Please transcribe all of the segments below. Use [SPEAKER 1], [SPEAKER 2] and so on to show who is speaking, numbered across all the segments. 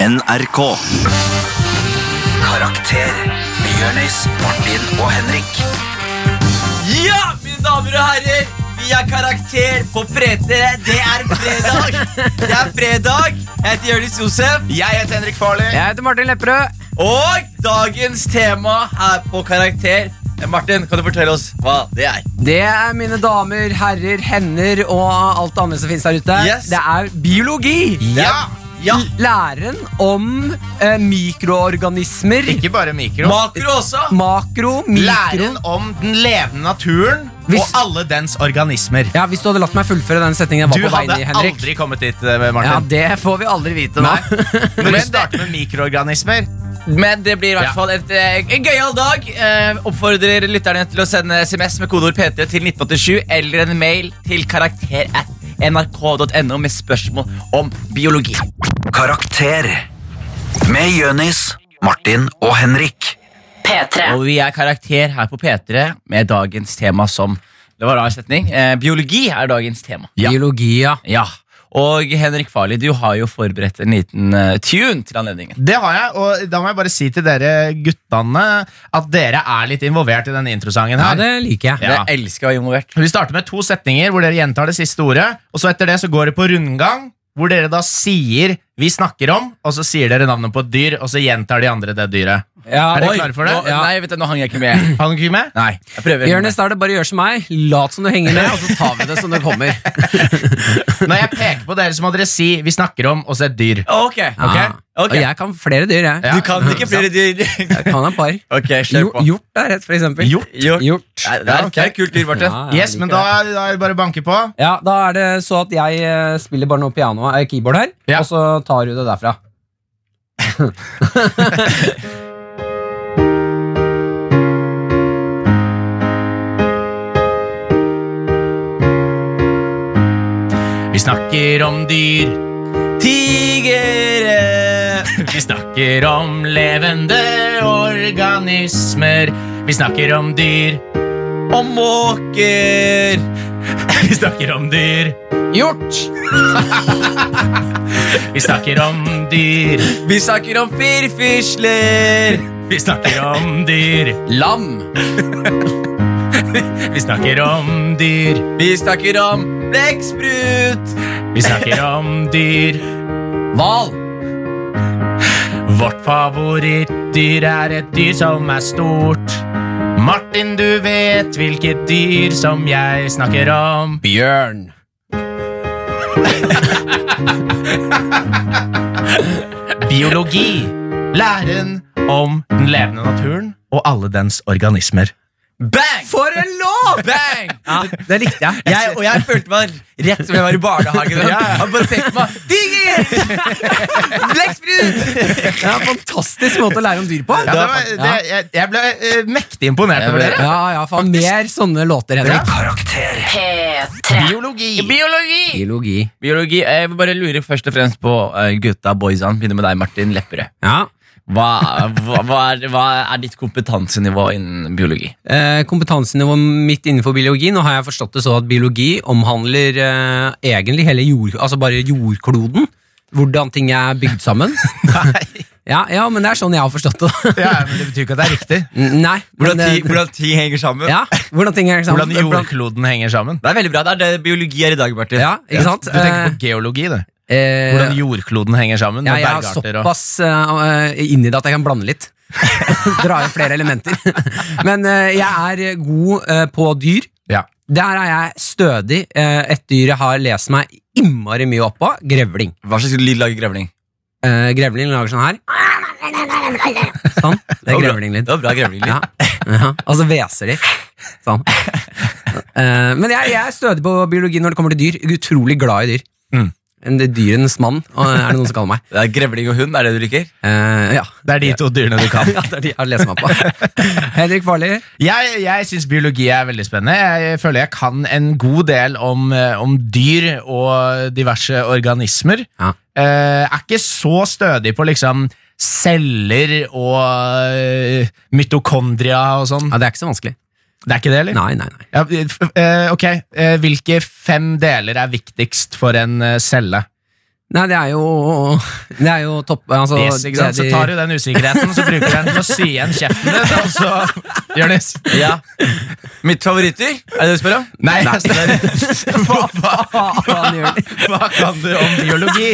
[SPEAKER 1] NRK. Karakter. Jonis, Martin og Henrik.
[SPEAKER 2] Ja, mine damer og herrer, vi er karakter på PT. Det er fredag. Det er fredag. Jeg heter Jonis Josef.
[SPEAKER 1] Jeg heter Henrik Farley.
[SPEAKER 3] Jeg heter Martin Lepperød.
[SPEAKER 2] Og dagens tema her på Karakter Eh, Martin, kan du fortelle oss hva det er?
[SPEAKER 3] Det er mine damer, herrer, hender og alt det andre som finnes der ute.
[SPEAKER 2] Yes.
[SPEAKER 3] Det er biologi.
[SPEAKER 4] Ja,
[SPEAKER 2] Ja,
[SPEAKER 3] Læren om eh, mikroorganismer.
[SPEAKER 4] ikke bare mikro.
[SPEAKER 2] Makro også.
[SPEAKER 3] Makro, mikro
[SPEAKER 4] Læren om den levende naturen
[SPEAKER 3] Hvis-
[SPEAKER 4] og alle dens organismer.
[SPEAKER 3] Ja, Hvis du hadde latt meg fullføre den setningen jeg
[SPEAKER 4] Du
[SPEAKER 3] var på
[SPEAKER 4] hadde
[SPEAKER 3] vei i, Henrik.
[SPEAKER 4] aldri kommet dit, eh,
[SPEAKER 3] Ja,
[SPEAKER 4] Martin.
[SPEAKER 3] Det får vi aldri vite nå.
[SPEAKER 4] Når du starter med mikroorganismer
[SPEAKER 2] Men det blir i hvert
[SPEAKER 4] Ja.
[SPEAKER 2] fall et, eh, en gøyal dag. Eh, oppfordrer lytterne til å sende SMS med kodeord PT til 1987 eller en mail til karakter at nrk.no med spørsmål om biologi.
[SPEAKER 1] Karakter. Med Jonis, Martin og Henrik.
[SPEAKER 2] Og vi er karakter her på P3 med dagens tema som Det var en rar setning. Eh, biologi er dagens tema.
[SPEAKER 3] Biologi, ja.
[SPEAKER 2] Ja. Og Henrik Farli, du har jo forberedt en liten eh, tune til anledningen.
[SPEAKER 4] Det har jeg, og da må jeg bare si til dere guttene at dere er litt involvert i denne introsangen
[SPEAKER 3] ja.
[SPEAKER 4] her.
[SPEAKER 3] Det liker jeg.
[SPEAKER 4] Ja.
[SPEAKER 2] Jeg elsker å være involvert.
[SPEAKER 4] Vi starter med to setninger hvor dere gjentar det siste ordet, og så etter det så går det på rundgang, hvor dere da sier 'vi snakker om', og så sier dere navnet på et dyr, og så gjentar de andre det dyret.
[SPEAKER 3] Ja,
[SPEAKER 4] Er dere
[SPEAKER 3] Ah, oi.
[SPEAKER 4] klare for det?
[SPEAKER 2] Nå,
[SPEAKER 3] Ja.
[SPEAKER 2] Nei, vet du, nå hang jeg ikke med.
[SPEAKER 4] Har dere ikke med?
[SPEAKER 2] Nei, jeg prøver.
[SPEAKER 3] Jonis, da er det bare å gjøre som meg. Lat som du henger med, og så tar vi det som det kommer.
[SPEAKER 4] Når jeg peker på dere, så må dere si 'vi snakker om', og så et dyr.
[SPEAKER 2] Ok, ok,
[SPEAKER 3] Ja.
[SPEAKER 2] ok.
[SPEAKER 3] Og jeg kan flere dyr, jeg.
[SPEAKER 4] Ja.
[SPEAKER 2] Du kan ikke flere dyr.
[SPEAKER 3] Jeg kan et par.
[SPEAKER 2] ok, kjør på.
[SPEAKER 3] Hjort hjort er rett, for eksempel.
[SPEAKER 2] Hjort? Hjort.
[SPEAKER 3] Hjort.
[SPEAKER 2] Nei, Det er, det er et kult dyr, Martin.
[SPEAKER 3] Ja, jeg
[SPEAKER 4] Yes,
[SPEAKER 3] liker
[SPEAKER 4] men
[SPEAKER 3] det.
[SPEAKER 4] da, da er det bare å banke på.
[SPEAKER 3] Ja, da er det så at jeg eh, spiller bare noe piano, eh, keyboard her,
[SPEAKER 4] Ja.
[SPEAKER 3] og så tar du det derfra.
[SPEAKER 4] Vi snakker om dyr.
[SPEAKER 2] Tigere.
[SPEAKER 4] Vi snakker om levende organismer. Vi snakker om dyr.
[SPEAKER 2] Og måker.
[SPEAKER 4] Vi snakker om dyr.
[SPEAKER 3] Hjort!
[SPEAKER 4] Vi snakker om dyr.
[SPEAKER 2] Vi snakker om firfisler.
[SPEAKER 4] Vi snakker om dyr.
[SPEAKER 2] Lam.
[SPEAKER 4] Vi snakker om dyr.
[SPEAKER 2] Vi snakker om blekksprut.
[SPEAKER 4] Vi snakker om dyr.
[SPEAKER 3] Hval!
[SPEAKER 4] Vårt favorittdyr er et dyr som er stort. Martin, du vet hvilket dyr som jeg snakker om.
[SPEAKER 3] Bjørn!
[SPEAKER 4] Biologi. Læren om den levende naturen og alle dens organismer.
[SPEAKER 2] Bang!
[SPEAKER 3] For en låt!
[SPEAKER 2] Bang!
[SPEAKER 3] Ja, det likte jeg.
[SPEAKER 2] Jeg, og jeg følte meg rett som jeg var i barnehagen.
[SPEAKER 4] Ja, ja.
[SPEAKER 2] Og bare tenkte meg Diger! Blekksprut!
[SPEAKER 3] Det er en fantastisk måte å lære om dyr på.
[SPEAKER 4] Ja, det var, det, jeg, jeg ble eh, mektig imponert over dere.
[SPEAKER 3] ja, ja, faen. Mer sånne låter, Henrik.
[SPEAKER 1] Karakter.
[SPEAKER 4] Biologi.
[SPEAKER 2] Biologi!
[SPEAKER 3] Biologi.
[SPEAKER 2] Biologi, eh, Jeg vil bare lurer først og fremst på eh, gutta boysene. Begynner med deg, Martin Lepperød.
[SPEAKER 3] Ja.
[SPEAKER 2] Hva, hva, hva, er, hva er ditt kompetansenivå innen biologi?
[SPEAKER 3] Eh, kompetansenivået mitt innenfor biologi Nå har jeg forstått det så at biologi omhandler eh, egentlig hele jord, altså bare jordkloden. Hvordan ting er bygd sammen. ja, ja, men det er sånn jeg har forstått det.
[SPEAKER 4] Ja, men Det betyr ikke at det er riktig.
[SPEAKER 3] N- Nei.
[SPEAKER 2] Hvordan,
[SPEAKER 3] men,
[SPEAKER 2] ti,
[SPEAKER 3] eh,
[SPEAKER 2] hvordan ting henger sammen?
[SPEAKER 3] ja, hvordan ting er sammen.
[SPEAKER 4] Hvordan jordkloden henger sammen.
[SPEAKER 2] Det er veldig bra. Det er det biologi er i dag, Martin.
[SPEAKER 3] Ja, ikke
[SPEAKER 4] Du
[SPEAKER 3] sant?
[SPEAKER 4] tenker på geologi, du.
[SPEAKER 3] Eh,
[SPEAKER 4] Hvordan jordkloden henger sammen.
[SPEAKER 3] ja,
[SPEAKER 4] med
[SPEAKER 3] jeg er
[SPEAKER 4] bergarter og
[SPEAKER 3] såpass eh, inni det at jeg kan blande litt. Dra inn flere elementer. men eh, jeg er god eh, på dyr.
[SPEAKER 4] ja.
[SPEAKER 3] Der er jeg stødig. Eh, Et dyr jeg har lest meg innmari mye opp på. Grevling.
[SPEAKER 2] Hva slags lyd lager grevling?
[SPEAKER 3] Eh, grevling lager sånn her. Sånn. Det er
[SPEAKER 2] var bra.
[SPEAKER 3] grevlinglyd.
[SPEAKER 2] Det var bra grevlinglyd.
[SPEAKER 3] Ja. Ja. Og så hveser de. Sånn. Eh, men jeg, jeg er stødig på biologi når det kommer til dyr. Utrolig glad i dyr.
[SPEAKER 4] Mm.
[SPEAKER 3] En- Det er dyrenes mann, og er det noen som kaller meg.
[SPEAKER 2] Det er grevling og hund, er det du liker?
[SPEAKER 3] Eh, ja.
[SPEAKER 4] Det er de to dyrene du kan.
[SPEAKER 3] ja, det er de jeg har lest meg på. Henrik Farli.
[SPEAKER 4] Jeg, jeg syns biologi er veldig spennende. Jeg føler jeg kan en god del om, eh, om dyr og diverse organismer.
[SPEAKER 3] Ja.
[SPEAKER 4] Eh, er ikke så stødig på liksom celler og eh, mitokondria og sånn.
[SPEAKER 3] Ja, det er ikke så vanskelig.
[SPEAKER 4] Det er ikke det, eller?
[SPEAKER 3] Nei, nei, nei.
[SPEAKER 4] Ja, f- eh, ok, Eh, Hvilke fem deler er viktigst for en eh, celle?
[SPEAKER 3] Nei, det er jo Det er jo topp altså,
[SPEAKER 4] Yes, ikke sant? Så
[SPEAKER 3] det-
[SPEAKER 4] tar du den usikkerheten, så bruker du den til å sy igjen kjeften din. Og så, Jonis
[SPEAKER 2] Ja. Mitt favoritter? Er det det du spør om?
[SPEAKER 4] Nei, altså, hva, hva,
[SPEAKER 3] Faen, Jørn.
[SPEAKER 4] hva kan du om biologi?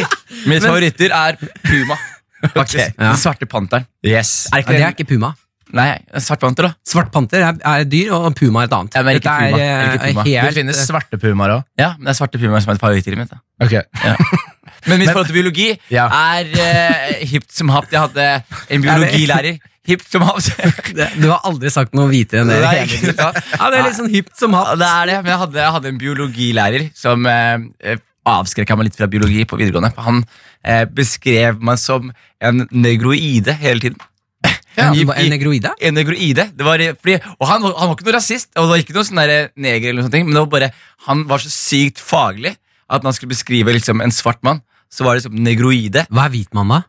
[SPEAKER 2] Mitt favoritter er Puma. Faktisk.
[SPEAKER 3] Ja.
[SPEAKER 2] Den svarte panteren.
[SPEAKER 4] Yes.
[SPEAKER 2] Er
[SPEAKER 3] Ja, det er ikke puma.
[SPEAKER 2] Nei, en svart panter, da.
[SPEAKER 3] Svart panter er, er et dyr, og puma er et annet.
[SPEAKER 2] Ja, men
[SPEAKER 3] Dette
[SPEAKER 2] ikke
[SPEAKER 3] er,
[SPEAKER 2] puma. Jeg liker
[SPEAKER 3] eh,
[SPEAKER 2] puma.
[SPEAKER 4] Det
[SPEAKER 3] helt
[SPEAKER 4] finnes svarte pumaer òg.
[SPEAKER 2] Ja, men det er svarte Puma som er favorittdyret mitt. da Men mitt
[SPEAKER 4] Men-
[SPEAKER 2] forhold til biologi
[SPEAKER 4] Ja.
[SPEAKER 2] er eh, hipt som hapt. Jeg hadde en biologilærer. Hipt som hapt.
[SPEAKER 3] eh, det, Du har aldri sagt noe hvitere enn det.
[SPEAKER 2] Nei,
[SPEAKER 3] hele
[SPEAKER 2] ikke
[SPEAKER 3] tiden.
[SPEAKER 2] sant?
[SPEAKER 3] Ja, det er litt sånn hipt som
[SPEAKER 2] Ja,
[SPEAKER 3] hatt.
[SPEAKER 2] det er det, men jeg hadde, jeg hadde en biologilærer som eh, avskrekka meg litt fra biologi på videregående. For han eh, beskrev meg som en negroide hele tiden.
[SPEAKER 3] Ja,
[SPEAKER 2] I-
[SPEAKER 3] en
[SPEAKER 2] i-
[SPEAKER 3] negroide?
[SPEAKER 2] en negroide. Det var, eh, fordi, og han, var- han var ikke noe rasist, og det var ikke noe sånn der, eh, neger, eller noe sånt, men det var bare, han var så sykt faglig at når han skulle beskrive liksom, en svart mann, så var det liksom negroide.
[SPEAKER 3] Hva er hvit mann, da?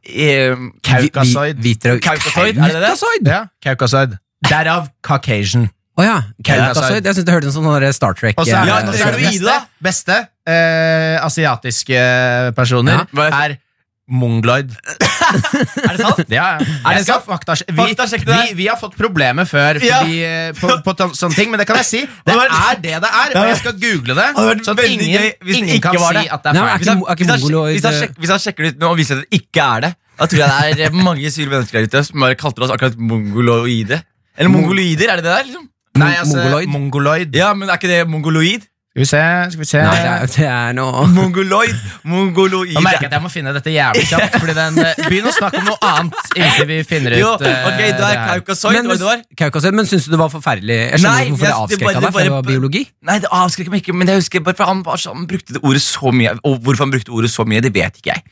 [SPEAKER 3] Vi-
[SPEAKER 2] Eh,
[SPEAKER 3] vi-
[SPEAKER 4] Kaukasoid.
[SPEAKER 3] Hviter og
[SPEAKER 2] Kaukasoid, er det det?
[SPEAKER 3] Kaukasoid?
[SPEAKER 4] Ja, Kaukasoid. Derav Caucasian.
[SPEAKER 3] Å ja.
[SPEAKER 4] Kaukasoid.
[SPEAKER 3] Kaukasoid. Jeg syns det hørtes ut som sånn der Star Trek.
[SPEAKER 4] Og så
[SPEAKER 3] eh,
[SPEAKER 4] er,
[SPEAKER 2] Ja,
[SPEAKER 4] det-
[SPEAKER 2] nå
[SPEAKER 4] så
[SPEAKER 2] er
[SPEAKER 4] er
[SPEAKER 2] du
[SPEAKER 4] det
[SPEAKER 2] i det,
[SPEAKER 4] beste,
[SPEAKER 2] da.
[SPEAKER 4] beste eh, asiatiske personer
[SPEAKER 3] Ja,
[SPEAKER 2] hva er-
[SPEAKER 4] er mongloid.
[SPEAKER 2] Er det sant?
[SPEAKER 4] Ja, ja. Jeg skal faktasj-
[SPEAKER 2] faktasjekke det
[SPEAKER 4] vi,
[SPEAKER 2] her?
[SPEAKER 4] vi, vi har fått problemer før
[SPEAKER 2] Ja.
[SPEAKER 4] fordi, eh, på, på ta- sånne ting, men det kan jeg si. Det
[SPEAKER 2] hadde vært-
[SPEAKER 4] er det det er, og jeg skal google det.
[SPEAKER 2] hadde vært
[SPEAKER 4] Sånn at
[SPEAKER 2] veldig
[SPEAKER 4] ingen,
[SPEAKER 2] gøy hvis det
[SPEAKER 4] ingen
[SPEAKER 2] ikke
[SPEAKER 4] kan
[SPEAKER 2] var
[SPEAKER 4] si
[SPEAKER 2] det.
[SPEAKER 4] at det
[SPEAKER 3] Nei,
[SPEAKER 4] er
[SPEAKER 3] men
[SPEAKER 4] feil.
[SPEAKER 2] Hvis han,
[SPEAKER 3] Er ikke
[SPEAKER 2] hvis, han,
[SPEAKER 3] mongoloid-
[SPEAKER 2] hvis, han sjek, hvis han sjekker det ut nå og viser at det ikke er det, da tror jeg det er eh, mange sure mennesker der ute som bare kalte oss akkurat mongoloide. Eller mongoloider, er det det der? liksom?
[SPEAKER 4] Nei, altså,
[SPEAKER 3] mongoloid.
[SPEAKER 4] mongoloid.
[SPEAKER 2] Ja, men er ikke det mongoloid?
[SPEAKER 4] Skal vi se, skal vi se.
[SPEAKER 3] Nei, det er, det er noe
[SPEAKER 2] Mongoloid,
[SPEAKER 4] Nå merker jeg at
[SPEAKER 2] mongoloid.
[SPEAKER 4] jeg må finne dette jævlig kjapt. Fordi den, eh, Begynn å snakke om noe annet inntil vi finner ut
[SPEAKER 2] Jo,
[SPEAKER 4] eh,
[SPEAKER 2] ok,
[SPEAKER 4] det
[SPEAKER 2] da er
[SPEAKER 4] her.
[SPEAKER 2] kaukasoid,
[SPEAKER 3] men,
[SPEAKER 2] hva det var?
[SPEAKER 3] Kaukasoid, men syns du det var forferdelig? Jeg skjønner
[SPEAKER 2] Nei,
[SPEAKER 3] ikke hvorfor det
[SPEAKER 2] jeg- det bare-
[SPEAKER 3] avskrekka
[SPEAKER 2] det
[SPEAKER 3] deg, for det
[SPEAKER 2] bare-
[SPEAKER 3] var biologi.
[SPEAKER 2] Nei, det avskrekker meg ikke, men jeg husker bare for han, var så, han brukte det ordet så mye. Og hvorfor han brukte ordet så mye, det vet ikke jeg.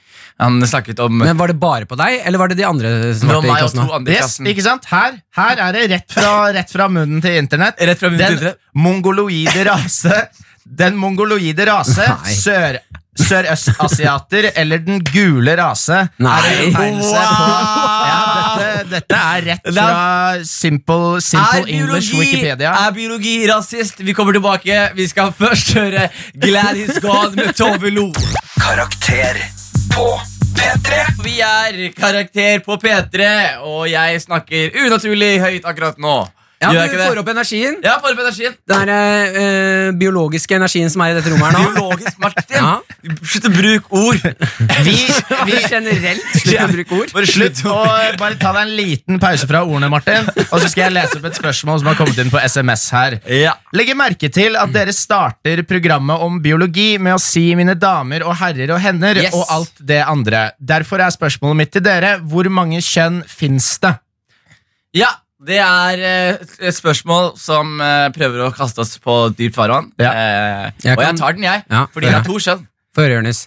[SPEAKER 2] Han snakket om
[SPEAKER 3] Men Var det bare på deg, eller var det de andre som
[SPEAKER 2] det
[SPEAKER 3] var
[SPEAKER 2] var
[SPEAKER 3] i
[SPEAKER 2] meg og
[SPEAKER 3] klassen?
[SPEAKER 2] to
[SPEAKER 3] også?
[SPEAKER 2] andre i
[SPEAKER 4] Yes,
[SPEAKER 2] klassen.
[SPEAKER 4] ikke sant? Her, her er det rett fra, rett fra munnen til internett.
[SPEAKER 2] Rett fra munnen til
[SPEAKER 4] den
[SPEAKER 2] internett.
[SPEAKER 4] mongoloide rase Den mongoloide rase,
[SPEAKER 3] Nei.
[SPEAKER 4] sør, sørøstasiater eller den gule rase er en
[SPEAKER 3] Nei.
[SPEAKER 4] betegnelse på ja, dette, dette er rett
[SPEAKER 2] Det er-
[SPEAKER 4] fra Simple,
[SPEAKER 2] Er
[SPEAKER 4] simple English
[SPEAKER 2] biologi,
[SPEAKER 4] Wikipedia.
[SPEAKER 2] er biologi rasist? Vi kommer tilbake. Vi skal først høre Gladys God med Tove Lo.
[SPEAKER 1] Karakter på P3.
[SPEAKER 2] Vi er Karakter på P3, og jeg snakker unaturlig høyt akkurat nå.
[SPEAKER 3] Ja,
[SPEAKER 2] Gjør jeg
[SPEAKER 3] du
[SPEAKER 2] ikke
[SPEAKER 3] får
[SPEAKER 2] det?
[SPEAKER 3] opp energien.
[SPEAKER 2] Ja, får opp energien.
[SPEAKER 3] Den her, eh, biologiske energien som er i dette rommet her nå.
[SPEAKER 2] Biologisk, Martin.
[SPEAKER 3] Ja.
[SPEAKER 2] Slutt å bruke ord.
[SPEAKER 4] Vi, vi,
[SPEAKER 3] Generelt, slutt å bruke ord.
[SPEAKER 2] Bare
[SPEAKER 4] Slutt å bare ta deg en liten pause fra ordene, Martin. Og så skal jeg lese opp et spørsmål som har kommet inn på SMS her.
[SPEAKER 2] Ja.
[SPEAKER 4] Legger merke til at dere starter programmet om biologi med å si mine damer og herrer og hender
[SPEAKER 2] Yes.
[SPEAKER 4] og alt det andre. Derfor er spørsmålet mitt til dere hvor mange kjønn fins det?
[SPEAKER 2] Ja, det er eh, et spørsmål som eh, prøver å kaste oss på dypt farvann.
[SPEAKER 4] Ja.
[SPEAKER 2] Eh,
[SPEAKER 3] Jeg
[SPEAKER 2] og jeg
[SPEAKER 3] kan-
[SPEAKER 2] tar den, jeg.
[SPEAKER 3] Ja,
[SPEAKER 2] fordi det
[SPEAKER 3] ja.
[SPEAKER 2] er to kjønn.
[SPEAKER 3] Få høre, Jonis.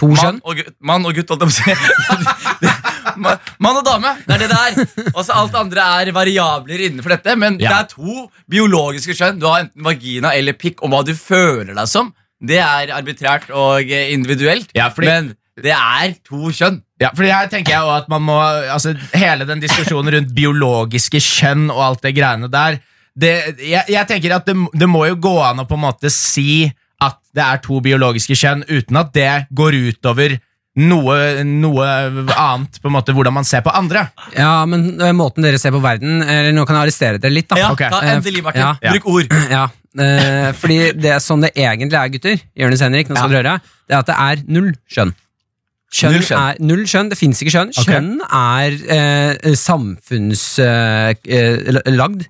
[SPEAKER 3] To
[SPEAKER 2] Mann
[SPEAKER 3] kjønn?
[SPEAKER 2] og gutt, mann og gutt holdt jeg på å si. Det- ma- Mann og dame, det er det det er. Og så alt det andre er variabler innenfor dette. Men det
[SPEAKER 4] Ja.
[SPEAKER 2] er to biologiske kjønn. Du har enten vagina eller pikk, og hva du føler deg som. Det er arbitrært og eh, individuelt,
[SPEAKER 4] Ja, fordi-
[SPEAKER 2] men det er to kjønn.
[SPEAKER 4] Ja, fordi her tenker jeg også at man må altså, Hele den diskusjonen rundt biologiske kjønn og alt det greiene der det, jeg, jeg tenker at det, det må jo gå an å på en måte si at det er to biologiske kjønn, uten at det går utover noe, noe annet, på en måte hvordan man ser på andre.
[SPEAKER 3] Ja, men eh, måten dere ser på verden Eller nå kan jeg arrestere dere litt, da. Eh,
[SPEAKER 2] Ja,
[SPEAKER 4] Ok.
[SPEAKER 2] da Endelig, Martin.
[SPEAKER 3] Ja.
[SPEAKER 2] Bruk ord.
[SPEAKER 3] Ja, eh, fordi det er sånn det egentlig er, gutter, Jonis Henrik, nå skal dere høre, det er at det er null skjønn. Kjønn
[SPEAKER 2] Null skjønn.
[SPEAKER 3] er null skjønn, det fins ikke skjønn. Skjønn er eh, samfunnslagd. Eh, lagd.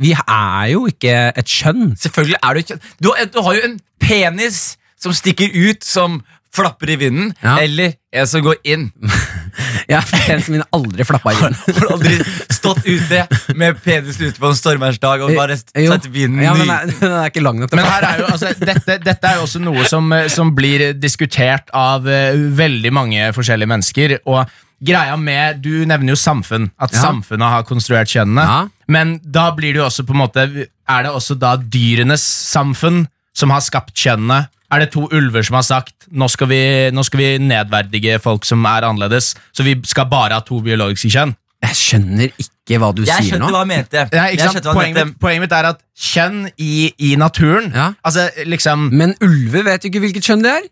[SPEAKER 3] vi er jo ikke et skjønn.
[SPEAKER 2] Selvfølgelig er du kjønn. Du, har- du har jo en penis som stikker ut som flapper i vinden,
[SPEAKER 3] Ja.
[SPEAKER 2] eller en som går inn.
[SPEAKER 3] Jeg har pensene mine aldri flappa i vinden.
[SPEAKER 2] Har du aldri stått ute med penisen ute på en stormværsdag og bare
[SPEAKER 3] Eh, Jo.
[SPEAKER 2] sett vinden
[SPEAKER 3] ja, men eh, den
[SPEAKER 2] i
[SPEAKER 3] er, den er ikke lang nok til
[SPEAKER 4] Men her er jo, altså, dette, dette er jo også noe som, eh, som blir diskutert av eh, veldig mange forskjellige mennesker. Og greia med Du nevner jo samfunn. At
[SPEAKER 3] Ja.
[SPEAKER 4] samfunnet har konstruert kjønnene.
[SPEAKER 3] Ja.
[SPEAKER 4] Men da blir det jo også på en måte Er det også da dyrenes samfunn som har skapt kjønnene? Er det to ulver som har sagt nå skal, vi, nå skal vi nedverdige folk som er annerledes, så vi skal bare ha to biologiske kjønn?
[SPEAKER 3] Jeg skjønner ikke hva du
[SPEAKER 2] Jeg
[SPEAKER 3] sier
[SPEAKER 2] skjønte
[SPEAKER 3] nå.
[SPEAKER 2] hva han mente.
[SPEAKER 4] Ja, ikke
[SPEAKER 2] Jeg
[SPEAKER 4] sant?
[SPEAKER 2] skjønte hva han
[SPEAKER 4] Poenget, mitt,
[SPEAKER 2] mente.
[SPEAKER 4] poenget mitt er at kjønn i, i naturen
[SPEAKER 3] Ja.
[SPEAKER 4] Altså liksom
[SPEAKER 3] Men ulver vet jo ikke hvilket kjønn det er.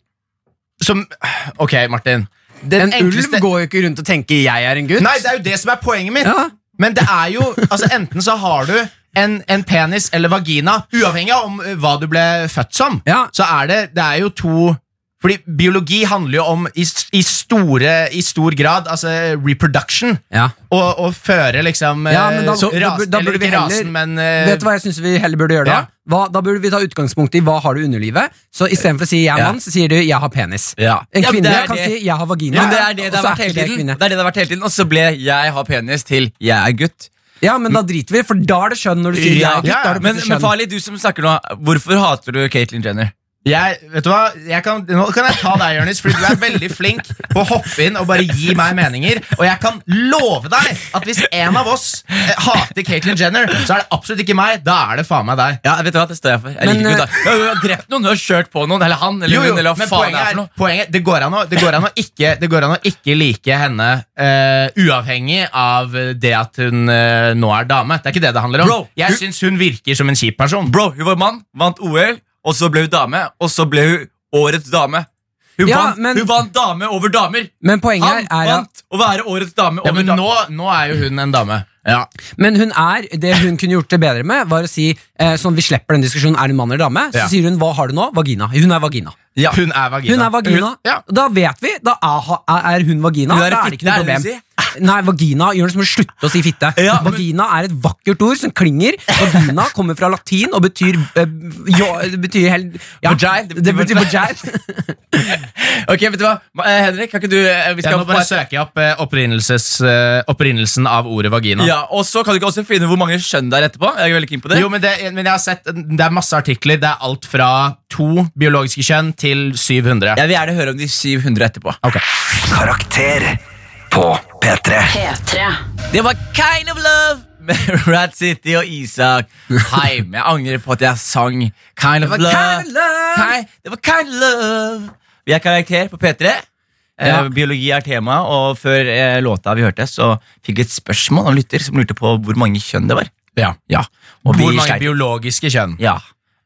[SPEAKER 4] som Ok, Martin. Den
[SPEAKER 3] En
[SPEAKER 4] enkleste-
[SPEAKER 3] ulv går jo ikke rundt og tenker 'jeg er en gutt'.
[SPEAKER 4] Nei, det er jo det som er poenget mitt.
[SPEAKER 3] Ja.
[SPEAKER 4] Men det er jo altså Enten så har du en, en penis eller vagina, uavhengig av om eh, hva du ble født som.
[SPEAKER 3] Ja.
[SPEAKER 4] Så er det, det er jo to Fordi biologi handler jo om i, s- i, store, i stor grad altså reproduction.
[SPEAKER 3] Ja.
[SPEAKER 4] Og, og føre liksom eh,
[SPEAKER 3] Ja, men da-
[SPEAKER 4] rasen,
[SPEAKER 3] da burde- da
[SPEAKER 4] Eller
[SPEAKER 3] burde vi
[SPEAKER 4] ikke rasen,
[SPEAKER 3] heller-
[SPEAKER 4] men eh,
[SPEAKER 3] Vet du hva jeg synes vi heller burde gjøre da?
[SPEAKER 4] Ja.
[SPEAKER 3] Hva, da burde vi ta utgangspunkt i hva har du i underlivet. Så istedenfor å si 'jeg er
[SPEAKER 2] Ja.
[SPEAKER 3] mann', så sier du 'jeg har penis'.
[SPEAKER 2] Ja.
[SPEAKER 3] En
[SPEAKER 2] Ja, men
[SPEAKER 3] kvinne
[SPEAKER 2] det er
[SPEAKER 3] kan
[SPEAKER 2] det.
[SPEAKER 3] si 'jeg har vagina'.
[SPEAKER 2] Men det er det
[SPEAKER 3] og
[SPEAKER 2] det har
[SPEAKER 3] så
[SPEAKER 2] vært
[SPEAKER 3] ikke
[SPEAKER 2] hele tiden.
[SPEAKER 3] kvinne.
[SPEAKER 2] Det er det det har vært hele tiden Og så ble 'jeg har penis' til 'jeg er gutt'.
[SPEAKER 3] Ja, men da driter vi, for da er det skjønn når du sier 'jeg er gutt'.
[SPEAKER 4] Ja,
[SPEAKER 3] da er det
[SPEAKER 2] Men,
[SPEAKER 3] plutselig
[SPEAKER 2] men
[SPEAKER 3] skjønn.
[SPEAKER 2] farlig, du som snakker nå, hvorfor hater du Caitlyn Jenner?
[SPEAKER 4] Jeg, vet du hva? Jeg kan, nå kan jeg ta deg, Jørnis, fordi du er veldig flink på å hoppe inn og bare gi meg meninger. Og jeg kan love deg at hvis en av oss eh, hater Caitlyn Jenner, så er det absolutt ikke meg. Da er det faen meg deg.
[SPEAKER 2] Ja, vet du hva, Det står jeg for. Jeg
[SPEAKER 3] Men,
[SPEAKER 2] liker
[SPEAKER 3] eh,
[SPEAKER 2] henne, da. Ja, Hun har drept noen, hun har kjørt på noen, eller han, eller
[SPEAKER 4] Jo, jo,
[SPEAKER 2] hun, eller hva
[SPEAKER 4] men
[SPEAKER 2] faen
[SPEAKER 4] poenget
[SPEAKER 2] det er for
[SPEAKER 4] er,
[SPEAKER 2] noe.
[SPEAKER 4] poenget, det, går an å, det, går an å ikke, det går an å ikke like henne eh, uavhengig av det at hun eh, nå er dame. Det er ikke det det handler om.
[SPEAKER 2] Bro,
[SPEAKER 4] jeg
[SPEAKER 2] hun-
[SPEAKER 4] syns hun virker som en kjip person.
[SPEAKER 2] Bro, hun var mann, vant OL, og så ble hun dame, og så ble hun årets dame. Hun,
[SPEAKER 3] Ja,
[SPEAKER 2] vant,
[SPEAKER 3] men-
[SPEAKER 2] hun vant dame over damer!
[SPEAKER 3] Men poenget her
[SPEAKER 2] Han
[SPEAKER 3] er at
[SPEAKER 2] vant å være årets dame
[SPEAKER 4] Ja,
[SPEAKER 2] over
[SPEAKER 4] men
[SPEAKER 2] dame.
[SPEAKER 4] nå, nå er jo hun en dame. Ja.
[SPEAKER 3] Men hun er, det hun kunne gjort det bedre med, var å si eh, sånn vi slipper den diskusjonen er du mann eller dame. Så
[SPEAKER 4] Ja.
[SPEAKER 3] sier hun hva har du nå? Vagina. Hun er vagina.
[SPEAKER 2] Ja.
[SPEAKER 4] Hun er vagina.
[SPEAKER 3] Hun er vagina.
[SPEAKER 4] Hun- ja.
[SPEAKER 3] Da vet vi. Da er, ha- er hun vagina.
[SPEAKER 2] Hun er
[SPEAKER 3] da
[SPEAKER 2] en
[SPEAKER 3] er det ikke noe
[SPEAKER 2] fitte, er det
[SPEAKER 3] problem. Nei, vagina Jonas må slutte å si fitte.
[SPEAKER 2] Ja, men-
[SPEAKER 3] vagina er et vakkert ord som klinger. Vagina kommer fra latin og betyr eh, jo, Det betyr hel, ja,
[SPEAKER 2] Vagina.
[SPEAKER 3] Det betyr vagina.
[SPEAKER 2] Ok, vet du hva? Ma- eh, Henrik, kan ikke du eh, vi
[SPEAKER 4] Jeg
[SPEAKER 2] skal
[SPEAKER 4] nå bare
[SPEAKER 2] bare-
[SPEAKER 4] søker jeg opp eh, opprinnelses- eh, opprinnelsen av ordet vagina.
[SPEAKER 2] ja, Og så kan du ikke også finne hvor mange skjønn det er etterpå? Jeg er veldig keen på det.
[SPEAKER 4] Jo, men det, men jeg har sett, det er masse artikler. Det er alt fra to biologiske kjønn til 700.
[SPEAKER 2] Jeg vil gjerne høre om de 700 etterpå.
[SPEAKER 1] Karakter på P3.
[SPEAKER 5] P3.
[SPEAKER 2] Det var Kind of Love med Rat City og Isak Heim. Jeg angrer på at jeg sang Kind of
[SPEAKER 3] var
[SPEAKER 2] Love.
[SPEAKER 3] Kind of Love.
[SPEAKER 2] Ki- det var kind of love. Vi er karakter på P3. Eh,
[SPEAKER 3] Ja.
[SPEAKER 2] biologi er tema, og før eh, låta vi hørte, så fikk vi et spørsmål av en lytter som lurte på hvor mange kjønn det var.
[SPEAKER 4] Ja.
[SPEAKER 2] Ja, og vi
[SPEAKER 4] Hvor mange
[SPEAKER 2] sleit.
[SPEAKER 4] biologiske kjønn?
[SPEAKER 2] Ja.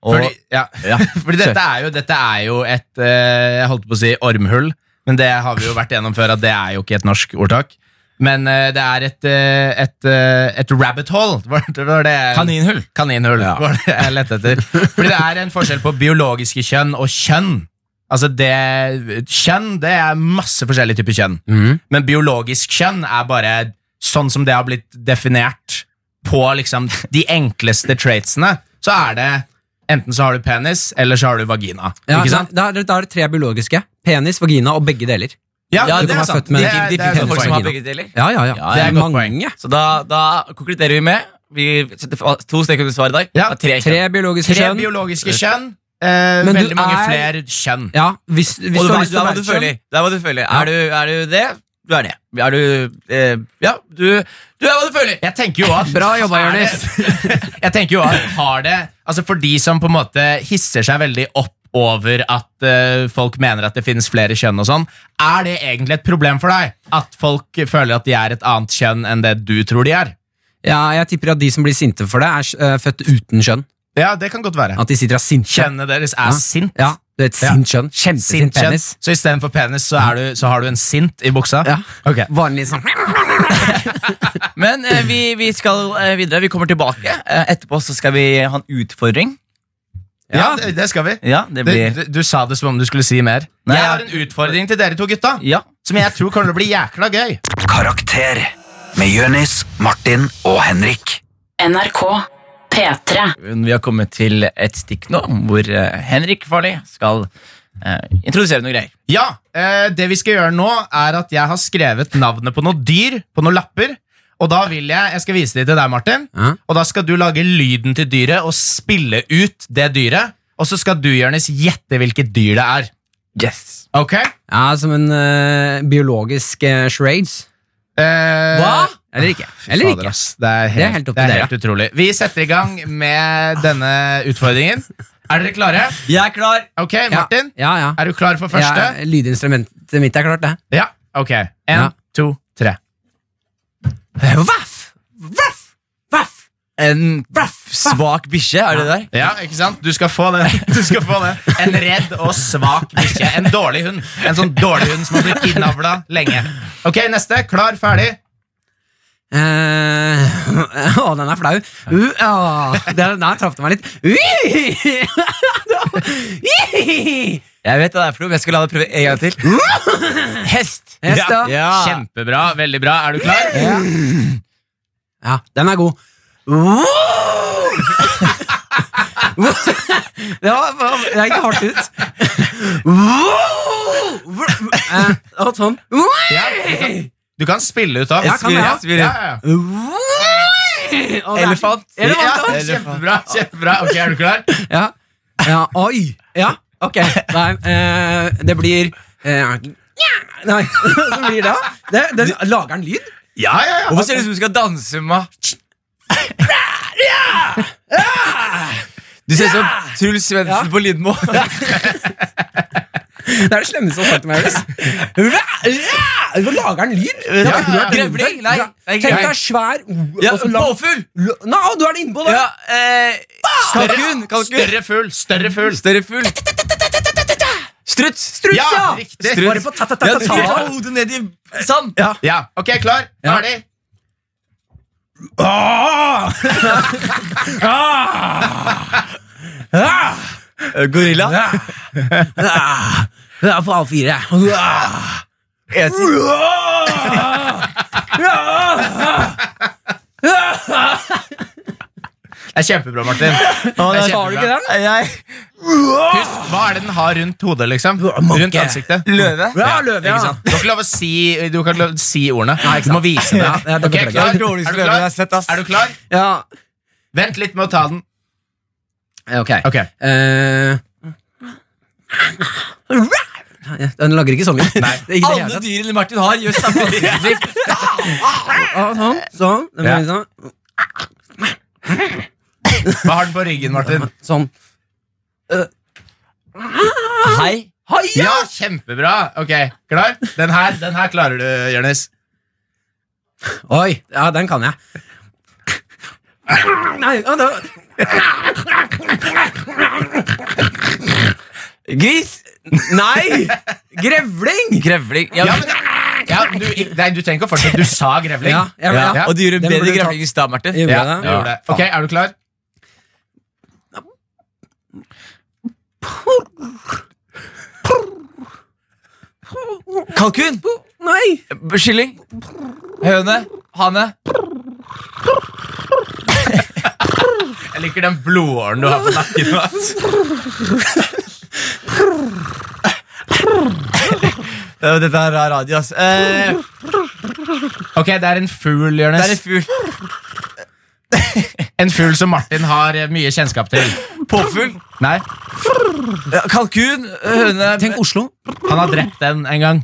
[SPEAKER 2] Og,
[SPEAKER 4] Fordi, ja.
[SPEAKER 2] ja.
[SPEAKER 4] Fordi dette er jo, dette er jo et eh, Jeg holdt på å si ormhull, men det har vi jo vært gjennom før, at det er jo ikke et norsk ordtak. Men eh, det er et, eh, et, eh, et rabbit hole. Var det- var det-
[SPEAKER 2] Kaninhull.
[SPEAKER 4] Kaninhull
[SPEAKER 2] Ja.
[SPEAKER 4] var det jeg lette etter. Fordi det er en forskjell på biologiske kjønn og kjønn. Altså det, Kjønn det er masse forskjellige typer kjønn. Men biologisk kjønn er bare sånn som det har blitt definert på liksom de enkleste traitsene. Så er det enten så har du penis, eller så har du vagina.
[SPEAKER 3] Ja,
[SPEAKER 4] ikke sant?
[SPEAKER 3] Da, da, da er det tre biologiske. Penis, vagina og begge deler.
[SPEAKER 2] Ja,
[SPEAKER 3] det er sant. med-
[SPEAKER 4] Det
[SPEAKER 2] De,
[SPEAKER 4] er-
[SPEAKER 2] de,
[SPEAKER 4] det er sånn
[SPEAKER 2] finnes
[SPEAKER 4] et godt
[SPEAKER 2] folk som
[SPEAKER 4] poeng.
[SPEAKER 2] har begge deler.
[SPEAKER 3] Ja, ja, ja.
[SPEAKER 2] Ja,
[SPEAKER 3] det
[SPEAKER 4] det er
[SPEAKER 3] er
[SPEAKER 4] et godt
[SPEAKER 3] mange.
[SPEAKER 2] Så da, da konkluderer vi med Vi setter fa- to streker under svaret i dag.
[SPEAKER 4] Ja.
[SPEAKER 2] Det er Tre kjønn.
[SPEAKER 3] Tre biologiske
[SPEAKER 4] Tre
[SPEAKER 3] kjønn.
[SPEAKER 4] biologiske kjønn. Eh,
[SPEAKER 3] Men du
[SPEAKER 4] veldig mange
[SPEAKER 3] er-
[SPEAKER 4] flere kjønn.
[SPEAKER 3] Ja, hvis, hvis
[SPEAKER 2] Og
[SPEAKER 3] du
[SPEAKER 2] da,
[SPEAKER 3] har lyst til
[SPEAKER 2] da
[SPEAKER 3] å
[SPEAKER 2] må
[SPEAKER 3] være
[SPEAKER 2] du
[SPEAKER 3] et
[SPEAKER 2] følge.
[SPEAKER 3] kjønn.
[SPEAKER 2] Da må du følge. Er, du, er du det? Du er det. Er du eh, Ja, du, du er hva du føler.
[SPEAKER 4] Jeg tenker jo at
[SPEAKER 3] Bra jobba,
[SPEAKER 4] Er det-
[SPEAKER 3] Jonis.
[SPEAKER 4] Jeg tenker jo at har det Altså For de som på en måte hisser seg veldig opp over at eh, folk mener at det finnes flere kjønn og sånn, er det egentlig et problem for deg? At folk føler at de er et annet kjønn enn det du tror de er?
[SPEAKER 3] Ja, jeg tipper at de som blir sinte for det, er eh, født uten skjønn.
[SPEAKER 4] Ja, det kan godt være.
[SPEAKER 3] At de sitter og er sinte.
[SPEAKER 4] Kjønnet deres er
[SPEAKER 3] Ja.
[SPEAKER 4] sint.
[SPEAKER 3] Ja, du vet,
[SPEAKER 4] Ja.
[SPEAKER 3] sint skjønn. Kjempesint
[SPEAKER 4] Sint kjønn.
[SPEAKER 3] penis.
[SPEAKER 4] Så istedenfor penis så, er du, så har du en sint i buksa?
[SPEAKER 3] Ja.
[SPEAKER 4] Ok.
[SPEAKER 3] Vanlig sånn
[SPEAKER 2] Men eh, vi, vi skal eh, videre. Vi kommer tilbake. Eh, etterpå så skal vi ha en utfordring.
[SPEAKER 4] Ja, det, det skal vi.
[SPEAKER 2] Ja, det
[SPEAKER 4] Du,
[SPEAKER 2] blir
[SPEAKER 4] du, du sa det som om du skulle si mer.
[SPEAKER 2] Nei,
[SPEAKER 4] jeg
[SPEAKER 2] ja.
[SPEAKER 4] har en utfordring til dere to gutta.
[SPEAKER 2] Ja.
[SPEAKER 4] Som jeg tror kommer til å bli jækla gøy.
[SPEAKER 1] Karakter med Jørnis, Martin og Henrik.
[SPEAKER 5] NRK P3.
[SPEAKER 2] Vi har kommet til et stikk nå hvor eh, Henrik Farley skal eh, introdusere noen greier.
[SPEAKER 4] Ja, eh, det vi skal gjøre nå er at jeg har skrevet navnet på noen dyr På noen lapper Og da vil jeg, jeg skal vise det til deg Martin
[SPEAKER 3] Ja.
[SPEAKER 4] Og da skal du lage lyden til dyret Og spille ut det dyret Og så skal du, Jørnes, gjette hvilket dyr det er
[SPEAKER 2] Yes.
[SPEAKER 4] Ok?
[SPEAKER 3] Ja, som en eh, biologisk uh, charades.
[SPEAKER 4] Eh,
[SPEAKER 3] Eller ikke. Eller
[SPEAKER 4] Fader,
[SPEAKER 3] ikke.
[SPEAKER 4] ass. Det er helt,
[SPEAKER 3] Det er helt opp
[SPEAKER 4] det
[SPEAKER 3] til
[SPEAKER 4] er
[SPEAKER 3] dere.
[SPEAKER 4] helt utrolig Vi setter i gang med denne utfordringen Er dere klare?
[SPEAKER 2] Jeg er klar.
[SPEAKER 4] Ok,
[SPEAKER 3] Ja.
[SPEAKER 4] Martin
[SPEAKER 3] Ja, ja.
[SPEAKER 4] Er du klar for første?
[SPEAKER 3] Ja, lydinstrumentet mitt er klart, det.
[SPEAKER 4] Ja, ok En,
[SPEAKER 3] Ja.
[SPEAKER 4] to, tre
[SPEAKER 3] Vaff! Vaff! Vaff!
[SPEAKER 2] en braff, svak bikkje. Er det der?
[SPEAKER 4] Ja, ikke sant? Du skal få det. Du skal få det. En redd og svak bikkje. En dårlig hund. En sånn dårlig hund som har blitt innavla lenge. Ok, neste. Klar, ferdig.
[SPEAKER 3] Eh, å, den er flau. Uh, å, den der traff det meg litt. Hest,
[SPEAKER 2] Jeg vet det er for noe, men jeg skal la deg prøve en gang til. Hest.
[SPEAKER 3] da.
[SPEAKER 2] Ja.
[SPEAKER 4] Ah. Kjempebra. Veldig bra. Er du klar? Ja.
[SPEAKER 3] Ja, den er god. Det var, var- det gikk hardt ut. Eh, og sånn.
[SPEAKER 4] ikke sant? du kan spille ut av.
[SPEAKER 3] Ja, kan jeg?
[SPEAKER 4] Ja, ja, ja.
[SPEAKER 3] Og det er-
[SPEAKER 2] Elefant.
[SPEAKER 3] Elefant,
[SPEAKER 4] Ja, kjempebra. kjempebra Ok, Er du klar?
[SPEAKER 3] Ja. ja. Oi! Ja, ok. Nei, eh, det blir eh, Nei, så blir det det, det Lager den lyd?
[SPEAKER 4] Ja, ja, ja.
[SPEAKER 2] Hvorfor ser det ut som du skal danse med Du ser ut som Truls Svendsen
[SPEAKER 3] Ja.
[SPEAKER 2] på Lindmo.
[SPEAKER 3] Det er det slemmeste som har sagt meg, Jonis. Hvorfor lager den lyd? Det har ikke du vært inne på.
[SPEAKER 2] Grevling? Nei. nei,
[SPEAKER 3] Tenk deg
[SPEAKER 2] grevling.
[SPEAKER 3] svær
[SPEAKER 2] Ja,
[SPEAKER 3] og så lang-
[SPEAKER 2] Påfugl!
[SPEAKER 3] Nå, du er det innpå, da!
[SPEAKER 2] Ja, eh, kalkun. kalkun.
[SPEAKER 4] Større fugl. Større fugl.
[SPEAKER 2] Større fugl. Struts. Struts,
[SPEAKER 4] Ja,
[SPEAKER 3] Ja,
[SPEAKER 4] riktig.
[SPEAKER 3] Struts. Bare på
[SPEAKER 2] Ja, du skal
[SPEAKER 3] ta-ta-ta-ta.
[SPEAKER 2] ta hodet ned i sand.
[SPEAKER 4] Ja, ok, klar,
[SPEAKER 3] Ja.
[SPEAKER 4] ferdig
[SPEAKER 2] Eh, Gorilla.
[SPEAKER 3] Det er på alle fire.
[SPEAKER 4] Det er kjempebra, Martin Det er
[SPEAKER 3] Sa du ikke
[SPEAKER 4] kjempebra.
[SPEAKER 3] den?
[SPEAKER 4] Husk, hva er det den har rundt hodet, liksom? Rundt ansiktet
[SPEAKER 2] Løve.
[SPEAKER 3] Ja, løve,
[SPEAKER 4] Ikke
[SPEAKER 3] ja.
[SPEAKER 4] sant? Du har ikke lov å si, du har ikke lov å si ordene Du må vise det
[SPEAKER 3] Ja, ja, det
[SPEAKER 4] Ok,
[SPEAKER 3] beklager jeg.
[SPEAKER 4] klar,
[SPEAKER 2] Det er
[SPEAKER 4] er
[SPEAKER 2] den dårligste
[SPEAKER 4] du
[SPEAKER 2] løven jeg har sett,
[SPEAKER 4] klar?
[SPEAKER 2] ass.
[SPEAKER 4] Er du klar?
[SPEAKER 3] ja.
[SPEAKER 4] Vent litt med å ta den
[SPEAKER 3] Ok.
[SPEAKER 4] Ok
[SPEAKER 3] Eh, den lager ikke sånn lyd. Ikke i det hele
[SPEAKER 2] Alle
[SPEAKER 3] tatt.
[SPEAKER 2] dyrene Martin har, gjør samme ansiktstrekk.
[SPEAKER 3] Ja, Sånn. Sånn. Den
[SPEAKER 4] Ja.
[SPEAKER 3] blir sånn.
[SPEAKER 4] Hva har den på ryggen, Martin?
[SPEAKER 3] sånn. Eh.
[SPEAKER 2] Hei.
[SPEAKER 4] Ja, kjempebra Ok, klar? Den her, den her klarer du, Jørnes
[SPEAKER 3] Oi, ja, den kan jeg. Nei, ja, da,
[SPEAKER 2] Gris.
[SPEAKER 3] nei! Grevling!
[SPEAKER 2] Grevling.
[SPEAKER 4] Ja, men ja, men du, nei, du trenger ikke å fortsette Du sa grevling
[SPEAKER 3] Ja, ja, ja.
[SPEAKER 2] Og du gjorde
[SPEAKER 3] Den
[SPEAKER 2] bedre
[SPEAKER 3] burde du
[SPEAKER 2] grevling i stad, Martin.
[SPEAKER 3] Gjorde
[SPEAKER 4] Ja,
[SPEAKER 3] jeg
[SPEAKER 4] du
[SPEAKER 3] det?
[SPEAKER 4] gjorde det Ok, er du klar?
[SPEAKER 2] Kalkun.
[SPEAKER 3] Nei!
[SPEAKER 2] Kylling. Høne. Hane.
[SPEAKER 4] Jeg liker den blodåren du har på nakken. Mats.
[SPEAKER 2] Dette her er radio, ass. Eh,
[SPEAKER 4] Ok, Det er en fugl,
[SPEAKER 2] det er en
[SPEAKER 4] Jonis.
[SPEAKER 2] fugl.
[SPEAKER 4] En fugl som Martin har eh, mye kjennskap til.
[SPEAKER 2] Påfugl.
[SPEAKER 4] Nei,
[SPEAKER 2] Ja, Kalkun. Høne.
[SPEAKER 3] Tenk Oslo.
[SPEAKER 4] han har drept den en gang.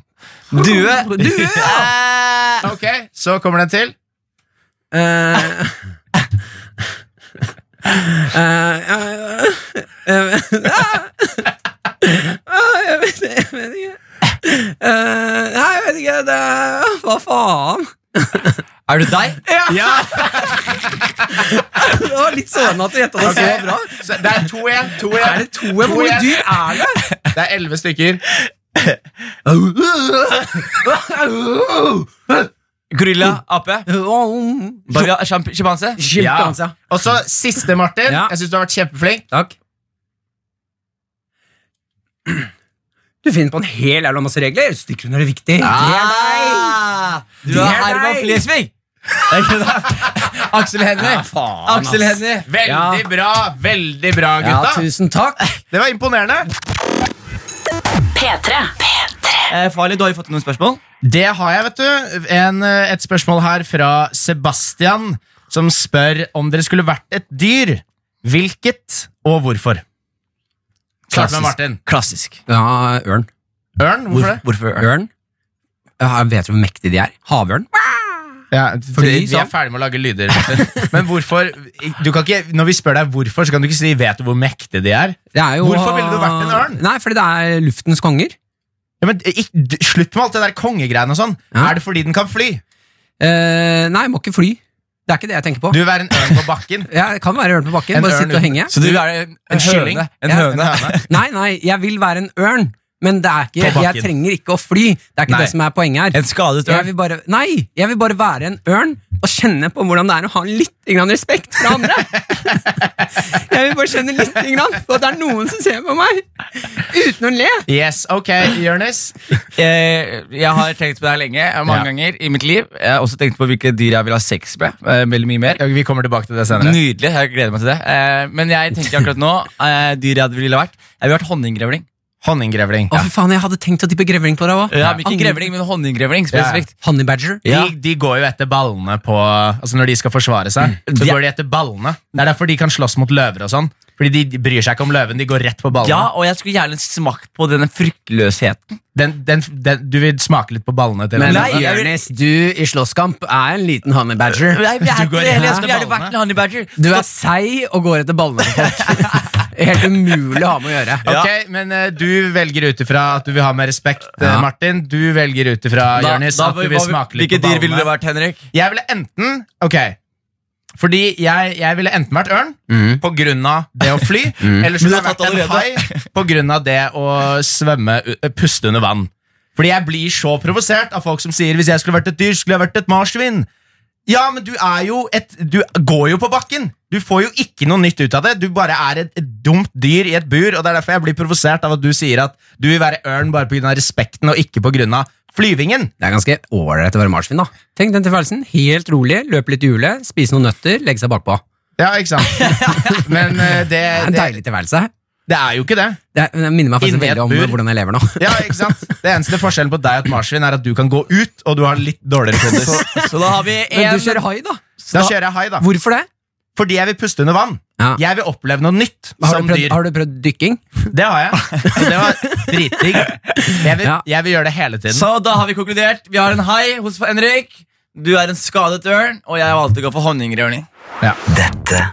[SPEAKER 2] Due.
[SPEAKER 3] Due,
[SPEAKER 2] ja.
[SPEAKER 4] Ok, Så kommer den til.
[SPEAKER 3] Eh, eh, eh, eh, ah, Jeg vet jeg vet ikke. Eh, Nei, jeg vet ikke. Det er, hva faen?
[SPEAKER 2] Er du deg?
[SPEAKER 4] Ja,
[SPEAKER 3] Det var litt sårende at du gjetta det så bra.
[SPEAKER 4] Så det er to igjen. To igjen.
[SPEAKER 3] Er det to? Hvor mange
[SPEAKER 4] igjen.
[SPEAKER 3] dyr er det?
[SPEAKER 4] Det er elleve stykker.
[SPEAKER 2] Gorilla. Ape. Bavian- sjamp- Sjimpanse.
[SPEAKER 3] Sjimpanse.
[SPEAKER 4] Og så siste, Martin.
[SPEAKER 3] Ja.
[SPEAKER 4] Jeg syns du har vært kjempeflink.
[SPEAKER 3] Takk. Du finner på en hel jævla masse regler. Stikker du når det er viktig?
[SPEAKER 2] Ah, Du er
[SPEAKER 3] Det er
[SPEAKER 2] Herman
[SPEAKER 3] deg.
[SPEAKER 2] Flesvig. Det er ikke det. Axel Hennie. Axel Hennie.
[SPEAKER 4] Veldig
[SPEAKER 3] Ja.
[SPEAKER 4] bra, veldig bra,
[SPEAKER 3] Ja,
[SPEAKER 4] gutta.
[SPEAKER 3] tusen takk.
[SPEAKER 4] Det var imponerende.
[SPEAKER 5] P3.
[SPEAKER 2] Eh, Farley, du har jo fått noen spørsmål.
[SPEAKER 4] Det har jeg, vet du. En, eh, et spørsmål her fra Sebastian, som spør om dere skulle vært et dyr. Hvilket og hvorfor? Start med
[SPEAKER 2] Klassisk.
[SPEAKER 4] Martin.
[SPEAKER 2] Klassisk.
[SPEAKER 3] Ja, ørn.
[SPEAKER 4] Ørn? Hvorfor det?
[SPEAKER 2] Hvorfor?
[SPEAKER 3] Ørn. Ja, Jeg vet hvor mektige de er. Havørn.
[SPEAKER 4] Ja,
[SPEAKER 3] Fordi,
[SPEAKER 4] vi er
[SPEAKER 3] sånn.
[SPEAKER 4] ferdig med å lage lyder. Martin. Men hvorfor du kan ikke, Når vi spør deg hvorfor, så kan du ikke si 'vet du hvor mektige de er'?
[SPEAKER 3] Det er jo,
[SPEAKER 4] Hvorfor ville du vært en ørn?
[SPEAKER 3] Nei, Fordi det er luftens konger.
[SPEAKER 4] Ja, men ikk- d- Slutt med alt det der kongegreiene og sånn.
[SPEAKER 3] Ja.
[SPEAKER 4] Er det fordi den kan fly?
[SPEAKER 3] Eh, nei, må ikke fly. Det er ikke det jeg tenker på.
[SPEAKER 4] Du vil være en ørn på bakken.
[SPEAKER 3] Ja, jeg kan være ørn på bakken.
[SPEAKER 4] En
[SPEAKER 3] Bare
[SPEAKER 4] ørn
[SPEAKER 3] sitte og
[SPEAKER 4] uten-
[SPEAKER 3] henge.
[SPEAKER 6] Så du vil være en,
[SPEAKER 2] En
[SPEAKER 6] en
[SPEAKER 2] kylling.
[SPEAKER 6] høne? En
[SPEAKER 3] Ja.
[SPEAKER 6] høne.
[SPEAKER 3] Nei, nei, jeg vil være en ørn, men det er
[SPEAKER 4] På
[SPEAKER 3] ikke,
[SPEAKER 4] bakken.
[SPEAKER 3] jeg trenger ikke å fly. Det er ikke
[SPEAKER 4] Nei.
[SPEAKER 3] det som er poenget her.
[SPEAKER 6] En skadet
[SPEAKER 3] Jeg
[SPEAKER 6] ørn?
[SPEAKER 3] vil bare, nei, jeg vil bare være en ørn og kjenne på hvordan det er å ha litt grann respekt fra andre. Jeg vil bare kjenne litt grann på at det er noen som ser på meg uten å le.
[SPEAKER 4] Yes, ok, Jonis.
[SPEAKER 2] Jeg, Eh, jeg har tenkt på det her lenge, eh, mange
[SPEAKER 4] Ja.
[SPEAKER 2] ganger i mitt liv. Jeg har også tenkt på hvilke dyr jeg vil ha sex med. eh, Veldig mye mer.
[SPEAKER 4] Vi kommer tilbake til det senere.
[SPEAKER 2] Nydelig. Jeg gleder meg til det. Eh, Men jeg tenker akkurat nå eh, dyr jeg hadde ville vært. Jeg ville vært honninggrevling.
[SPEAKER 4] Honninggrevling.
[SPEAKER 3] Å, fy faen, jeg hadde tenkt å tippe grevling på deg òg.
[SPEAKER 2] Ja, men ikke grevling, men honninggrevling spesifikt.
[SPEAKER 3] Honey badger.
[SPEAKER 2] Ja.
[SPEAKER 4] De, de går jo etter ballene på Altså Når de skal forsvare seg, så
[SPEAKER 2] De-
[SPEAKER 4] går de etter ballene. Det er derfor de kan slåss mot løver og sånn. Fordi de- de bryr seg ikke om løven, de går rett på ballene.
[SPEAKER 2] Ja, og jeg skulle gjerne smakt på denne fryktløsheten.
[SPEAKER 4] Den, den, den, du vil smake litt på ballene til
[SPEAKER 3] Men
[SPEAKER 4] den.
[SPEAKER 2] Nei, jeg vil-
[SPEAKER 3] Jonis, du i slåsskamp er en liten honey badger.
[SPEAKER 2] Nei, jeg, er
[SPEAKER 4] Du går
[SPEAKER 2] ikke det heller. jeg skulle
[SPEAKER 4] etter
[SPEAKER 2] gjerne vært en honey badger.
[SPEAKER 3] Du er seig og går etter ballene på folk. Helt umulig å ha med å gjøre.
[SPEAKER 4] Ok, Men eh, du velger ut ifra at du vil ha mer respekt, eh,
[SPEAKER 3] Ja.
[SPEAKER 4] Martin. Du velger ut ifra
[SPEAKER 2] Da-
[SPEAKER 4] Jonis,
[SPEAKER 2] da-
[SPEAKER 4] at du vil
[SPEAKER 2] hva-
[SPEAKER 4] smake litt
[SPEAKER 2] Hvilke
[SPEAKER 4] på
[SPEAKER 2] dyr ville det
[SPEAKER 4] ballene.
[SPEAKER 2] vært, Henrik?
[SPEAKER 4] Jeg ville enten Ok, fordi jeg, jeg ville enten vært ørn på grunn av det å fly, eller så
[SPEAKER 2] Mm. Men du
[SPEAKER 4] ville jeg
[SPEAKER 2] har
[SPEAKER 4] vært
[SPEAKER 2] tatt
[SPEAKER 4] en
[SPEAKER 2] allerede.
[SPEAKER 4] hai på grunn av det å svømme, u- puste under vann. Fordi jeg blir så provosert av folk som sier hvis jeg skulle vært et dyr, skulle jeg vært et marsvin. Ja, men du er jo et Du går jo på bakken! Du får jo ikke noe nytt ut av det. Du bare er et, et dumt dyr i et bur, og det er derfor jeg blir provosert av at du sier at du vil være ørn bare pga. respekten og ikke pga. flyvingen.
[SPEAKER 3] Det er ganske ålreit å være marsvin. da Tenk den tilværelsen. Helt rolig, løpe litt i hjulet, spise noen nøtter, legge seg bakpå.
[SPEAKER 4] Ja, ikke sant? Men eh, det,
[SPEAKER 3] Det er en
[SPEAKER 4] det,
[SPEAKER 3] deilig tilværelse.
[SPEAKER 4] det er jo ikke det.
[SPEAKER 3] Det er, det minner meg faktisk
[SPEAKER 4] Inni et
[SPEAKER 3] veldig om
[SPEAKER 4] bur.
[SPEAKER 3] hvordan jeg lever nå.
[SPEAKER 4] Ja, ikke sant? Det eneste forskjellen på deg og et marsvin er at du kan gå ut, og du har litt dårligere kondis.
[SPEAKER 2] Så da har vi
[SPEAKER 3] Men
[SPEAKER 2] en
[SPEAKER 3] du kjører hai, da.
[SPEAKER 4] Da kjører jeg hai, da.
[SPEAKER 3] Hvorfor det?
[SPEAKER 4] Fordi jeg vil puste under vann.
[SPEAKER 3] Ja.
[SPEAKER 4] Jeg vil oppleve noe nytt
[SPEAKER 3] Har,
[SPEAKER 4] som
[SPEAKER 3] du prøvd,
[SPEAKER 4] dyr.
[SPEAKER 3] har du prøvd dykking?
[SPEAKER 4] Det har jeg. Og det var dritdigg. Jeg, vil-
[SPEAKER 3] Ja.
[SPEAKER 4] jeg vil gjøre det hele tiden.
[SPEAKER 2] Så da har vi konkludert. Vi har en hai hos Henrik. Du er en skadet ørn, og jeg valgte å gå for honninggrevling.
[SPEAKER 1] Dette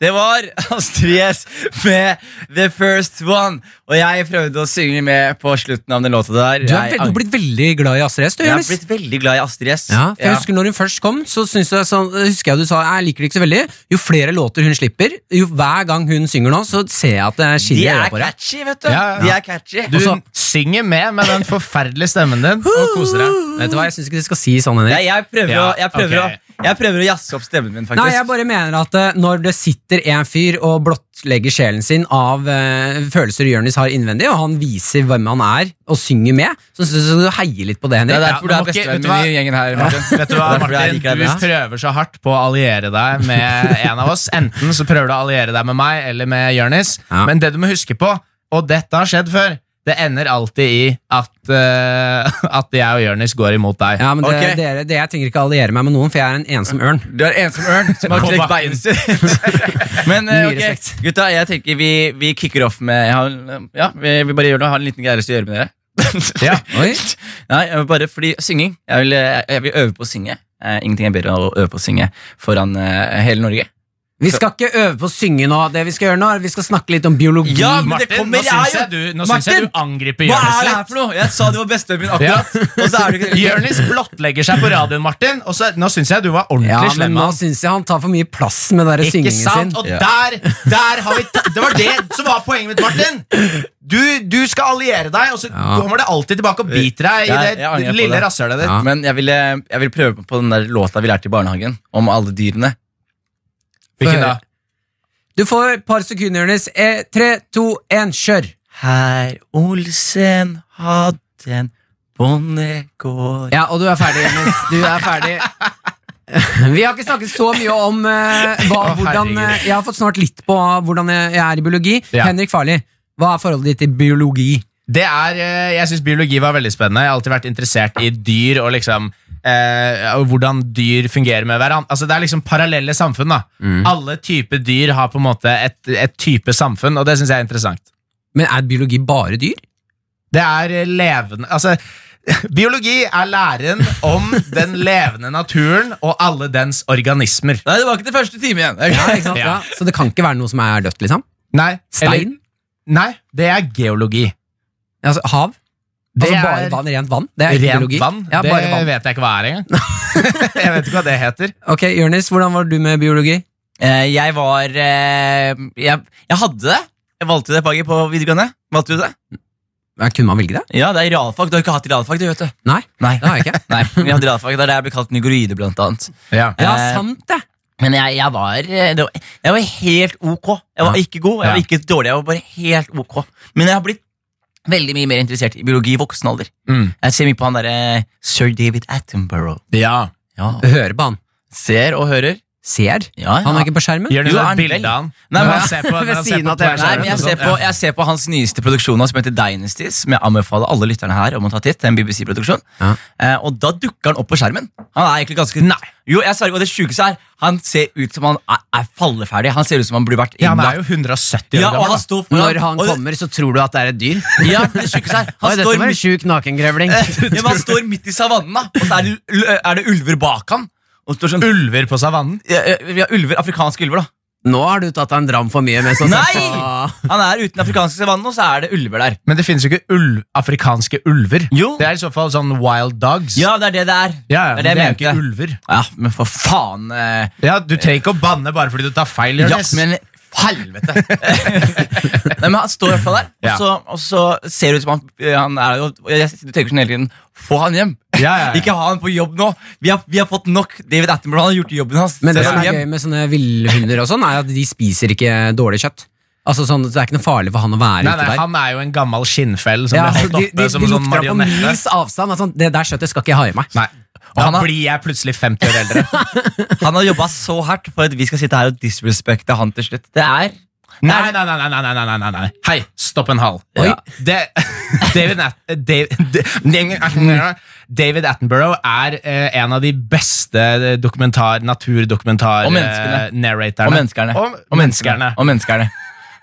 [SPEAKER 2] Det var Astrid S med The First One. Og jeg prøvde å synge med på slutten av den låta der.
[SPEAKER 3] Du er veld,
[SPEAKER 2] Jeg
[SPEAKER 3] du har
[SPEAKER 2] ang-
[SPEAKER 3] blitt veldig glad i Astrid S. du,
[SPEAKER 2] jeg har
[SPEAKER 3] Jonis.
[SPEAKER 2] blitt veldig glad i Astrid S.
[SPEAKER 3] Ja, for jeg
[SPEAKER 2] Ja.
[SPEAKER 3] husker når hun først kom, så syntes jeg sånn, husker jeg du sa jeg liker det ikke så veldig. Jo flere låter hun slipper, jo hver gang hun synger nå, så ser jeg at det
[SPEAKER 2] De
[SPEAKER 3] skinner i
[SPEAKER 2] er
[SPEAKER 3] øret på deg.
[SPEAKER 2] catchy, vet du.
[SPEAKER 4] Ja, ja.
[SPEAKER 2] De er catchy
[SPEAKER 4] Du
[SPEAKER 3] Også-
[SPEAKER 4] synger med med den forferdelige stemmen din og koser deg.
[SPEAKER 3] Vet du hva, jeg syns ikke du skal si sånn, Henrik.
[SPEAKER 2] jeg, jeg prøver,
[SPEAKER 4] Ja,
[SPEAKER 2] å, jeg, prøver
[SPEAKER 4] ok.
[SPEAKER 2] å, jeg prøver å jazze opp stemmen min, faktisk.
[SPEAKER 3] Nei, jeg bare mener at eh, når det sitter en fyr og blottlegger sjelen sin av eh, følelser Jonis har innvendig, og han viser hvem han er, og synger med, så syns jeg du skal heie litt på det,
[SPEAKER 2] Det
[SPEAKER 3] Henrik.
[SPEAKER 2] er
[SPEAKER 4] Ja, nå
[SPEAKER 2] derfor du
[SPEAKER 4] må
[SPEAKER 2] er
[SPEAKER 4] ikke- vet du
[SPEAKER 2] bestevennen min i gjengen her. Martin.
[SPEAKER 4] Vet du hva,
[SPEAKER 2] Derfor jeg
[SPEAKER 4] Martin?
[SPEAKER 2] liker deg
[SPEAKER 4] Du
[SPEAKER 2] best.
[SPEAKER 4] prøver så hardt på å alliere deg med en av oss. Enten så prøver du å alliere deg med meg eller med Jonis,
[SPEAKER 3] Ja.
[SPEAKER 4] men det du må huske på, og dette har skjedd før, det ender alltid i at, eh, at jeg og Jonis går imot deg.
[SPEAKER 3] Ja, men det,
[SPEAKER 2] Ok.
[SPEAKER 3] dere, det, Jeg trenger ikke alliere meg med noen, for jeg er en ensom ørn.
[SPEAKER 2] Du er en som ørn som har
[SPEAKER 4] På
[SPEAKER 2] knekt
[SPEAKER 4] bakken.
[SPEAKER 2] beinet sitt. Men eh,
[SPEAKER 3] Mye
[SPEAKER 2] ok,
[SPEAKER 3] respekt.
[SPEAKER 2] gutta, jeg tenker vi, vi kicker off med jeg har, Ja, vi, vi bare gjør noe. Jeg har en liten greie jeg har lyst til å gjøre med dere.
[SPEAKER 4] Ja.
[SPEAKER 3] Oi.
[SPEAKER 2] Nei, jeg vil bare fordi synging. Jeg vil, eh, jeg vil øve på å synge. Eh, ingenting er bedre enn å øve på å synge foran eh, hele Norge.
[SPEAKER 3] Vi skal ikke øve på å synge nå. Det vi skal gjøre nå, er at vi skal snakke litt om biologi.
[SPEAKER 2] Ja, men det
[SPEAKER 4] Martin,
[SPEAKER 2] kommer-
[SPEAKER 4] nå syns
[SPEAKER 2] jeg
[SPEAKER 4] jeg
[SPEAKER 2] er
[SPEAKER 4] du,
[SPEAKER 2] jo-
[SPEAKER 4] nå syns jeg du
[SPEAKER 2] Martin,
[SPEAKER 4] angriper
[SPEAKER 2] Hva er det
[SPEAKER 4] Jonis
[SPEAKER 2] her for noe?! Jeg sa det var bestevennen min akkurat, og så er du
[SPEAKER 4] litt.
[SPEAKER 2] ikke
[SPEAKER 4] Jonis blottlegger seg på radioen, Martin, og så, nå syns jeg du var ordentlig
[SPEAKER 3] Ja, men
[SPEAKER 4] slem.
[SPEAKER 3] nå
[SPEAKER 4] ass.
[SPEAKER 3] syns jeg han tar for mye plass med den der
[SPEAKER 4] Ikke
[SPEAKER 3] syngingen sin.
[SPEAKER 4] sant? Og der, der har vi t- Det var det som var poenget mitt, Martin! Du, du skal alliere deg, og så
[SPEAKER 3] Ja.
[SPEAKER 4] kommer det alltid tilbake og biter deg i det
[SPEAKER 2] Jeg- jeg angrer på
[SPEAKER 4] lille
[SPEAKER 2] det.
[SPEAKER 4] rasshølet ditt.
[SPEAKER 3] Ja.
[SPEAKER 2] Men jeg ville, jeg ville prøve på den der låta vi lærte i barnehagen, om alle dyrene.
[SPEAKER 4] Hvilken da?
[SPEAKER 3] Du får et par sekunder, Jonis. Eh, Tre, to, én, kjør!
[SPEAKER 2] Herr Olsen hadde en bondegård
[SPEAKER 3] Ja, og du er ferdig, Jonis. Du er ferdig. Vi har ikke snakket så mye om eh, hva,
[SPEAKER 4] Å,
[SPEAKER 3] hvordan eh,
[SPEAKER 4] herregud.
[SPEAKER 3] Jeg har fått snart litt på eh, hvordan jeg jeg er i biologi.
[SPEAKER 4] Ja.
[SPEAKER 3] Henrik Farli, hva er forholdet ditt til biologi?
[SPEAKER 4] Det er, eh, Jeg syns biologi var veldig spennende. Jeg har alltid vært interessert i dyr og liksom eh, og hvordan dyr fungerer med hverandre. Altså Det er liksom parallelle samfunn. da
[SPEAKER 3] Mm.
[SPEAKER 4] Alle typer dyr har på en måte et, et type samfunn, og det syns jeg er interessant.
[SPEAKER 3] Men er biologi bare dyr?
[SPEAKER 4] Det er eh, levende Altså, biologi er læren om den levende naturen og alle dens organismer.
[SPEAKER 2] Nei, det var ikke det første time igjen.
[SPEAKER 3] Ja, ikke sant? Ja.
[SPEAKER 4] Ja.
[SPEAKER 3] Så det kan ikke være noe som er dødt, liksom?
[SPEAKER 4] Nei, eller-
[SPEAKER 3] Stein?
[SPEAKER 4] nei det er geologi.
[SPEAKER 3] Altså, hav?
[SPEAKER 4] Det
[SPEAKER 3] altså bare
[SPEAKER 4] er-
[SPEAKER 3] vann, rent vann? Det er ikke
[SPEAKER 4] Rent
[SPEAKER 3] biologi.
[SPEAKER 4] vann?
[SPEAKER 3] Ja,
[SPEAKER 4] det
[SPEAKER 3] bare vann.
[SPEAKER 4] vet jeg ikke hva er engang. jeg vet ikke hva det heter.
[SPEAKER 3] Ok, Jonis, hvordan var du med biologi?
[SPEAKER 2] Eh, jeg var eh, jeg, jeg hadde det. Jeg valgte det faget på videregående. Valgte du det?
[SPEAKER 3] Ja, kunne man velge det?
[SPEAKER 2] Ja, det er realfag. Du har ikke hatt realfag, du, vet du.
[SPEAKER 3] Nei,
[SPEAKER 2] Nei.
[SPEAKER 3] det har jeg ikke.
[SPEAKER 2] Nei, vi hadde realfag. Det er der jeg ble kalt negroide, blant annet.
[SPEAKER 4] Ja.
[SPEAKER 3] Ja,
[SPEAKER 2] Eh,
[SPEAKER 3] sant det.
[SPEAKER 2] Men jeg, jeg var eh, det var- Jeg var helt ok. Jeg var
[SPEAKER 4] Ja.
[SPEAKER 2] ikke god, jeg var
[SPEAKER 4] Ja.
[SPEAKER 2] ikke dårlig. Jeg var bare helt ok. Men jeg har blitt veldig mye mer interessert i biologi i voksen alder.
[SPEAKER 4] Mm.
[SPEAKER 2] Jeg ser mye på han derre sir David Attenborough.
[SPEAKER 4] ja.
[SPEAKER 2] Ja.
[SPEAKER 3] Du hører på han.
[SPEAKER 2] Ser og hører.
[SPEAKER 3] Ser.
[SPEAKER 2] Ja, ja.
[SPEAKER 3] Han er ikke på skjermen.
[SPEAKER 4] Gjør du
[SPEAKER 2] Jo,
[SPEAKER 4] et
[SPEAKER 2] han
[SPEAKER 4] bilde
[SPEAKER 2] vel-
[SPEAKER 4] av han?
[SPEAKER 2] Nei, men-
[SPEAKER 4] Når han ser på- når
[SPEAKER 3] Ved
[SPEAKER 4] han ser
[SPEAKER 3] siden
[SPEAKER 4] på
[SPEAKER 3] av TV-en.
[SPEAKER 2] Nei,
[SPEAKER 4] tvers-
[SPEAKER 2] men jeg
[SPEAKER 4] og
[SPEAKER 2] ser,
[SPEAKER 4] sånt,
[SPEAKER 2] på,
[SPEAKER 4] ja.
[SPEAKER 2] jeg ser på hans nyeste produksjon nå, som heter Dynasties, som jeg anbefaler alle lytterne her om å ta titt. Det er En BBC-produksjon.
[SPEAKER 3] Ja.
[SPEAKER 2] Eh, og da dukker han opp på skjermen. Han er egentlig ganske Nei. Jo, jeg svarer, og det sjukeste er han ser ut som han er, er falleferdig. Han ser ut som han burde vært
[SPEAKER 4] Ja, han er
[SPEAKER 2] innlagt.
[SPEAKER 4] jo 170 år
[SPEAKER 2] Ja, og
[SPEAKER 4] gammel. altså.
[SPEAKER 2] han
[SPEAKER 4] da.
[SPEAKER 2] står foran-
[SPEAKER 3] Når han
[SPEAKER 2] og det-
[SPEAKER 3] kommer, så tror du at det er et dyr.
[SPEAKER 2] Ja, det sjukeste
[SPEAKER 3] Oi,
[SPEAKER 2] er Han
[SPEAKER 3] dette
[SPEAKER 2] står
[SPEAKER 3] var en
[SPEAKER 2] midt
[SPEAKER 3] sjuk nakengrevling.
[SPEAKER 2] ja, men han står midt i savannen, da, og så er det, er det ulver bak han. Og står sånn,
[SPEAKER 4] Ulver på savannen.
[SPEAKER 2] ja, ja, vi har ulver, Afrikanske ulver, da.
[SPEAKER 3] Nå har du tatt deg en dram for mye. Mens han
[SPEAKER 2] Nei!
[SPEAKER 3] ser på-
[SPEAKER 2] Han er uten afrikanske savannen, og så er det ulver der.
[SPEAKER 4] Men det finnes jo ikke ulv, afrikanske ulver.
[SPEAKER 2] Jo.
[SPEAKER 4] Det er i så fall sånn wild dogs.
[SPEAKER 2] Ja, det er det det er.
[SPEAKER 4] ja,
[SPEAKER 2] det
[SPEAKER 4] men
[SPEAKER 2] er
[SPEAKER 4] det
[SPEAKER 2] det
[SPEAKER 4] er
[SPEAKER 2] jeg
[SPEAKER 4] jo ikke
[SPEAKER 2] mente.
[SPEAKER 4] ulver.
[SPEAKER 2] Ja, men for faen. Eh,
[SPEAKER 4] Ja, Du trenger ikke å banne bare fordi du tar feil.
[SPEAKER 2] Ja,
[SPEAKER 4] Jonas.
[SPEAKER 2] men helvete! Nei, men Han står i hvert fall der,
[SPEAKER 4] Ja.
[SPEAKER 2] og, så, og så ser det ut som han, eh, han er jo og jeg, Du tenker sånn hele tiden Få han hjem!
[SPEAKER 4] Ja, ja, ja.
[SPEAKER 2] Ikke ha han på jobb nå! Vi har, vi har fått nok! David Attenborough han har gjort jobben hans.
[SPEAKER 3] Men det
[SPEAKER 2] Send
[SPEAKER 3] som
[SPEAKER 2] han
[SPEAKER 3] er
[SPEAKER 2] hjem.
[SPEAKER 3] gøy med sånne villhunder, og sånn er at de spiser ikke dårlig kjøtt. Altså sånn, Det er ikke noe farlig for han å være
[SPEAKER 4] Nei,
[SPEAKER 3] ute
[SPEAKER 4] nei,
[SPEAKER 3] der.
[SPEAKER 4] Han er jo en gammel skinnfell som
[SPEAKER 3] Ja,
[SPEAKER 4] ble
[SPEAKER 3] altså,
[SPEAKER 4] holdt
[SPEAKER 3] de
[SPEAKER 4] oppe
[SPEAKER 2] eh,
[SPEAKER 3] de, de
[SPEAKER 4] som en sånn
[SPEAKER 3] lukter på
[SPEAKER 4] marionette.
[SPEAKER 3] mils avstand. Altså, det der kjøttet skal ikke jeg ha i meg.
[SPEAKER 4] Nei. Da
[SPEAKER 2] han har-
[SPEAKER 4] blir jeg plutselig 50 år eldre.
[SPEAKER 2] Han har jobba så hardt for at vi skal sitte her og disrespekte han til slutt. Det er
[SPEAKER 4] Nei, nei, nei, nei, nei, nei, nei, nei, nei. Hei, stopp en hal.
[SPEAKER 3] Oi.
[SPEAKER 4] Det, David, At, eh, David, David Attenborough er eh, en av de beste dokumentar,
[SPEAKER 2] Og menneskene. Og
[SPEAKER 4] naturdokumentar-narratorene.
[SPEAKER 2] menneskene.
[SPEAKER 4] Og, og menneskene.
[SPEAKER 2] Og menneskene.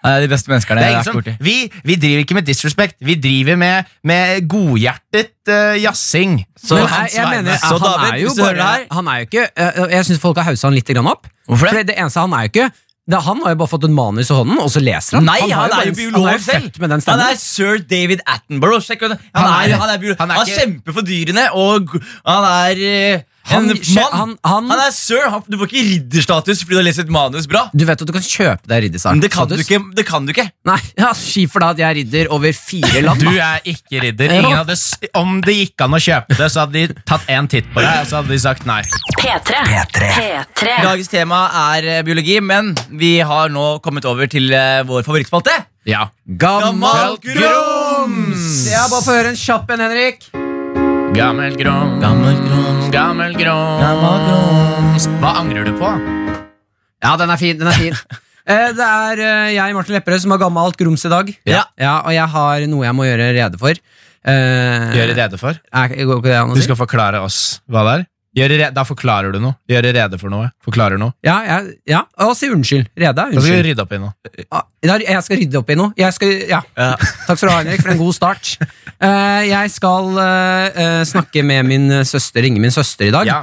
[SPEAKER 2] Han er de beste menneskene
[SPEAKER 4] Det er
[SPEAKER 2] jeg har
[SPEAKER 4] ingen
[SPEAKER 2] vært borti.
[SPEAKER 4] som, Eh, vi, vi driver ikke med disrespect, vi driver med, med godhjertet eh, jazzing.
[SPEAKER 2] Så-
[SPEAKER 3] Men jeg,
[SPEAKER 2] han
[SPEAKER 3] jeg
[SPEAKER 2] Svein,
[SPEAKER 3] mener,
[SPEAKER 2] så
[SPEAKER 3] han
[SPEAKER 2] David,
[SPEAKER 3] er jo
[SPEAKER 2] hvis du hører
[SPEAKER 3] bare
[SPEAKER 2] det
[SPEAKER 3] han er jo ikke, eh, Jeg syns folk har haussa han litt grann opp.
[SPEAKER 2] Hvorfor det?
[SPEAKER 3] Fordi det eneste Han er jo ikke det, Han har jo bare fått et manus i hånden, og så leser han.
[SPEAKER 2] Nei, han,
[SPEAKER 3] har
[SPEAKER 2] er jo
[SPEAKER 3] bare en-
[SPEAKER 2] biolog
[SPEAKER 3] han er jo
[SPEAKER 2] selv!
[SPEAKER 3] født Med den
[SPEAKER 2] han
[SPEAKER 3] stemmen.
[SPEAKER 2] er sir David Attenborough. Sjekk ut det.
[SPEAKER 4] Han
[SPEAKER 2] Han, er,
[SPEAKER 4] er-
[SPEAKER 2] han, er biolog.
[SPEAKER 4] han
[SPEAKER 2] han,
[SPEAKER 4] er ikke-
[SPEAKER 2] kjemper for dyrene, og han er eh,
[SPEAKER 3] Han-
[SPEAKER 2] en mann. Han,
[SPEAKER 3] han- han-
[SPEAKER 2] er sir. Han, du får ikke ridderstatus fordi du har lest et manus bra.
[SPEAKER 3] Du vet at du kan kjøpe deg ridderstatus?
[SPEAKER 2] Men det kan du ikke. Det kan du ikke.
[SPEAKER 3] Nei, ja, Ski for da at jeg er ridder over fire land.
[SPEAKER 4] Du
[SPEAKER 3] da.
[SPEAKER 4] er ikke ridder. Ingen hadde, s- om det gikk an å kjøpe det, så hadde de tatt en titt på deg, og så hadde de sagt nei.
[SPEAKER 5] P3. P3.
[SPEAKER 2] Dagens tema er eh, biologi, men vi har nå kommet over til eh, vår favorittspalte.
[SPEAKER 4] Ja.
[SPEAKER 2] Gammalt grums!
[SPEAKER 3] Ja, bare få høre en kjapp en, Henrik.
[SPEAKER 4] Gammel grums,
[SPEAKER 2] Gammelt grums.
[SPEAKER 4] gammel
[SPEAKER 2] Gammel
[SPEAKER 4] grums. Hva angrer du på?
[SPEAKER 3] Ja, den er fin. den er fin Eh, Det er eh, jeg, Martin Lepperød, som har gammalt grums i dag.
[SPEAKER 2] Ja.
[SPEAKER 3] ja Og jeg har noe jeg må gjøre rede for. Eh,
[SPEAKER 4] Gjøre rede for.
[SPEAKER 3] Er, går ikke det an å
[SPEAKER 4] Du
[SPEAKER 3] si?
[SPEAKER 4] skal forklare oss hva det er. Gjøre re da forklarer du noe. Gjøre rede for noe. Forklarer noe.
[SPEAKER 3] Ja, ja, ja. Og si unnskyld. Rede er
[SPEAKER 4] Da skal vi
[SPEAKER 3] unnskyld.
[SPEAKER 4] rydde opp i noe.
[SPEAKER 3] Ah, der- Jeg skal rydde opp i noe. Jeg skal, ja.
[SPEAKER 2] Ja.
[SPEAKER 3] Takk skal du ha, Henrik, for en god start. Eh, jeg skal eh, eh, snakke med min søster, ringe min søster i dag.
[SPEAKER 4] Ja.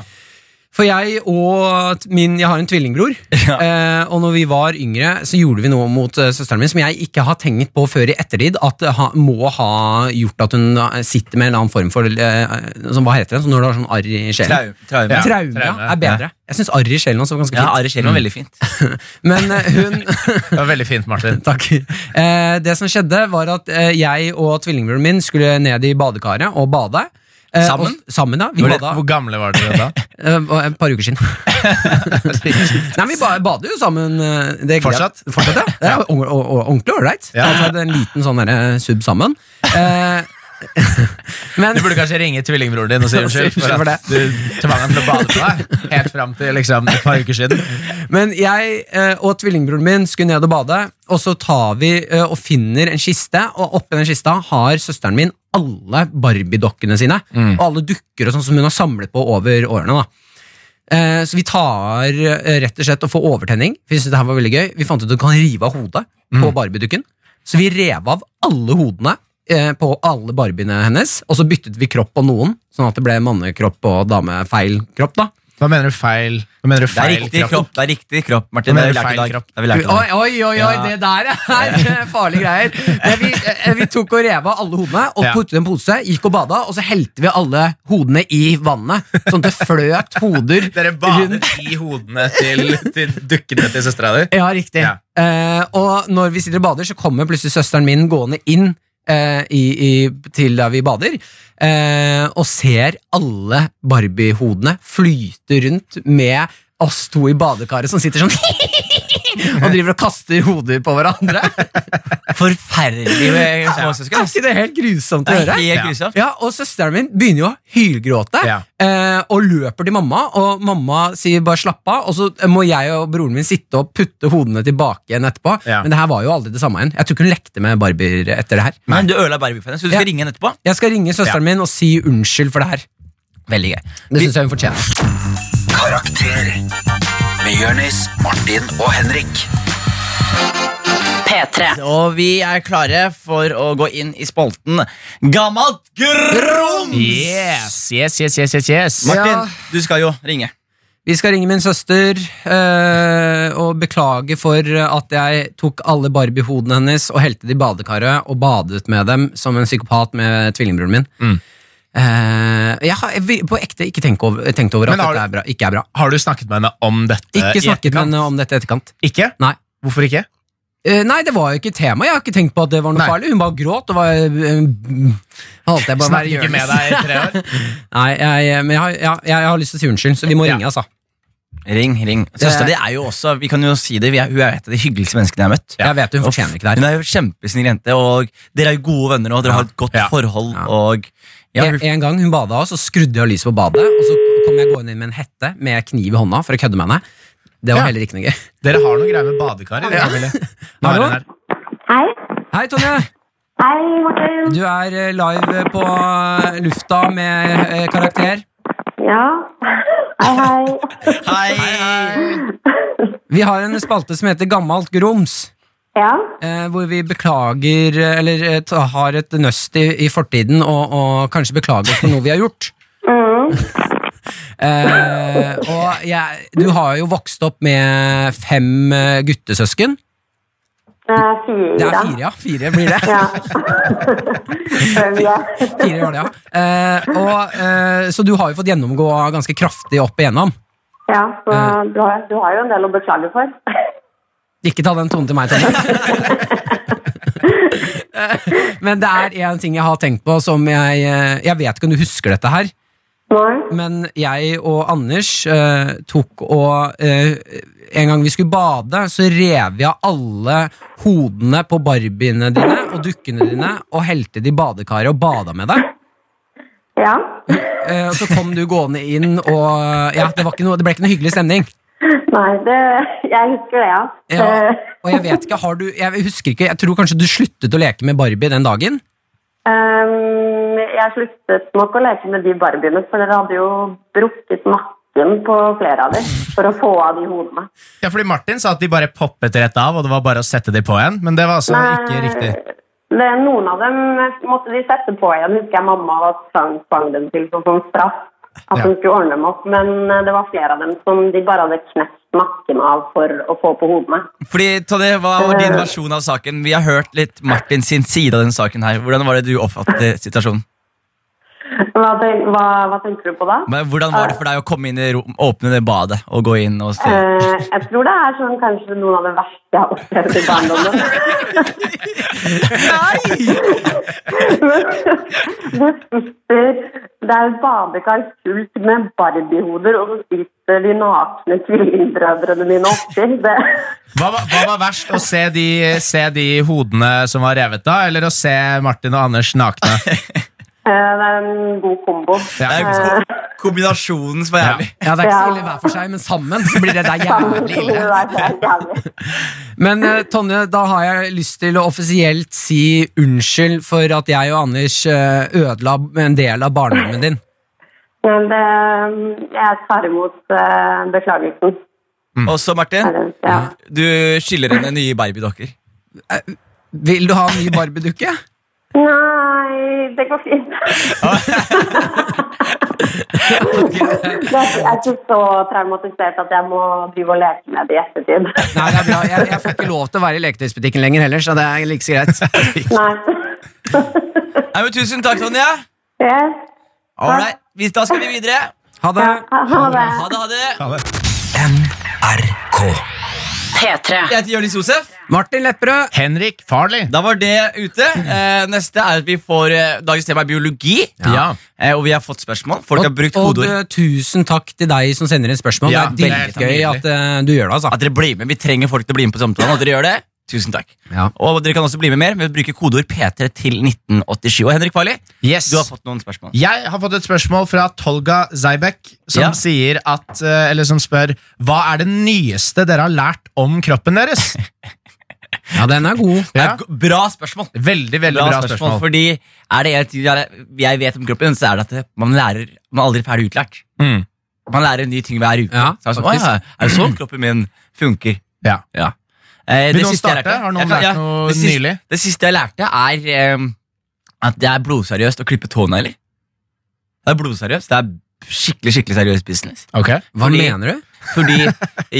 [SPEAKER 3] For jeg og t- min Jeg har en tvillingbror. Eh, og når vi var yngre, så gjorde vi noe mot eh, søsteren min som jeg ikke har tenkt på før i ettertid at eh, ha, må ha gjort at hun eh, sitter med en eller annen form for eh, som, Hva heter det? Så når du har sånn arr i sjelen?
[SPEAKER 2] Trau- Mm. Traume.
[SPEAKER 4] Ja.
[SPEAKER 3] Traume, ja,
[SPEAKER 4] traume,
[SPEAKER 3] er bedre. Jeg syns arr i sjelen også var ganske
[SPEAKER 2] Ja,
[SPEAKER 3] fint.
[SPEAKER 2] Ari Kjellman, veldig fint.
[SPEAKER 3] Men eh, hun
[SPEAKER 4] Det var veldig fint, Martin.
[SPEAKER 3] Takk. Eh, det som skjedde, var at eh, jeg og tvillingbroren min skulle ned i badekaret og bade. Eh,
[SPEAKER 2] Sammen?
[SPEAKER 3] og- sammen, ja. Vi
[SPEAKER 4] Hvor,
[SPEAKER 3] bada
[SPEAKER 4] hvor gamle var dere da?
[SPEAKER 3] eh, var et par uker siden. Nei, vi ba, bader jo sammen. eh, Det er greit.
[SPEAKER 4] Fortsatt?
[SPEAKER 3] Fortsatt, ja. Det er jo ong- og- og- ordentlig ålreit.
[SPEAKER 4] Ja.
[SPEAKER 3] Altså, det er en liten sånn derre sub sammen. Eh, men
[SPEAKER 4] Du burde kanskje ringe tvillingbroren din og si unnskyld for
[SPEAKER 3] for
[SPEAKER 4] at du tvang ham til å bade på deg helt fram til liksom, et par uker siden.
[SPEAKER 3] Men jeg eh, og tvillingbroren min skulle ned og bade, og så tar vi eh, og finner en kiste, og oppi den kista har søsteren min alle Barbie-dokkene sine, og alle dukker og sånn som hun har samlet på over årene. da. Eh, Så vi tar eh, rett og slett og får overtenning. Vi syntes det her var veldig gøy. Vi fant ut at du kan rive av hodet på Barbie-dukken. Så vi rev av alle hodene eh, på alle Barbiene hennes, og så byttet vi kropp på noen, sånn at det ble mannekropp og damefeil kropp. da.
[SPEAKER 4] Hva mener du feil? Hva mener du
[SPEAKER 2] Det er
[SPEAKER 4] feil
[SPEAKER 2] riktig kropp,
[SPEAKER 4] kropp?
[SPEAKER 2] det er riktig kropp, Martin.
[SPEAKER 4] Nå
[SPEAKER 2] Det
[SPEAKER 4] mener
[SPEAKER 2] har vi
[SPEAKER 4] du
[SPEAKER 2] lært i
[SPEAKER 4] feil
[SPEAKER 2] dag.
[SPEAKER 4] kropp.
[SPEAKER 2] Det har vi lært i
[SPEAKER 3] Oi,
[SPEAKER 2] dag.
[SPEAKER 3] oi, oi, oi,
[SPEAKER 2] Ja.
[SPEAKER 3] det der er farlige greier. Men vi, eh, vi tok og rev av alle hodene og
[SPEAKER 4] Ja.
[SPEAKER 3] puttet i en pose, gikk og bada, og så helte vi alle hodene i vannet. Sånn at det fløt hoder
[SPEAKER 4] Dere bader i hodene til, til dukkene til søstera di?
[SPEAKER 3] Ja, riktig.
[SPEAKER 4] Ja.
[SPEAKER 3] Eh, og når vi sitter og bader, så kommer plutselig søsteren min gående inn eh, i, i, til der vi bader, eh, og ser alle Barbie-hodene flyte rundt med oss to i badekaret som sitter sånn og driver og kaster hoder på hverandre.
[SPEAKER 2] Forferdelig med småsøsken.
[SPEAKER 3] Er
[SPEAKER 2] ass.
[SPEAKER 3] ikke det helt grusomt å
[SPEAKER 2] Det er
[SPEAKER 3] høre?
[SPEAKER 2] helt
[SPEAKER 4] Ja.
[SPEAKER 2] grusomt.
[SPEAKER 3] Ja, og søsteren min begynner jo å hylgråte
[SPEAKER 4] Ja.
[SPEAKER 3] eh, og løper til mamma, og mamma sier bare slapp av, og så må jeg og broren min sitte og putte hodene tilbake igjen etterpå.
[SPEAKER 4] Ja.
[SPEAKER 3] Men det her var jo aldri det samme igjen. Jeg tror ikke hun lekte med Barbier etter det her.
[SPEAKER 2] Men du ødela barbie henne, så du skal ringe henne etterpå.
[SPEAKER 3] Jeg skal ringe søsteren min og si unnskyld for det her.
[SPEAKER 2] Veldig gøy.
[SPEAKER 3] Det synes jeg hun fortjener.
[SPEAKER 1] Karakter med Jonis, Martin og Henrik.
[SPEAKER 5] P3.
[SPEAKER 2] Og vi er klare for å gå inn i spolten Gammalt grums!
[SPEAKER 4] Yes, yes, yes, yes, yes, yes.
[SPEAKER 2] Martin,
[SPEAKER 3] Ja.
[SPEAKER 2] du skal jo ringe.
[SPEAKER 3] Vi skal ringe min søster eh, og beklage for at jeg tok alle Barbie-hodene hennes og helte det i badekaret og badet med dem som en psykopat med tvillingbroren min.
[SPEAKER 4] Mm.
[SPEAKER 3] Eh, jeg har jeg- på ekte ikke tenkt over, tenkt over at
[SPEAKER 4] Men har
[SPEAKER 3] dette er bra, ikke er bra.
[SPEAKER 4] Har du snakket med henne om dette?
[SPEAKER 3] Ikke
[SPEAKER 4] i
[SPEAKER 3] snakket med
[SPEAKER 4] etterkant?
[SPEAKER 3] henne om dette i etterkant.
[SPEAKER 4] Ikke?
[SPEAKER 3] Nei.
[SPEAKER 4] Hvorfor ikke?
[SPEAKER 3] Eh, nei, det var jo ikke tema. Jeg har ikke tenkt på at det var noe
[SPEAKER 4] Nei.
[SPEAKER 3] farlig. Hun bare gråt og var uh, Holdt jeg bare å være
[SPEAKER 4] Snakket ikke med
[SPEAKER 3] Jonis.
[SPEAKER 4] deg i tre år?
[SPEAKER 3] Nei, jeg, eh, men jeg har, ja, jeg, jeg har lyst til å si unnskyld, så vi må
[SPEAKER 4] Ja.
[SPEAKER 3] ringe, altså.
[SPEAKER 2] Ring, ring. Søstera di er jo også vi kan jo si det, vi er, hun er et av de hyggeligste menneskene jeg har møtt.
[SPEAKER 3] Jeg vet hun fortjener ikke det her.
[SPEAKER 2] Hun er jo kjempesnill jente, og dere er jo gode venner nå. Dere har et godt
[SPEAKER 4] Ja.
[SPEAKER 2] forhold.
[SPEAKER 3] Ja.
[SPEAKER 2] Og ja,
[SPEAKER 3] en,
[SPEAKER 2] hun,
[SPEAKER 3] en gang hun bada, og så skrudde jeg av lyset på badet. Og så kom jeg gående inn med en hette med kniv i hånda for å kødde med henne. Det var
[SPEAKER 4] Ja.
[SPEAKER 3] heller ikke noe gøy.
[SPEAKER 4] Dere har noe greier med badekaret?
[SPEAKER 3] Ja.
[SPEAKER 4] Camille. Nå er
[SPEAKER 3] Hallo?
[SPEAKER 4] hun her.
[SPEAKER 6] Hei.
[SPEAKER 3] Hei, Tonje.
[SPEAKER 6] Hei, Martin.
[SPEAKER 3] Du er eh, live på eh, lufta med eh, karakter.
[SPEAKER 6] Ja. Hei, hei.
[SPEAKER 2] hei,
[SPEAKER 3] Vi har en spalte som heter Gammalt grums.
[SPEAKER 6] Ja.
[SPEAKER 3] Eh, hvor vi beklager, eh, eller eh, ta- har et nøst i, i fortiden og, og kanskje beklager for noe vi har gjort.
[SPEAKER 6] Mm.
[SPEAKER 3] Eh, og jeg, du har jo vokst opp med fem eh, guttesøsken.
[SPEAKER 6] Det er fire.
[SPEAKER 3] Det er fire, ja. Fire blir det.
[SPEAKER 6] Ja. Hvem er jeg?
[SPEAKER 3] Fire var det, ja. Eh, og, eh, så du har jo fått gjennomgå ganske kraftig opp igjennom.
[SPEAKER 6] Ja, så
[SPEAKER 3] Eh.
[SPEAKER 6] du har, du har jo en del å beklage for.
[SPEAKER 3] Ikke ta den tonen til meg, Tonje. Eh, Men det er én ting jeg har tenkt på som jeg eh, Jeg vet ikke om du husker dette her,
[SPEAKER 6] Nei.
[SPEAKER 3] men jeg og Anders eh, tok og eh, En gang vi skulle bade, så rev jeg av alle hodene på barbiene dine og dukkene dine og helte de i badekaret og bada med deg.
[SPEAKER 6] Ja.
[SPEAKER 3] Eh, og så kom du gående inn, og ja, det, var ikke noe, det ble ikke noe hyggelig stemning.
[SPEAKER 6] Nei, det, jeg husker det, ja.
[SPEAKER 3] Ja,
[SPEAKER 6] Eh,
[SPEAKER 3] og jeg vet ikke, har du Jeg husker ikke, jeg tror kanskje du sluttet å leke med Barbie den dagen?
[SPEAKER 6] ehm, jeg sluttet nok å leke med de barbiene, for dere hadde jo brukket nakken på flere av dem for å få av de hodene.
[SPEAKER 4] Ja, fordi Martin sa at de bare poppet rett av, og det var bare å sette de på igjen. Men det var altså ikke riktig.
[SPEAKER 6] Eh, Det, noen av dem måtte de sette på igjen, husker jeg mamma var tvang, tvang dem til som sånn straff. At
[SPEAKER 4] Ja.
[SPEAKER 6] hun skulle ordne dem opp, men eh, det var flere av dem som de bare hadde knekt nakken av for å få på hodene.
[SPEAKER 2] fordi Tonje, hva var din versjon av saken? Vi har hørt litt Martin sin side av den saken her. Hvordan var det du oppfattet situasjonen?
[SPEAKER 6] Hva, tenk, hva, hva tenker du på da?
[SPEAKER 2] Men Hvordan var det for deg å komme inn i rom, åpne det badet og gå inn og se?
[SPEAKER 6] Eh, jeg tror det er sånn kanskje noen av det verste jeg har opplevd i barndommen.
[SPEAKER 2] Nei!
[SPEAKER 6] Det sitter Det er et badekar fullt med barbiehoder, og så sitter de nakne tvillingbrødrene mine oppi. Det,
[SPEAKER 4] Hva, var- hva var verst, å se de, se de hodene som var revet av, eller å se Martin og Anders nakne?
[SPEAKER 6] eh, det er en god kombo. Eh,
[SPEAKER 4] Ja.
[SPEAKER 2] Det er kombinasjonen som er jævlig.
[SPEAKER 3] Ja, det er ikke så
[SPEAKER 6] Ja.
[SPEAKER 3] ille hver for seg, men sammen så blir det der jævlig
[SPEAKER 6] Det
[SPEAKER 3] ille.
[SPEAKER 6] er helt jævlig.
[SPEAKER 3] Men eh, Tonje, da har jeg lyst til å offisielt si unnskyld for at jeg og Anders eh, ødela en del av barndommen din.
[SPEAKER 6] Men det, jeg tar imot eh, beklagelsen.
[SPEAKER 3] Mm.
[SPEAKER 2] Og så, Martin,
[SPEAKER 6] Eller, Ja.
[SPEAKER 2] du skylder henne nye Barbie-dokker.
[SPEAKER 3] Vil du ha en ny Barbie-dukke?
[SPEAKER 6] Nei, det går fint. Jeg er ikke så traumatisert at jeg må drive og leke med det i ettertid.
[SPEAKER 3] Nei, det er bra. Jeg, jeg får ikke lov til å være i leketøysbutikken lenger heller, så det er like så greit.
[SPEAKER 6] Nei.
[SPEAKER 2] Nei, men Tusen takk, Tonje.
[SPEAKER 6] Yes.
[SPEAKER 2] All right. Vi- Da skal vi videre.
[SPEAKER 3] Ha det.
[SPEAKER 6] Ha det.
[SPEAKER 2] Ha det, ha det.
[SPEAKER 1] NRK.
[SPEAKER 5] P3.
[SPEAKER 2] Jeg heter Jonis Josef.
[SPEAKER 3] Martin Lepperød.
[SPEAKER 4] Henrik Farley.
[SPEAKER 2] Da var det ute. Eh, neste er at vi får eh, Dagens tema er biologi.
[SPEAKER 4] Ja.
[SPEAKER 2] Eh, og vi har fått spørsmål. Folk har brukt
[SPEAKER 3] og,
[SPEAKER 2] kodeord.
[SPEAKER 3] og tusen takk til deg som sender inn spørsmål.
[SPEAKER 4] Ja,
[SPEAKER 3] det
[SPEAKER 4] det
[SPEAKER 3] er
[SPEAKER 4] er
[SPEAKER 3] dritgøy
[SPEAKER 4] helt
[SPEAKER 3] at eh, du gjør det, altså.
[SPEAKER 2] At dere blir med. Vi trenger folk til å bli med på samtalen. At dere gjør det. Tusen takk.
[SPEAKER 3] Ja.
[SPEAKER 2] Og dere kan også bli med mer ved å bruke kodeord P3 til 1987. Og Henrik Farley,
[SPEAKER 4] Yes.
[SPEAKER 2] du har fått noen spørsmål.
[SPEAKER 4] Jeg har fått et spørsmål fra Tolga Zeibek, som
[SPEAKER 2] Ja.
[SPEAKER 4] sier at eh, Eller som spør Hva er det nyeste dere har lært om kroppen deres?
[SPEAKER 3] Ja, den er god.
[SPEAKER 2] Det
[SPEAKER 4] Ja.
[SPEAKER 2] er go- Bra spørsmål.
[SPEAKER 4] Veldig, veldig bra, spørsmål.
[SPEAKER 2] Fordi er det en ting jeg- jeg vet om kroppen, så er det at det- man lærer Man er aldri ferdig utlært.
[SPEAKER 4] Mm.
[SPEAKER 2] Man lærer en ny ting hver uke.
[SPEAKER 3] Ja,
[SPEAKER 2] så er det sånn,
[SPEAKER 3] faktisk.
[SPEAKER 2] «Å ja, er det sånn kroppen min funker?
[SPEAKER 4] Ja.
[SPEAKER 2] Eh,
[SPEAKER 4] Vil
[SPEAKER 2] det
[SPEAKER 4] noen
[SPEAKER 2] siste jeg
[SPEAKER 4] starte?
[SPEAKER 2] lærte-
[SPEAKER 4] Har noen
[SPEAKER 2] Jeg kan-
[SPEAKER 4] lært noe
[SPEAKER 2] det siste-
[SPEAKER 4] nylig?
[SPEAKER 2] Det siste jeg lærte, er eh, at det er blodseriøst å klippe tånegler. Det er blodseriøst. Det er skikkelig skikkelig seriøs business.
[SPEAKER 4] Ok.
[SPEAKER 3] Hva
[SPEAKER 2] Fordi-
[SPEAKER 3] mener du?
[SPEAKER 2] Fordi jeg,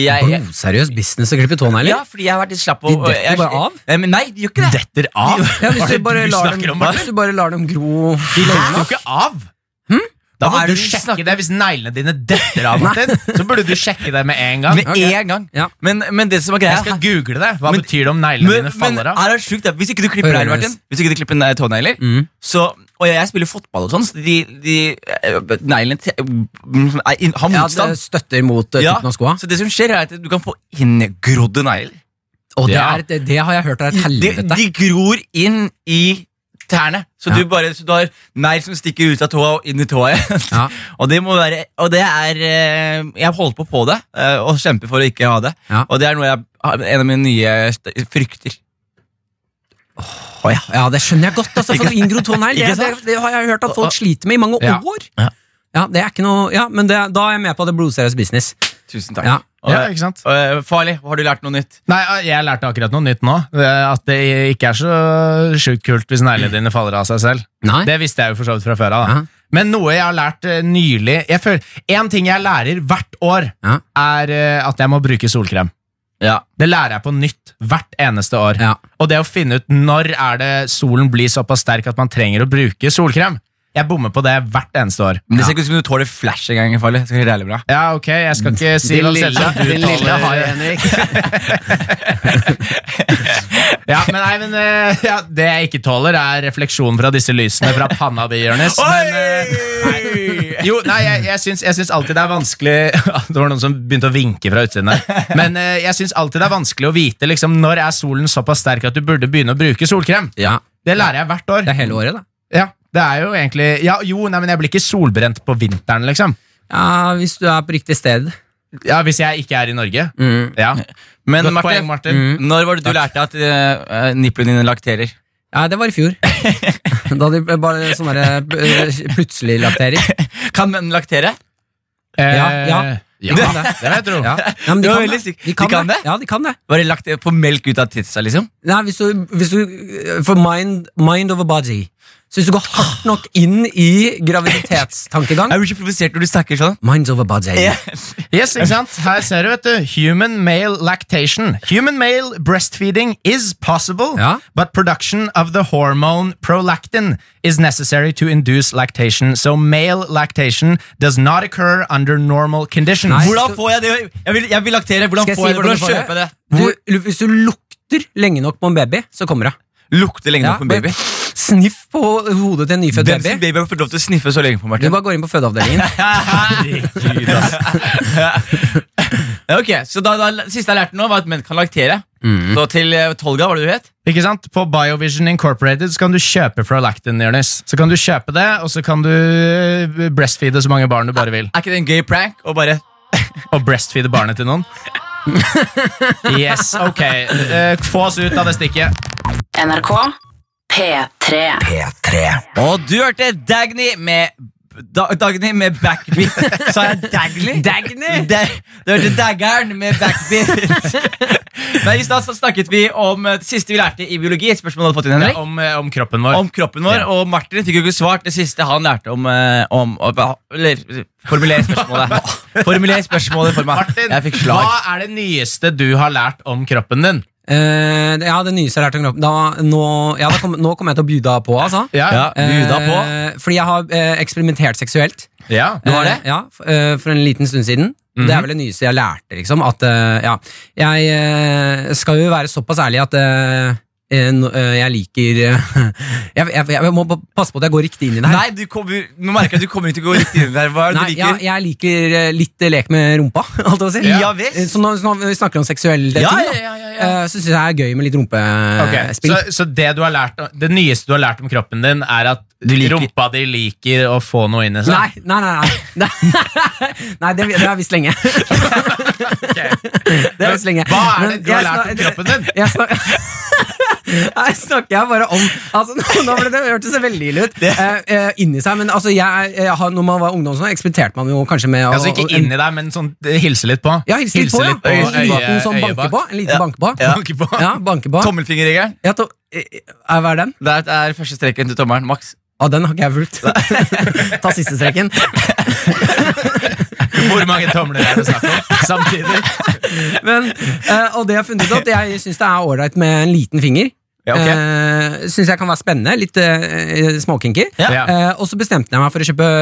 [SPEAKER 2] jeg
[SPEAKER 3] Blodseriøs business å klippe tånegler?
[SPEAKER 2] ja, fordi jeg har vært litt slapp.
[SPEAKER 3] De detter
[SPEAKER 2] jeg-
[SPEAKER 3] bare av?
[SPEAKER 2] Nei, men nei, de gjør ikke det.
[SPEAKER 4] Detter av?
[SPEAKER 3] Ja, hvis,
[SPEAKER 4] Hva er
[SPEAKER 3] du
[SPEAKER 4] det
[SPEAKER 3] bare
[SPEAKER 4] du
[SPEAKER 3] lar
[SPEAKER 4] snakker
[SPEAKER 3] dem,
[SPEAKER 4] om, Martin?
[SPEAKER 3] hvis du bare lar dem gro
[SPEAKER 4] De detter jo ikke av! Da
[SPEAKER 2] Hm? Hva
[SPEAKER 4] må
[SPEAKER 2] er
[SPEAKER 4] du
[SPEAKER 2] det vi
[SPEAKER 4] sjekke
[SPEAKER 2] snakker-
[SPEAKER 4] det hvis neglene dine detter av. Martin Så burde du sjekke det med en gang.
[SPEAKER 2] Med en gang.
[SPEAKER 3] Ja.
[SPEAKER 2] Men, men det som er greia
[SPEAKER 4] Jeg skal google det. Hva
[SPEAKER 2] Men-
[SPEAKER 4] betyr det om neglene
[SPEAKER 2] men,
[SPEAKER 4] dine
[SPEAKER 2] men
[SPEAKER 4] faller av?
[SPEAKER 2] er det sjukt, at hvis ikke du klipper
[SPEAKER 3] Hører
[SPEAKER 2] negler,
[SPEAKER 3] det.
[SPEAKER 2] Martin Hvis ikke du klipper ne- tånegler
[SPEAKER 3] Mm.
[SPEAKER 2] så, Og jeg, jeg spiller fotball og sånn, så de, de eh, neglene te- mm, er in- har
[SPEAKER 3] Ja, det
[SPEAKER 2] motstand.
[SPEAKER 3] støtter mot eh,
[SPEAKER 2] Ja,
[SPEAKER 3] tuppen av skoa.
[SPEAKER 2] Så det som skjer, er at du kan få inngrodde negler.
[SPEAKER 3] Og det,
[SPEAKER 4] Ja.
[SPEAKER 3] er, det, det har jeg hørt er et
[SPEAKER 2] De,
[SPEAKER 3] helvete.
[SPEAKER 2] de gror inn i tærne. Så
[SPEAKER 3] Ja.
[SPEAKER 2] du bare så du har negl som stikker ut av tåa og inn i tåa igjen.
[SPEAKER 3] Ja.
[SPEAKER 2] og det må være Og det er eh, Jeg holder på på det, eh, og kjemper for å ikke ha det.
[SPEAKER 3] Ja.
[SPEAKER 2] Og det er noe jeg, en av mine nye st- frykter. Å ja.
[SPEAKER 3] Ja, det skjønner jeg godt. Altså, for
[SPEAKER 2] Ikke-
[SPEAKER 3] inngrodd tånegl det,
[SPEAKER 2] Ikke
[SPEAKER 3] det,
[SPEAKER 2] sant?
[SPEAKER 3] det har jeg hørt at folk sliter med i mange
[SPEAKER 4] Ja.
[SPEAKER 3] år.
[SPEAKER 2] Ja.
[SPEAKER 3] Ja, det er ikke noe, ja, men det, da er jeg med på det blodseriøs business.
[SPEAKER 2] Tusen takk.
[SPEAKER 3] Ja.
[SPEAKER 2] Og,
[SPEAKER 4] Ja, ikke sant?
[SPEAKER 2] eh, farlig, har du lært noe nytt?
[SPEAKER 4] Nei, Jeg lærte akkurat noe nytt nå. eh, At det ikke er så sjukt kult hvis neglene dine faller av seg selv.
[SPEAKER 3] Nei?
[SPEAKER 4] Det visste jeg jo for så vidt fra før av. da.
[SPEAKER 3] Ja.
[SPEAKER 4] Men noe jeg har lært eh, nylig jeg føler, En ting jeg lærer hvert år,
[SPEAKER 3] Ja.
[SPEAKER 4] er eh, at jeg må bruke solkrem.
[SPEAKER 2] Ja.
[SPEAKER 4] Det lærer jeg på nytt hvert eneste år.
[SPEAKER 3] Ja.
[SPEAKER 4] Og det å finne ut når er det solen blir såpass sterk at man trenger å bruke solkrem. Jeg bommer på det hvert eneste år.
[SPEAKER 2] Men det ser ikke ut som du tåler flash engang. Farlig. Det skal være jævlig bra.
[SPEAKER 4] Ja, ok, jeg skal ikke si hva selv om du taler-
[SPEAKER 3] Henrik.
[SPEAKER 4] Ja, men, nei, men eh, ja, Det jeg ikke tåler, er refleksjonen fra disse lysene fra panna di, Jonis. Men, eh,
[SPEAKER 2] Oi!
[SPEAKER 4] Jo, nei, jeg, jeg, syns, jeg syns alltid det er vanskelig Det var noen som begynte å vinke fra utsiden her. Men eh, jeg syns alltid det er vanskelig å vite liksom, når er solen såpass sterk at du burde begynne å bruke solkrem.
[SPEAKER 3] Ja,
[SPEAKER 4] Det lærer jeg hvert år.
[SPEAKER 3] det er hele året, da.
[SPEAKER 4] Ja, det er jo egentlig ja, Jo, nei, men jeg blir ikke solbrent på vinteren, liksom.
[SPEAKER 3] Ja, hvis du er på riktig sted.
[SPEAKER 4] Ja, Hvis jeg ikke er i Norge. Ja.
[SPEAKER 2] Men
[SPEAKER 4] Godt
[SPEAKER 2] Martin,
[SPEAKER 4] poeng, Martin.
[SPEAKER 3] Mm.
[SPEAKER 2] når var det du lærte at uh, nipplene dine lakterer?
[SPEAKER 3] Ja, det var i fjor. Da hadde de bare sånne der, eh, plutselig lakterer.
[SPEAKER 2] Kan menn laktere?
[SPEAKER 4] Eh,
[SPEAKER 3] Ja, ja.
[SPEAKER 4] ja,
[SPEAKER 3] Det-
[SPEAKER 4] det vil jeg tro.
[SPEAKER 3] Ja, ja men de
[SPEAKER 2] Det var
[SPEAKER 3] kan det.
[SPEAKER 2] veldig sykt.
[SPEAKER 3] De kan,
[SPEAKER 2] De kan
[SPEAKER 3] det.
[SPEAKER 2] det?
[SPEAKER 3] Ja, de kan det.
[SPEAKER 2] Bare lagt på melk ut av titsa, liksom?
[SPEAKER 3] Nei, hvis du, hvis du For mind, mind over body. Så hvis du går hardt nok inn i graviditetstankegang
[SPEAKER 2] Jeg blir så provosert når du snakker sånn.
[SPEAKER 3] Minds over body.
[SPEAKER 4] Yes, ikke sant? Eh, Her ser du, vet du. Human male lactation. Human male breastfeeding is possible,
[SPEAKER 3] Ja.
[SPEAKER 4] but production of the hormone prolactin is necessary to induce lactation, so male lactation does not occur under normal conditions.
[SPEAKER 3] Nei.
[SPEAKER 4] Hvordan-
[SPEAKER 2] Hvordan får jeg det? Jeg vil, jeg vil laktere. Hvordan
[SPEAKER 3] Skal jeg si
[SPEAKER 2] får jeg det?
[SPEAKER 3] hvordan
[SPEAKER 2] Hvordan
[SPEAKER 3] du får
[SPEAKER 2] kjøper jeg det?
[SPEAKER 3] Du, lu- hvis du lukter lenge nok på en baby, så kommer det.
[SPEAKER 2] Lukter lenge
[SPEAKER 3] Ja,
[SPEAKER 2] nok på en baby.
[SPEAKER 3] bare Sniff på hodet til en nyfødt
[SPEAKER 2] Hvem sin
[SPEAKER 3] baby.
[SPEAKER 2] baby har fått lov til å sniffe så lenge på,
[SPEAKER 3] Du
[SPEAKER 2] Martin?
[SPEAKER 3] bare går inn på fødeavdelingen.
[SPEAKER 2] Ok, så da, da, Siste jeg lærte nå, var at menn kan laktere.
[SPEAKER 3] Mm.
[SPEAKER 2] Så til eh, Tolga, var det du het?
[SPEAKER 4] Ikke sant? På Biovision Incorporated så kan du kjøpe prolactin, Jonis. Så kan du kjøpe det, og så kan du breastfeede så mange barn du bare vil.
[SPEAKER 2] Er ikke det en gøy prank? Og bare
[SPEAKER 4] Og breastfeede barnet til noen. Yes, ok. Eh, Få oss ut av det stikket.
[SPEAKER 5] NRK P3.
[SPEAKER 1] P3.
[SPEAKER 2] Og du hørte Dagny med da, Dagny med backbeat. Sa jeg Dagny?
[SPEAKER 3] Dagny?
[SPEAKER 2] Da, det hørte Daggern med backbeat. Men I stad så snakket vi om eh, det siste vi lærte i biologi. Et spørsmål du hadde fått inn, Henrik.
[SPEAKER 4] om, eh, om kroppen vår.
[SPEAKER 2] Om kroppen vår, og Martin fikk jo ikke svart det siste han lærte om, eh, om om- Eller formuler spørsmålet. Formuler spørsmålet for meg.
[SPEAKER 4] Martin,
[SPEAKER 2] jeg fikk slag.
[SPEAKER 4] hva er det nyeste du har lært om kroppen din?
[SPEAKER 3] Eh, ja, det nyeste jeg har lært om kroppen da, nå, ja, da kom, nå kommer jeg til å bjuda på, altså.
[SPEAKER 2] Ja, bjuda på.
[SPEAKER 3] Eh, fordi jeg har eh, eksperimentert seksuelt.
[SPEAKER 4] ja.
[SPEAKER 2] Du har det? Mhm.
[SPEAKER 3] Eh, ja, f- eh, for en liten stund siden. Det er vel det nyeste jeg lærte, liksom. At eh, ja Jeg eh, skal jo være såpass ærlig at eh, eh, nå- eh, jeg liker eh, jeg, jeg, jeg må pa- passe på at jeg går riktig inn i det her.
[SPEAKER 2] Nei, du kommer, nå merker jeg at du kommer ikke til å gå riktig inn der. Hva er det
[SPEAKER 3] Nei,
[SPEAKER 2] du
[SPEAKER 3] jeg,
[SPEAKER 2] liker?
[SPEAKER 3] jeg liker eh, litt eh, lek med rumpa, holdt jeg på å si.
[SPEAKER 2] Ja, visst.
[SPEAKER 3] Eh, Så når, så når vi snakker om seksuelle ting, da,
[SPEAKER 2] ja,
[SPEAKER 3] eh, så syns jeg det er gøy med litt
[SPEAKER 4] Ok,
[SPEAKER 3] rumpespill.
[SPEAKER 4] Så, så det, du har lært, det nyeste du har lært om kroppen din, er at
[SPEAKER 2] liker-
[SPEAKER 4] rumpa di liker å få noe inn i seg?
[SPEAKER 3] Nei, nei, nei. Nei, nei det, det har jeg visst lenge. Det har jeg visst lenge.
[SPEAKER 4] Hva er det
[SPEAKER 3] Men
[SPEAKER 4] du har
[SPEAKER 3] jeg
[SPEAKER 4] lært om
[SPEAKER 3] snak-
[SPEAKER 4] kroppen din?
[SPEAKER 3] Jeg snakker, jeg snakker jeg bare om altså, nå- Nå ble det hørtes det veldig ille ut. Eh, eh, inni seg, men altså, jeg, er- jeg har, Når man var ungdom, så eksperimenterte man jo kanskje med å-
[SPEAKER 4] Altså Ikke
[SPEAKER 3] å- en-
[SPEAKER 4] inni deg, men sånn, eh, hilse litt på?
[SPEAKER 3] Ja, hilse litt på, ja.
[SPEAKER 4] øye-
[SPEAKER 3] en liten sånn
[SPEAKER 4] øyebak.
[SPEAKER 3] banke på. En liten
[SPEAKER 2] Ja.
[SPEAKER 3] banke på.
[SPEAKER 2] Ja.
[SPEAKER 4] Banke på.
[SPEAKER 3] Ja, banke på.
[SPEAKER 2] Tommelfingerregelen.
[SPEAKER 3] Ja, to, eh, eh, hva er den?
[SPEAKER 2] Det er er første streken til tommelen. Maks.
[SPEAKER 3] Å, den har ikke jeg fulgt. Ta siste streken.
[SPEAKER 4] Hvor mange tomler er det snakk om samtidig?
[SPEAKER 3] Men, eh, og det jeg har funnet ut at jeg syns det er ålreit med en liten finger.
[SPEAKER 4] Ja, ok.
[SPEAKER 3] Eh, syns jeg kan være spennende. Litt eh, småkinky.
[SPEAKER 4] Ja.
[SPEAKER 3] Eh, og så bestemte jeg meg for å kjøpe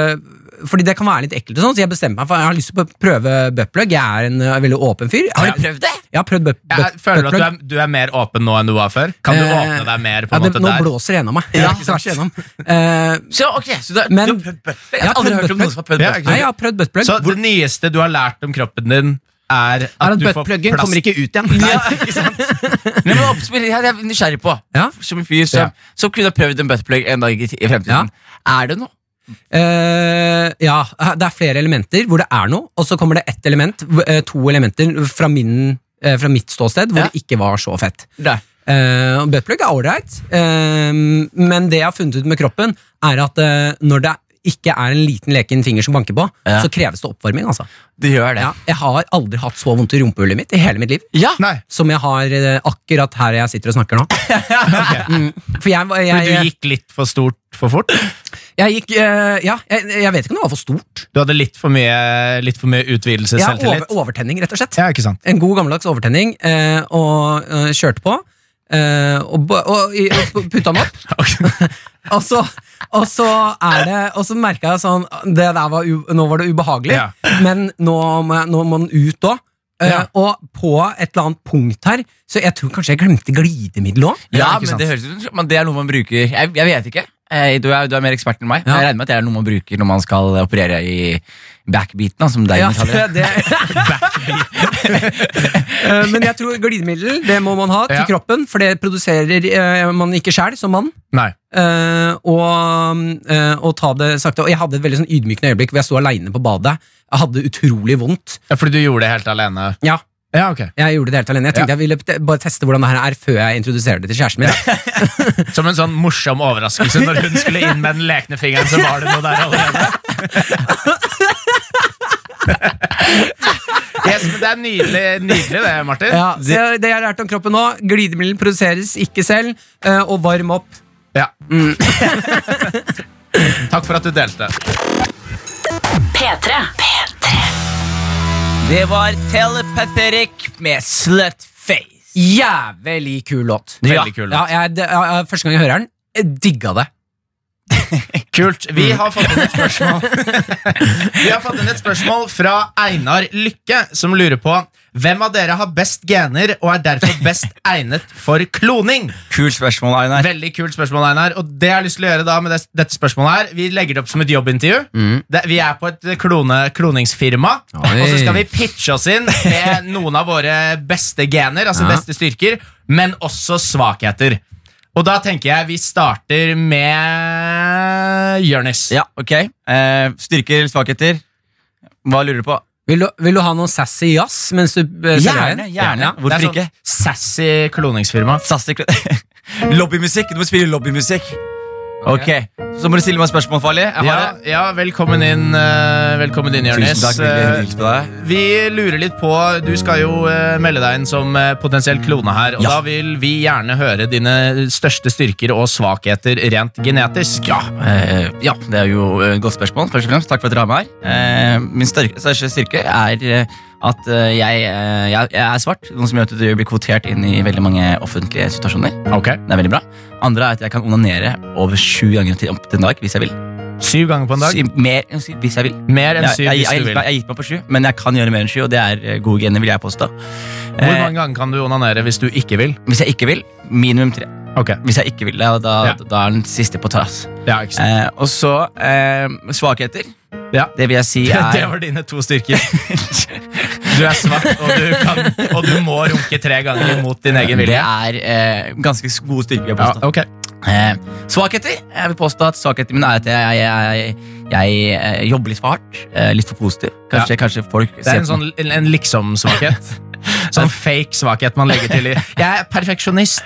[SPEAKER 3] Fordi det kan være litt ekkelt, og sånn, så jeg bestemte meg for jeg har lyst til å prøve buttplug. Jeg er en eh, veldig åpen fyr. Jeg
[SPEAKER 2] Har du
[SPEAKER 3] har,
[SPEAKER 2] prøvd det?
[SPEAKER 3] jeg har prøvd butt-
[SPEAKER 4] Jeg
[SPEAKER 3] butt-
[SPEAKER 4] føler at du
[SPEAKER 3] buttplug.
[SPEAKER 4] er, du er mer åpen nå enn du var før. Kan du
[SPEAKER 3] Eh,
[SPEAKER 4] åpne deg mer på
[SPEAKER 3] ja,
[SPEAKER 4] en
[SPEAKER 3] det-
[SPEAKER 4] måte
[SPEAKER 3] Nå
[SPEAKER 4] der?
[SPEAKER 3] blåser det gjennom meg.
[SPEAKER 2] Ja,
[SPEAKER 3] Ja, tvers igjennom. Eh,
[SPEAKER 2] Så, ok, så du har,
[SPEAKER 3] Men-
[SPEAKER 2] du har prøvd bøffer? Jeg
[SPEAKER 3] Ja,
[SPEAKER 2] har aldri
[SPEAKER 3] prøvd
[SPEAKER 2] hørt om
[SPEAKER 3] bøffer.
[SPEAKER 2] noen som har prøvd
[SPEAKER 4] Ja,
[SPEAKER 2] bøffer.
[SPEAKER 3] nei, jeg har prøvd buttplug.
[SPEAKER 4] Så det nyeste du har lært om kroppen din, er at,
[SPEAKER 3] Er at
[SPEAKER 4] du får
[SPEAKER 3] buttpluggen
[SPEAKER 4] plass
[SPEAKER 3] kommer ikke ut igjen.
[SPEAKER 2] Ja, ikke sant? Nei, men oppspill, jeg er nysgjerrig på,
[SPEAKER 3] Ja.
[SPEAKER 2] som en fyr som, som kunne ha prøvd en buttplug en dag i, i fremtiden. Er det noe?
[SPEAKER 3] Eh, ja, det er flere elementer hvor det er noe, og så kommer det ett element, eh, to elementer fra, min, eh, fra mitt ståsted hvor
[SPEAKER 2] Ja.
[SPEAKER 3] det ikke var så fett.
[SPEAKER 2] Nei.
[SPEAKER 3] Eh, og buttplug er ålreit, eh, men det jeg har funnet ut med kroppen, er at eh, når det ikke er en liten leken finger som banker på,
[SPEAKER 2] Ja.
[SPEAKER 3] så kreves det oppvarming. Altså.
[SPEAKER 2] Du gjør det.
[SPEAKER 3] Ja, jeg har aldri hatt så vondt i rumpehullet mitt i hele mitt liv
[SPEAKER 2] Ja.
[SPEAKER 4] Nei,
[SPEAKER 3] som jeg har eh, akkurat her jeg sitter og snakker nå. mm. For jeg, var- jeg,
[SPEAKER 4] fordi du
[SPEAKER 3] jeg,
[SPEAKER 4] gikk litt for stort for fort?
[SPEAKER 3] jeg gikk eh, Ja, jeg, jeg vet ikke om det var for stort.
[SPEAKER 4] Du hadde litt for mye, litt for mye
[SPEAKER 3] Ja, over,
[SPEAKER 4] utvidelsesselvtillit?
[SPEAKER 3] overtenning, rett og slett.
[SPEAKER 4] Ja, ikke sant?
[SPEAKER 3] En god gammeldags overtenning, eh, og eh, kjørte på. eh, og, ba- og, i- og putta den opp. og, så, og så er det Og så merka jeg sånn det der var u, Nå var det ubehagelig,
[SPEAKER 4] Ja.
[SPEAKER 3] men nå må, jeg- nå må den ut òg.
[SPEAKER 4] Ja.
[SPEAKER 3] Og på et eller annet punkt her, så jeg tror kanskje jeg glemte glidemiddel òg.
[SPEAKER 2] Ja,
[SPEAKER 4] Ja, ikke
[SPEAKER 2] men
[SPEAKER 4] sant.
[SPEAKER 2] det høres ut som men det er noe man bruker Jeg, jeg vet ikke. Eh, Du er, du er mer ekspert enn meg.
[SPEAKER 3] Ja.
[SPEAKER 2] Jeg regner med at det er noe man bruker når man skal operere i backbeaten. da, Som deg
[SPEAKER 3] Ja,
[SPEAKER 2] kaller det.
[SPEAKER 3] det, Eh, Men jeg tror glidemiddel det må man ha til
[SPEAKER 4] Ja.
[SPEAKER 3] kroppen, for det produserer eh, man ikke sjæl som mann.
[SPEAKER 4] Nei.
[SPEAKER 3] Eh, og, eh, og ta det sakte. Og jeg hadde et veldig sånn ydmykende øyeblikk hvor jeg sto aleine på badet. Jeg hadde utrolig vondt.
[SPEAKER 4] Ja, fordi du gjorde det helt alene?
[SPEAKER 3] Ja,
[SPEAKER 4] Ja, ok.
[SPEAKER 3] jeg gjorde det helt alene. Jeg tenkte jeg ville te- bare teste hvordan det her er før jeg introduserer det til kjæresten min.
[SPEAKER 4] Som en sånn morsom overraskelse når hun skulle inn med den lekne fingeren, så var det noe der allerede. Yes, men det er nydelig, nydelig det, Martin.
[SPEAKER 3] Ja, så jeg, det jeg har lært om kroppen nå, glidemiddel produseres ikke selv, eh, og varm opp.
[SPEAKER 4] Ja. Takk for at du delte.
[SPEAKER 5] P3. P3.
[SPEAKER 2] Det var Telepathetic med Slutface.
[SPEAKER 3] Jævlig kul låt.
[SPEAKER 4] Veldig
[SPEAKER 2] Ja.
[SPEAKER 4] kul.
[SPEAKER 3] Ja, jeg, det- ja, ja, første gang jeg hører den, jeg digga det.
[SPEAKER 4] Kult. Vi har fått inn et spørsmål Vi har fått inn et spørsmål fra Einar Lykke, som lurer på hvem av dere har best gener og er derfor best egnet for kloning?
[SPEAKER 2] Kult spørsmål, Einar.
[SPEAKER 4] Veldig kult spørsmål, Einar. Og det jeg har lyst til å gjøre da med det, dette spørsmålet her Vi legger det opp som et jobbintervju.
[SPEAKER 2] Mm.
[SPEAKER 4] Det, vi er på et klone, kloningsfirma, og så skal vi pitche oss inn med noen av våre beste gener, altså beste styrker, men også svakheter. Og da tenker jeg vi starter med Jonis.
[SPEAKER 2] Ja, ok. Eh, styrker eller svakheter? Hva lurer du på?
[SPEAKER 3] Vil du, vil du ha noe sassy jazz mens du eh, selger den?
[SPEAKER 4] Det
[SPEAKER 2] gjerne.
[SPEAKER 4] er
[SPEAKER 2] Hvorfor
[SPEAKER 4] sånn
[SPEAKER 2] ikke?
[SPEAKER 4] Sassy kloningsfirma.
[SPEAKER 2] Sassy Lobbymusikk. Du må spille lobbymusikk. Ok, Så må du stille meg spørsmål, Farlig. Jeg
[SPEAKER 4] Ja,
[SPEAKER 2] har det.
[SPEAKER 4] ja, velkommen inn, eh, velkommen inn Jørnes.
[SPEAKER 2] Tusen takk,
[SPEAKER 4] Eh,
[SPEAKER 2] veldig hyggelig på deg.
[SPEAKER 4] Vi lurer litt på Du skal jo eh, melde deg inn som eh, potensiell klone her. Og da vil vi gjerne høre dine største styrker og svakheter rent genetisk. Ja.
[SPEAKER 2] Eh, ja, det er jo et godt spørsmål. Først og fremst, Takk for at dere har meg her. Eh, min størke- største styrke er eh, at eh, jeg, eh, jeg, jeg er svart, noe som gjør at du blir kvotert inn i veldig mange offentlige situasjoner.
[SPEAKER 4] Ok.
[SPEAKER 2] Det er veldig bra. Andre er at jeg kan onanere over sju ganger til, til en dag hvis jeg vil.
[SPEAKER 4] Syv ganger på en dag.
[SPEAKER 2] Si- Mer enn syv hvis jeg vil.
[SPEAKER 4] Mer enn
[SPEAKER 2] Jeg,
[SPEAKER 4] syv
[SPEAKER 2] jeg, jeg,
[SPEAKER 4] hvis
[SPEAKER 2] jeg,
[SPEAKER 4] du vil.
[SPEAKER 2] jeg har gitt meg på sju, men jeg kan gjøre mer enn sju, og det er eh, gode gener, vil jeg påstå.
[SPEAKER 4] Hvor
[SPEAKER 2] Eh,
[SPEAKER 4] mange ganger kan du onanere hvis du ikke vil?
[SPEAKER 2] Hvis jeg ikke vil, minimum tre.
[SPEAKER 4] Ok,
[SPEAKER 2] Hvis jeg ikke vil, da, da,
[SPEAKER 4] Ja.
[SPEAKER 2] da er den siste på trass.
[SPEAKER 4] ja, ikke sant
[SPEAKER 2] Eh, og så eh, svakheter.
[SPEAKER 4] Ja.
[SPEAKER 2] Det vil Eh, jeg si
[SPEAKER 4] Det- Det
[SPEAKER 2] er
[SPEAKER 4] var dine to styrker. Du er svart, og du, kan, og du må runke tre ganger mot din egen
[SPEAKER 2] Det
[SPEAKER 4] vilje.
[SPEAKER 2] er eh, ganske s- gode styrker. vil Jeg
[SPEAKER 4] Ja,
[SPEAKER 2] påstå.
[SPEAKER 4] ok
[SPEAKER 2] eh, svakheter. Jeg vil påstå at svakheten min er at jeg, jeg, jeg, jeg eh, jobber litt for hardt. Eh, litt for positiv. Kanskje, kanskje folk
[SPEAKER 4] Det
[SPEAKER 2] ser
[SPEAKER 4] er en
[SPEAKER 2] på
[SPEAKER 4] sånn en- en liksom-svakhet. Sånn fake svakhet man legger til i Jeg er perfeksjonist.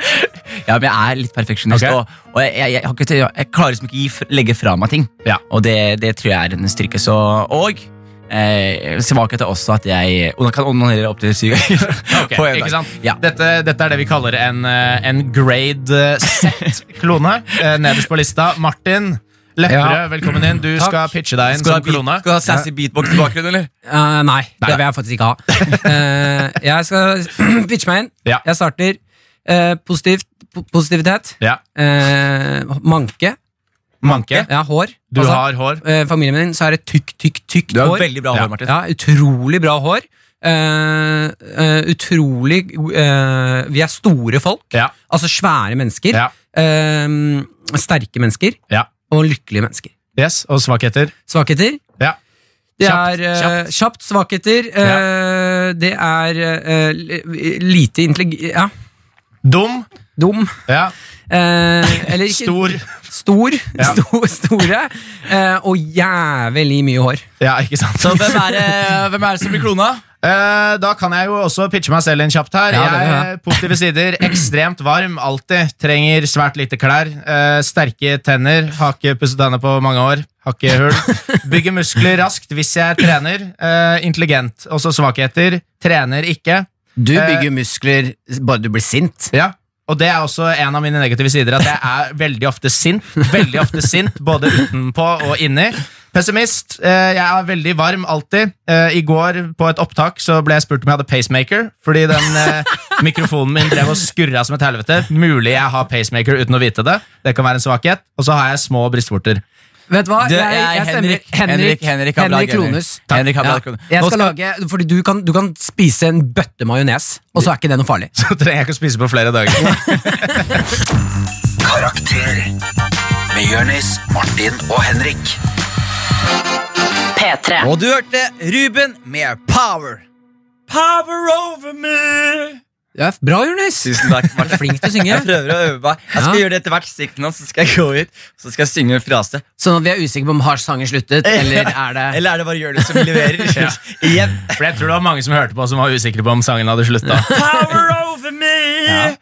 [SPEAKER 2] Ja, men jeg er litt perfeksjonist,
[SPEAKER 4] Ok.
[SPEAKER 2] og, og jeg, jeg, jeg, har ikke, til- jeg klarer liksom ikke å gi f- legge fra meg ting.
[SPEAKER 4] Ja.
[SPEAKER 2] Og det, det tror jeg er en styrke. Så, og eh, svakhet er også at jeg og da kan onanere opptil syv ganger.
[SPEAKER 4] Ok,
[SPEAKER 2] på en dag.
[SPEAKER 4] ikke sant?
[SPEAKER 2] Ja.
[SPEAKER 4] Dette, dette er det vi kaller en, eh, en grade eh, Z-klone. eh, Nederst på lista. Martin Lepperød,
[SPEAKER 3] Ja.
[SPEAKER 4] velkommen inn. Du
[SPEAKER 3] Takk.
[SPEAKER 4] skal pitche deg inn
[SPEAKER 2] Skal du ha
[SPEAKER 4] som
[SPEAKER 2] beat-
[SPEAKER 4] klone.
[SPEAKER 2] skal du ha sassy beatbox i bakgrunnen, eller?
[SPEAKER 3] Eh, nei, det vil jeg faktisk ikke ha. Eh, jeg skal pitche meg inn.
[SPEAKER 4] Ja.
[SPEAKER 3] Jeg starter eh, positivt, po positivitet.
[SPEAKER 4] Ja.
[SPEAKER 3] Eh, manke.
[SPEAKER 4] Manke.
[SPEAKER 3] Jeg har hår.
[SPEAKER 4] Du
[SPEAKER 3] Altså,
[SPEAKER 4] har hår.
[SPEAKER 3] eh, familien min så er det tykk, tykk, tykt
[SPEAKER 2] Du har
[SPEAKER 3] hår.
[SPEAKER 2] veldig bra
[SPEAKER 4] Ja.
[SPEAKER 2] hår, Martin.
[SPEAKER 3] Ja, utrolig bra hår. Eh, eh, utrolig eh, Vi er store folk.
[SPEAKER 4] Ja.
[SPEAKER 3] Altså svære mennesker.
[SPEAKER 4] Ja.
[SPEAKER 3] Eh, sterke mennesker.
[SPEAKER 4] Ja.
[SPEAKER 3] Og lykkelige mennesker.
[SPEAKER 4] Yes, Og svakheter.
[SPEAKER 3] Svakheter?
[SPEAKER 4] Ja.
[SPEAKER 3] Det
[SPEAKER 4] Kjapt,
[SPEAKER 3] er eh,
[SPEAKER 4] kjapt.
[SPEAKER 3] kjapt, svakheter. eh, det er eh, li- lite intelligent Ja,
[SPEAKER 4] Dum.
[SPEAKER 3] dum.
[SPEAKER 4] Ja.
[SPEAKER 3] eh, eller ikke
[SPEAKER 4] Stor.
[SPEAKER 3] Stor.
[SPEAKER 4] Ja.
[SPEAKER 3] sto- store. eh, og jævlig mye hår.
[SPEAKER 4] Ja, ikke sant?
[SPEAKER 2] Så hvem er, det, hvem er det som blir klona?
[SPEAKER 4] Eh, da kan jeg jo også pitche meg selv inn kjapt her.
[SPEAKER 3] Ja, det
[SPEAKER 4] jeg
[SPEAKER 3] vil jeg.
[SPEAKER 4] er Positive sider. Ekstremt varm, alltid. Trenger svært lite klær. Eh, sterke tenner. Har ikke pusset tennene på mange år. Har ikke hull. Bygger muskler raskt hvis jeg trener. Eh, intelligent. Også svakheter. Trener ikke.
[SPEAKER 7] Du
[SPEAKER 4] Eh,
[SPEAKER 7] bygger muskler bare du blir sint.
[SPEAKER 4] Ja og det er også en av mine negative sider, at jeg er veldig ofte sint. Veldig ofte sint, Både utenpå og inni. Pessimist. Eh, jeg er veldig varm alltid. Eh, I går på et opptak så ble jeg spurt om jeg hadde pacemaker, fordi den eh, mikrofonen min drev og skurra som et helvete. Mulig jeg har pacemaker uten å vite det. Det kan være en svakhet. Og så har jeg små brystvorter.
[SPEAKER 3] Vet du hva?
[SPEAKER 2] Du, jeg er
[SPEAKER 3] stemmer-
[SPEAKER 2] Henrik. Henrik- Henrik har bra gener.
[SPEAKER 3] Krones.
[SPEAKER 2] Takk. Henrik har bra gener.
[SPEAKER 3] Jeg
[SPEAKER 2] Nå
[SPEAKER 3] skal lage, fordi du kan, du kan spise en bøtte majones, og så er ikke det noe farlig.
[SPEAKER 4] Så trenger jeg ikke å spise på flere dager.
[SPEAKER 1] Karakter med Jonis, Martin og Henrik.
[SPEAKER 5] P3.
[SPEAKER 2] Og du hørte Ruben med Power. Power over me.
[SPEAKER 3] Ja, bra, Jonis.
[SPEAKER 2] Tusen takk,
[SPEAKER 3] Du er
[SPEAKER 2] Martin.
[SPEAKER 3] flink til å synge.
[SPEAKER 2] Jeg prøver å øve meg. Jeg skal
[SPEAKER 3] Ja.
[SPEAKER 2] gjøre det etter hvert stikk nå, så skal jeg gå ut så skal jeg synge en frase.
[SPEAKER 3] Sånn at vi er usikre på om har sangen sluttet, eller er det
[SPEAKER 2] Eller er det bare Jonis som leverer?
[SPEAKER 4] Ja.
[SPEAKER 2] Igjen.
[SPEAKER 4] For jeg tror det var mange som hørte på, som var usikre på om sangen hadde slutta.
[SPEAKER 2] Power over me!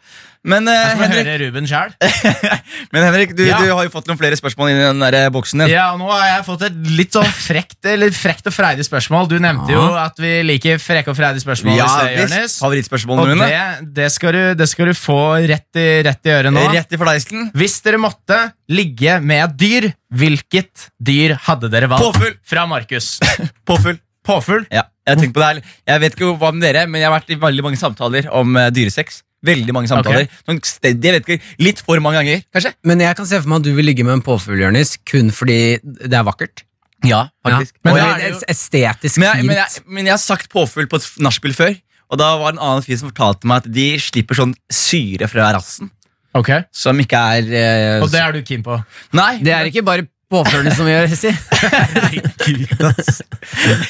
[SPEAKER 2] Men, eh, Henrik,
[SPEAKER 4] Hører Ruben selv.
[SPEAKER 2] men Henrik, du,
[SPEAKER 4] Ja.
[SPEAKER 2] du har jo fått noen flere spørsmål inn i den der eh, boksen din.
[SPEAKER 4] Ja, og nå har jeg fått et litt sånn frekt, eller frekt og freidig spørsmål. Du nevnte jo at vi liker frekke og freidige spørsmål. i sted, Jonis. Og
[SPEAKER 2] Favorittspørsmålene
[SPEAKER 4] det,
[SPEAKER 2] mine.
[SPEAKER 4] det, skal du, det skal du få rett i, rett i øret nå.
[SPEAKER 2] Rett i fleisen.
[SPEAKER 4] Hvis dere måtte ligge med et dyr, hvilket dyr hadde dere valgt?
[SPEAKER 2] Påfugl.
[SPEAKER 4] Fra Markus.
[SPEAKER 2] Påfugl.
[SPEAKER 4] Påfugl?
[SPEAKER 2] Ja, jeg tenker på det her. Jeg vet ikke hva med dere, men jeg har vært i veldig mange samtaler om eh, dyresex. Veldig mange samtaler. Noen sted- jeg vet ikke, litt for mange ganger, kanskje?
[SPEAKER 3] Men jeg kan se for meg at du vil ligge med en påfugl, Jonis, kun fordi det er vakkert.
[SPEAKER 2] Ja, faktisk.
[SPEAKER 3] Men
[SPEAKER 2] Og
[SPEAKER 3] det
[SPEAKER 2] jeg-
[SPEAKER 3] er det jo- estetisk
[SPEAKER 2] Men jeg,
[SPEAKER 3] fint.
[SPEAKER 2] men, jeg, men jeg har sagt påfugl på et f- nachspiel før. Og da var det en annen fyr som fortalte meg at de slipper sånn syre fra rassen.
[SPEAKER 4] Ok.
[SPEAKER 2] Som ikke er eh,
[SPEAKER 4] Og det er du keen på?
[SPEAKER 2] Nei,
[SPEAKER 3] det er ikke bare påfuglene som gjør si.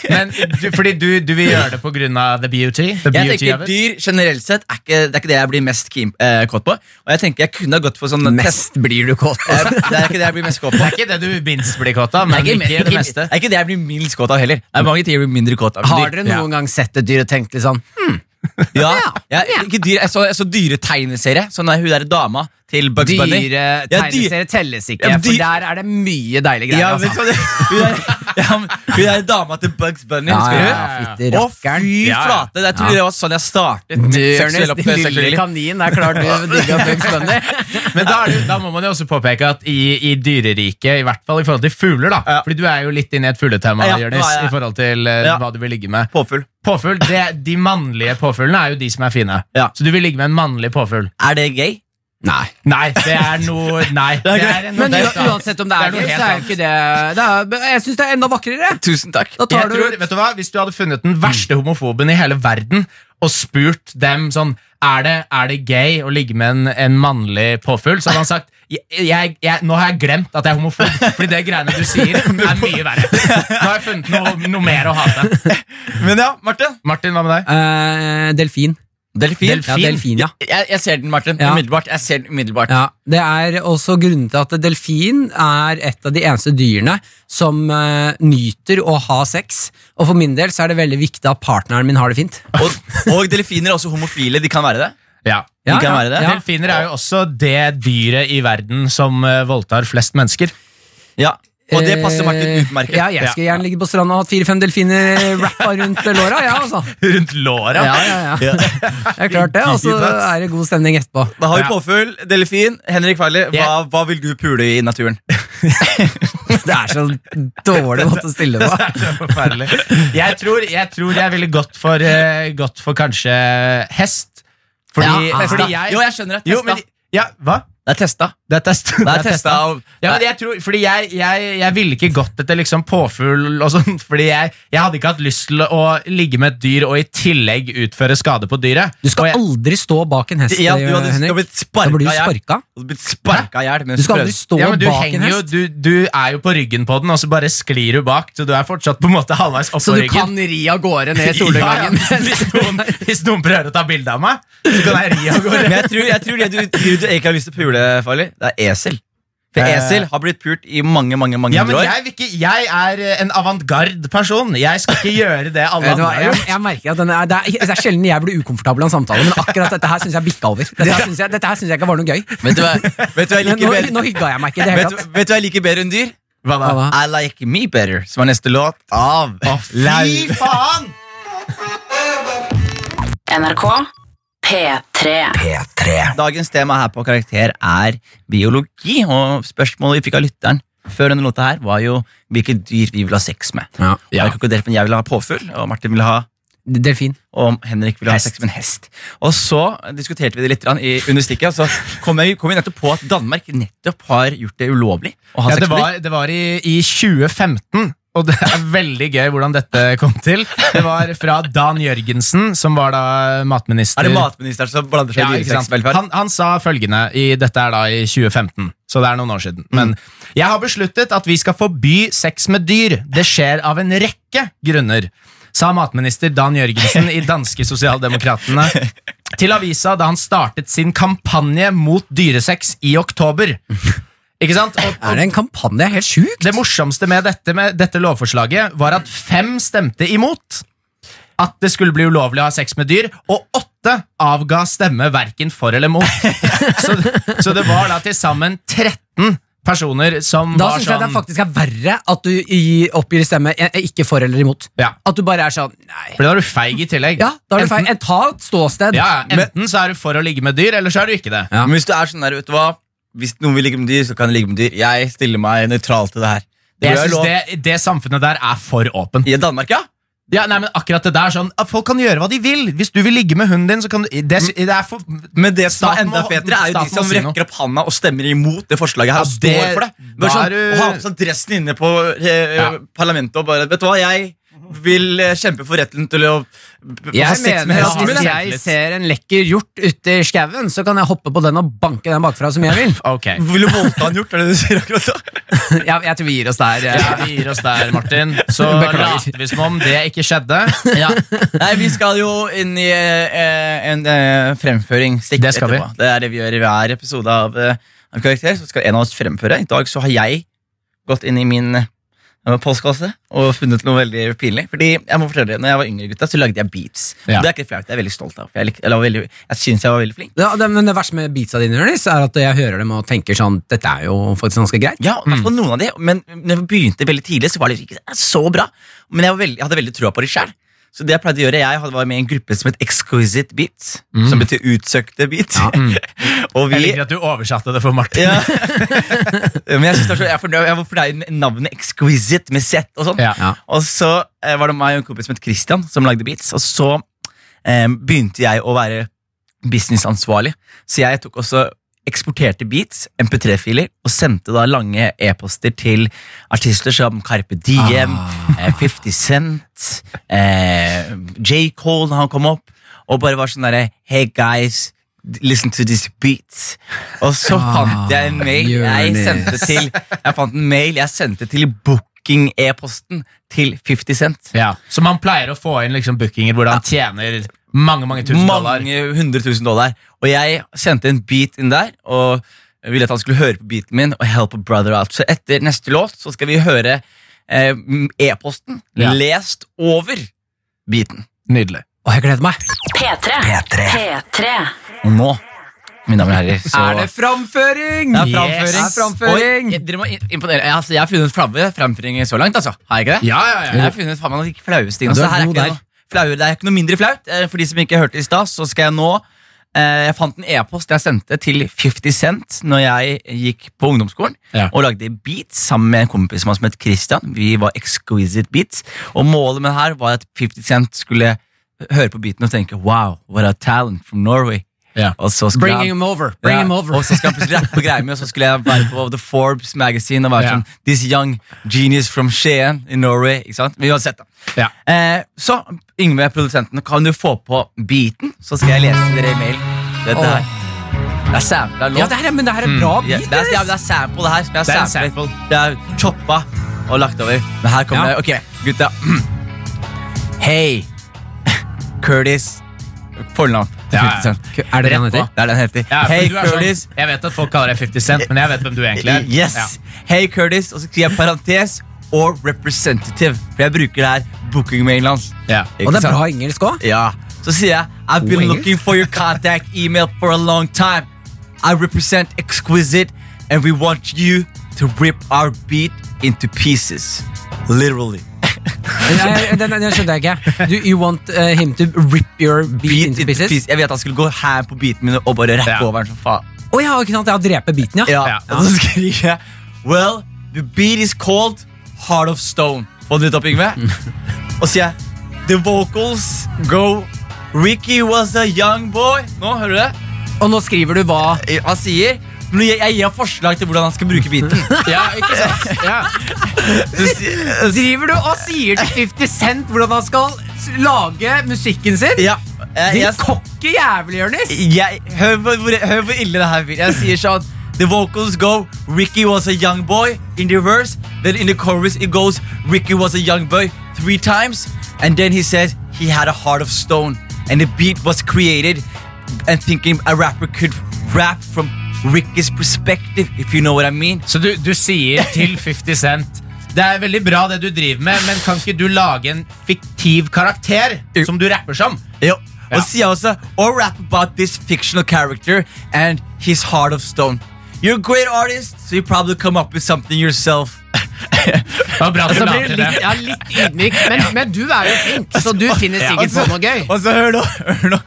[SPEAKER 4] Men du, fordi du, du vil gjøre det på grunn av the beauty? The
[SPEAKER 2] jeg
[SPEAKER 4] beauty
[SPEAKER 2] tenker
[SPEAKER 4] of it?
[SPEAKER 2] Dyr generelt sett er ikke, det er ikke det jeg blir mest keen, eh, kåt på. Og jeg tenker jeg kunne ha gått for sånn test-
[SPEAKER 3] Mest blir du kåt.
[SPEAKER 2] Eh, Det er ikke det jeg blir mest kåt på.
[SPEAKER 4] Det er ikke det du minst blir kåt av, men
[SPEAKER 2] Det er
[SPEAKER 4] ikke, det meste.
[SPEAKER 2] det er ikke det jeg blir minst kåt av heller. Det er mange ting jeg blir mindre kåt av.
[SPEAKER 3] Har
[SPEAKER 2] Dyr.
[SPEAKER 3] dere noen gang sett et dyr og tenkt litt sånn
[SPEAKER 2] Ja, ja, ikke dyr, jeg så, jeg så dyretegneserie. Sånn der, hun der dama til Bugs Bunny.
[SPEAKER 7] Dyre
[SPEAKER 2] Ja, dyr-
[SPEAKER 3] altså.
[SPEAKER 7] tegneserier telles ikke,
[SPEAKER 2] Ja, men dyr-
[SPEAKER 7] for der er det mye deilige greier.
[SPEAKER 2] Ja, vet du
[SPEAKER 7] altså.
[SPEAKER 2] hva det Hun er- ja, men Hun er dama til Bugs Bunny,
[SPEAKER 3] Ja,
[SPEAKER 2] husker
[SPEAKER 3] ja,
[SPEAKER 2] du?
[SPEAKER 3] ja, fytti
[SPEAKER 2] Å, fy
[SPEAKER 4] Ja, ja.
[SPEAKER 2] flate! Jeg tror
[SPEAKER 3] Ja.
[SPEAKER 2] det var sånn jeg startet. mitt
[SPEAKER 7] Du,
[SPEAKER 2] seksuelle opp-
[SPEAKER 7] Ernest,
[SPEAKER 2] seksuelle
[SPEAKER 7] lille
[SPEAKER 2] liv.
[SPEAKER 7] kanin, det er klart du digger Bugs Bunny.
[SPEAKER 4] Men da, er det, da må man jo også påpeke at i, i dyreriket, i hvert fall i forhold til fugler, da
[SPEAKER 2] Ja.
[SPEAKER 4] Fordi du er jo litt inne i et fugletema,
[SPEAKER 2] Ja,
[SPEAKER 4] Jonis,
[SPEAKER 2] ja,
[SPEAKER 4] i
[SPEAKER 2] ja.
[SPEAKER 4] forhold til eh,
[SPEAKER 2] Ja.
[SPEAKER 4] hva du vil ligge med.
[SPEAKER 2] Påfugl.
[SPEAKER 4] Påfugl, det, De mannlige påfuglene er jo de som er fine.
[SPEAKER 2] Ja.
[SPEAKER 4] Så du vil ligge med en mannlig påfugl?
[SPEAKER 2] Er det gay?
[SPEAKER 3] Nei.
[SPEAKER 4] Nei, det er noe Nei. det
[SPEAKER 2] greit.
[SPEAKER 4] er noe
[SPEAKER 7] Men
[SPEAKER 4] helt
[SPEAKER 7] u-
[SPEAKER 4] annet.
[SPEAKER 7] uansett om det er
[SPEAKER 4] noe
[SPEAKER 7] gøy,
[SPEAKER 4] helt
[SPEAKER 7] så er jo
[SPEAKER 4] annet.
[SPEAKER 7] ikke det, det er, Jeg syns det er enda vakrere.
[SPEAKER 2] Tusen takk.
[SPEAKER 7] Da tar
[SPEAKER 4] Jeg
[SPEAKER 7] du
[SPEAKER 4] tror, vet du hva, Hvis du hadde funnet den verste homofoben i hele verden og spurt dem sånn Er det, er det gay å ligge med en, en mannlig påfugl? Så hadde han sagt jeg, jeg, jeg, Nå har jeg glemt at jeg er homofob, fordi det greiene du sier, er mye verre. Nå har jeg funnet noe, noe mer å hate.
[SPEAKER 2] Men ja, Martin.
[SPEAKER 4] Martin, hva med deg?
[SPEAKER 3] Eh, delfin.
[SPEAKER 2] Delfin.
[SPEAKER 3] Ja, delfin, ja.
[SPEAKER 2] Jeg, jeg ser den, Martin.
[SPEAKER 3] Ja.
[SPEAKER 2] Umiddelbart. Jeg ser den umiddelbart.
[SPEAKER 3] Ja, Det er også grunnen til at delfin er et av de eneste dyrene som eh, nyter å ha sex. Og for min del så er det veldig viktig at partneren min har det fint.
[SPEAKER 2] Og, og delfiner er også homofile. De kan være det.
[SPEAKER 4] Ja.
[SPEAKER 2] De kan være det.
[SPEAKER 3] ja.
[SPEAKER 4] Delfiner er jo også det dyret i verden som eh, voldtar flest mennesker.
[SPEAKER 2] Ja. Og det passer Martin
[SPEAKER 3] Eh,
[SPEAKER 2] utmerket.
[SPEAKER 3] Ja, jeg skulle gjerne ligge på stranda og hatt fire-fem delfiner rappa rundt låra. Ja, altså.
[SPEAKER 4] Rundt låra.
[SPEAKER 3] Ja, ja, ja. Det er klart det, og så er det god stemning etterpå.
[SPEAKER 2] Da har vi
[SPEAKER 4] Ja.
[SPEAKER 2] påfugl, delfin, Henrik Farley. Hva,
[SPEAKER 4] Ja.
[SPEAKER 2] hva vil du pule i naturen?
[SPEAKER 3] Det er så dårlig måte å stille på.
[SPEAKER 4] Det er forferdelig. Jeg tror jeg, tror jeg ville gått for, eh, gått for kanskje hest. Fordi,
[SPEAKER 3] Ja,
[SPEAKER 4] fordi
[SPEAKER 2] Testa.
[SPEAKER 4] jeg
[SPEAKER 2] Jo, jeg skjønner det.
[SPEAKER 4] Jo,
[SPEAKER 2] Testa.
[SPEAKER 4] men ja, hva?
[SPEAKER 2] det er testa.
[SPEAKER 4] Det er testa.
[SPEAKER 2] Det er testa. av-
[SPEAKER 4] Ja, men jeg tror, fordi jeg, jeg, jeg ville ikke gått etter liksom påfugl og sånn, fordi jeg, jeg hadde ikke hatt lyst til å ligge med et dyr og i tillegg utføre skade på dyret.
[SPEAKER 3] Du
[SPEAKER 4] Og
[SPEAKER 3] skal
[SPEAKER 4] jeg,
[SPEAKER 3] aldri stå bak en hest,
[SPEAKER 2] Ja, du hadde du hadde
[SPEAKER 3] Henrik.
[SPEAKER 2] blitt
[SPEAKER 3] Da blir du
[SPEAKER 2] sparka i hjel.
[SPEAKER 3] sparka.
[SPEAKER 2] Du hadde blitt sparka i hjel med
[SPEAKER 3] Du skal aldri
[SPEAKER 2] sprøyte.
[SPEAKER 3] stå
[SPEAKER 4] ja, men du,
[SPEAKER 3] bak en
[SPEAKER 4] henger jo,
[SPEAKER 3] hest.
[SPEAKER 4] du, du er jo på ryggen på den, og så bare sklir du bak. Så du er fortsatt på en måte halvveis opp
[SPEAKER 7] Så
[SPEAKER 4] på
[SPEAKER 7] du
[SPEAKER 4] ryggen.
[SPEAKER 7] kan ri av gårde ned i
[SPEAKER 4] Ja, ja.
[SPEAKER 7] solnedgangen.
[SPEAKER 4] Hvis, noen, hvis noen prøver å ta bilde av meg, så kan jeg ri av gårde.
[SPEAKER 2] Men jeg tror, jeg tror det du, du, du egentlig har lyst til å pule, Farley, det er esel. For
[SPEAKER 4] Eh.
[SPEAKER 2] esel har blitt pult i mange mange, mange
[SPEAKER 4] Ja, men
[SPEAKER 2] hundre år.
[SPEAKER 4] jeg, vil ikke, jeg er en avantgarde person. Jeg skal ikke gjøre det alle
[SPEAKER 3] Vet
[SPEAKER 4] andre
[SPEAKER 3] du hva,
[SPEAKER 4] har
[SPEAKER 3] jeg,
[SPEAKER 4] gjort.
[SPEAKER 3] jeg merker at den er, det, er, det er sjelden jeg blir ukomfortabel av en samtale, men akkurat dette her syns jeg bikka over. Dette her synes jeg, dette her synes jeg ikke var noe gøy.
[SPEAKER 2] Vet du hva Vet du hva jeg
[SPEAKER 3] Nå,
[SPEAKER 2] liker bedre
[SPEAKER 3] nå hygga jeg meg ikke i det hele
[SPEAKER 2] Vet du
[SPEAKER 3] tatt.
[SPEAKER 2] vet du hva jeg liker bedre enn dyr?
[SPEAKER 4] Hva da?
[SPEAKER 3] Hva da?
[SPEAKER 2] I like me better, som er neste låt av
[SPEAKER 4] Fy
[SPEAKER 2] Lauv.
[SPEAKER 4] faen!
[SPEAKER 5] NRK P3.
[SPEAKER 2] Dagens tema her på Karakter er biologi, og spørsmålet vi fikk av lytteren før denne låta her, var jo hvilke dyr vi vil ha sex med. Og Jeg, konkluderte med at jeg ville ha påfugl, og Martin ville ha
[SPEAKER 3] Delfin.
[SPEAKER 2] og Henrik ville ha sex med en hest. Og så diskuterte vi det litt grann i, under stikket, og så kom jeg kom vi nettopp på at Danmark nettopp har gjort det ulovlig å ha
[SPEAKER 4] Ja,
[SPEAKER 2] sex
[SPEAKER 4] det
[SPEAKER 2] med dyr.
[SPEAKER 4] var, det var i, i 2015. Og det er veldig gøy hvordan dette kom til. Det var fra Dan Jørgensen, som var da matminister.
[SPEAKER 2] Er det matministeren som blander
[SPEAKER 4] Ja,
[SPEAKER 2] seg i
[SPEAKER 4] ikke sant?
[SPEAKER 2] dyreseksvelferd?
[SPEAKER 4] Han, han sa følgende i, Dette er da i 2015, så det er noen år siden. Men
[SPEAKER 2] Mm.
[SPEAKER 4] jeg har besluttet at vi skal forby sex med dyr. Det skjer av en rekke grunner, sa matminister Dan Jørgensen i danske Sosialdemokratene til avisa da han startet sin kampanje mot dyresex i oktober. Ikke sant? Og, og
[SPEAKER 3] Er det en kampanje? Det er Helt sjukt!
[SPEAKER 4] det morsomste med dette, med dette lovforslaget var at fem stemte imot at det skulle bli ulovlig å ha sex med dyr, og åtte avga stemme verken for eller mot. så, så det var da til sammen 13 personer som
[SPEAKER 3] Da
[SPEAKER 4] var
[SPEAKER 3] syns jeg det
[SPEAKER 4] sånn
[SPEAKER 3] faktisk er verre at du i- oppgir stemme eh, ikke for eller imot.
[SPEAKER 4] Ja.
[SPEAKER 3] At du bare er sånn Nei.
[SPEAKER 4] For da er du feig i tillegg.
[SPEAKER 3] Ja, da er du feil. Ta et ståsted.
[SPEAKER 4] Ja, ja, enten så er du for å ligge med dyr, eller så er du ikke det.
[SPEAKER 3] Ja.
[SPEAKER 2] Men hvis du er sånn der, vet du hva? Hvis noen vil ligge med dyr, så kan de ligge med dyr. Jeg stiller meg nøytral til det her.
[SPEAKER 4] Jeg
[SPEAKER 2] Det bør være
[SPEAKER 4] synes
[SPEAKER 2] lov.
[SPEAKER 4] det, det samfunnet der er for åpent.
[SPEAKER 2] I Danmark, ja?
[SPEAKER 4] Ja, nei, men akkurat det der sånn, at Folk kan gjøre hva de vil. Hvis du vil ligge med hunden din, så kan du Det, det er for
[SPEAKER 3] Mm.
[SPEAKER 2] Men det som er
[SPEAKER 4] Staten
[SPEAKER 2] enda
[SPEAKER 4] må-
[SPEAKER 2] fetere, er jo de
[SPEAKER 4] staten må
[SPEAKER 2] som
[SPEAKER 4] si noe.
[SPEAKER 2] rekker opp handa og stemmer imot det forslaget her.
[SPEAKER 4] Ja,
[SPEAKER 2] og
[SPEAKER 4] det-
[SPEAKER 2] står for det. Bare
[SPEAKER 4] da
[SPEAKER 2] sånn,
[SPEAKER 4] er du-
[SPEAKER 2] Og har med seg dressen inne på eh,
[SPEAKER 4] Ja.
[SPEAKER 2] parlamentet og bare Vet du hva, jeg vil eh, kjempe for retten til å b- b- ha
[SPEAKER 7] Jeg
[SPEAKER 2] sex med
[SPEAKER 7] mener at
[SPEAKER 2] hesten min.
[SPEAKER 7] hvis
[SPEAKER 2] jeg.
[SPEAKER 7] jeg ser en lekker hjort ute i skauen, så kan jeg hoppe på den og banke den bakfra som jeg vil.
[SPEAKER 4] Ok.
[SPEAKER 2] Vil du voldta en hjort? Er det det du sier akkurat da?
[SPEAKER 7] Jeg, jeg tror vi gir oss der. eh.
[SPEAKER 4] Ja, vi gir oss der, Martin. Så
[SPEAKER 7] Beklager.
[SPEAKER 4] later vi som om det ikke skjedde.
[SPEAKER 2] Nei, vi skal jo inn i eh, en eh, fremføring. stikk
[SPEAKER 4] Det skal vi.
[SPEAKER 2] etterpå. Det er det vi gjør i hver episode av, eh, av Karakter. Så skal en av oss fremføre. I dag så har jeg gått inn i min eh, med postkasset og funnet noe veldig pinlig. Fordi jeg må fortelle dere, når jeg var yngre, gutta, så lagde jeg beats.
[SPEAKER 4] Ja.
[SPEAKER 2] Det er ikke flaut, det er jeg veldig stolt av. for Jeg, lik- eller var veldig, jeg synes jeg var veldig flink.
[SPEAKER 7] Ja, det, men det verste med beatsa dine, Jonis, er at jeg hører dem og tenker sånn Dette er jo faktisk ganske greit.
[SPEAKER 2] Ja, i hvert
[SPEAKER 4] Mm.
[SPEAKER 2] fall noen av de, men når jeg begynte veldig tidlig, så var det ikke så bra. Men jeg, var veldig, jeg hadde veldig troa på det sjøl. Så det jeg pleide å gjøre, jeg hadde- var med i en gruppe som het Exquisite Beats, som betyr utsøkte beats. og
[SPEAKER 4] Mm. Jeg
[SPEAKER 2] vi...
[SPEAKER 4] liker at du oversatte det for Martin.
[SPEAKER 2] Ja. Men jeg, synes det er så, jeg, er fornøyd, jeg var fornøyd med navnet Exquisite med Z og sånn.
[SPEAKER 4] Ja.
[SPEAKER 2] Og så eh, var det meg og en kompis som het Christian, som lagde beats. Og så eh, begynte jeg å være businessansvarlig. Så jeg tok også eksporterte beats, MP3-filer, og sendte da lange e-poster til artister som Carpe Diem, eh, 50 Cent, eh, J. Cole når han kom opp, og bare var sånn derre Hey guys, listen to this beat. Og så fant jeg en mail jeg
[SPEAKER 7] Jonis.
[SPEAKER 2] sendte til Jeg fant en mail jeg sendte til booking-e-posten til 50 Cent.
[SPEAKER 4] Ja. Så man pleier å få inn liksom bookinger hvor han tjener mange mange tusen dollar.
[SPEAKER 2] Mange hundre tusen dollar. Og jeg sendte en beat inn der, og ville at han skulle høre på beaten min og help a brother out. Så etter neste låt så skal vi høre eh, e-posten
[SPEAKER 4] Ja.
[SPEAKER 2] lest over beaten.
[SPEAKER 4] Nydelig.
[SPEAKER 7] Og jeg gleder meg.
[SPEAKER 5] P3.
[SPEAKER 1] P3.
[SPEAKER 5] P3.
[SPEAKER 2] Og nå, mine damer og herrer, så
[SPEAKER 7] Er det framføring?
[SPEAKER 2] Det er
[SPEAKER 4] Yes.
[SPEAKER 2] framføring.
[SPEAKER 4] Det er
[SPEAKER 7] framføring.
[SPEAKER 2] Oi, dere må i- imponere. Jeg, altså, jeg har funnet flaue framføringer så langt, altså. Har jeg ikke det?
[SPEAKER 4] Ja, ja,
[SPEAKER 2] Jeg
[SPEAKER 4] ja.
[SPEAKER 2] har funnet faen meg noen flaue, Stine.
[SPEAKER 7] Ja, du
[SPEAKER 2] så
[SPEAKER 7] er
[SPEAKER 2] Altså, her er
[SPEAKER 7] god
[SPEAKER 2] ikke
[SPEAKER 7] der.
[SPEAKER 2] noe flauere. Det er ikke noe mindre flaut. Eh, For de som ikke hørte det i stad, så skal jeg nå eh, Jeg fant en e-post jeg sendte til 50 Cent når jeg gikk på ungdomsskolen
[SPEAKER 4] Ja.
[SPEAKER 2] og lagde beats sammen med en kompis av meg som het Christian. Vi var Exquisite Beats, og målet med det her var at 50 Cent skulle høre på beaten og tenke Wow, what a talent from Norway.
[SPEAKER 4] Ja.
[SPEAKER 2] Og så skulle
[SPEAKER 7] Bring
[SPEAKER 2] han-
[SPEAKER 7] him over. Bring
[SPEAKER 2] ja,
[SPEAKER 7] him over.
[SPEAKER 2] Og så skal jeg plutselig rappe greier med, og så skulle jeg være på The Forbes Magazine og være
[SPEAKER 4] Ja.
[SPEAKER 2] sånn This young genius from Skien in Norway. Ikke sant? Men uansett, da.
[SPEAKER 4] Ja.
[SPEAKER 2] Eh, så Yngve, produsenten, kan du få på beaten? Så skal jeg lese dere i mail. Dette
[SPEAKER 7] Åh.
[SPEAKER 2] her. Det er sampla låt.
[SPEAKER 7] Ja, det her, er- men det her er
[SPEAKER 4] Mm.
[SPEAKER 7] en bra
[SPEAKER 2] Ja,
[SPEAKER 7] beat.
[SPEAKER 2] det, er, ja, det er sample, det her. Som jeg
[SPEAKER 4] Det er
[SPEAKER 2] har
[SPEAKER 4] en
[SPEAKER 2] sample. Det er choppa og lagt over. Men her kommer
[SPEAKER 7] Ja.
[SPEAKER 2] det. Ok, gutta. Hei, Curtis. Fornavn. til
[SPEAKER 4] Ja, ja.
[SPEAKER 2] 50 Cent.
[SPEAKER 7] Er det det han
[SPEAKER 2] Rett på.
[SPEAKER 7] heter?
[SPEAKER 2] Det er det han heter.
[SPEAKER 4] Ja, for
[SPEAKER 2] Hei,
[SPEAKER 4] du er sånn-
[SPEAKER 2] Curtis.
[SPEAKER 4] Jeg vet at folk kaller deg 50 Cent, men jeg vet hvem du egentlig er.
[SPEAKER 2] Yes.
[SPEAKER 4] Ja.
[SPEAKER 2] Hei, Curtis. Og så skriver jeg parentes og representative. For jeg bruker det her bookingmailen hans.
[SPEAKER 4] Ja.
[SPEAKER 7] Og det er bra engelsk òg.
[SPEAKER 2] Ja. Så sier jeg I've been
[SPEAKER 7] engelsk.
[SPEAKER 2] looking for your contact email for a long time. I represent Exquisite, and we want you to rip our beat into pieces. Literally.
[SPEAKER 7] Den, den, den skjønte jeg ikke. Do you want uh, him to rip your beat into pieces?
[SPEAKER 2] Jeg vet han skulle gå her på beaten min og bare rappe
[SPEAKER 4] Ja.
[SPEAKER 2] over den som faen.
[SPEAKER 7] Å ja, ikke sant? Jeg har drept beaten, ja.
[SPEAKER 2] Ja.
[SPEAKER 4] Ja.
[SPEAKER 2] Og så skriver jeg Well, the beat is called Heart of Stone. Få den litt opp, Yngve. Og så sier jeg The vocals go Ricky was a young boy. Nå hører du det?
[SPEAKER 7] Og nå skriver du hva
[SPEAKER 2] Eh, Han sier men jeg, jeg gir forslag til hvordan han skal bruke beaten.
[SPEAKER 4] ja, ikke sant? Ja.
[SPEAKER 2] Så sier-
[SPEAKER 7] Driver du og sier til 50 Cent hvordan han skal s- lage musikken sin?
[SPEAKER 2] Ja, Eh, jeg,
[SPEAKER 7] Din
[SPEAKER 2] jeg,
[SPEAKER 7] kokke jævel, Jonis!
[SPEAKER 2] jeg, hør, hvor, hvor- hør hvor ille det her blir. Jeg sier sånn The vocals go Ricky was a young boy in the verse. Then in the chorus it goes Ricky was a young boy three times. And then he says he had a heart of stone. And the beat was created and thinking a rapper could rap from Ricky's perspective, if you know what I mean.
[SPEAKER 4] Så du, du sier til 50 Cent Det er veldig bra det du driver med, men kan ikke du lage en fiktiv karakter som du rapper som?
[SPEAKER 2] Jo.
[SPEAKER 4] Ja.
[SPEAKER 2] Og sier også Or rap about this fictional character and his heart of stone. You're a great artist, so you probably come up with something yourself.
[SPEAKER 4] Det var bra at
[SPEAKER 7] Så
[SPEAKER 4] du
[SPEAKER 3] Altså,
[SPEAKER 4] la
[SPEAKER 7] blir du
[SPEAKER 4] til
[SPEAKER 7] litt,
[SPEAKER 4] det.
[SPEAKER 7] ja, litt ydmyk, men, men du er jo flink, så du finner sikkert på noe gøy.
[SPEAKER 2] Og så hør nå, hør nå.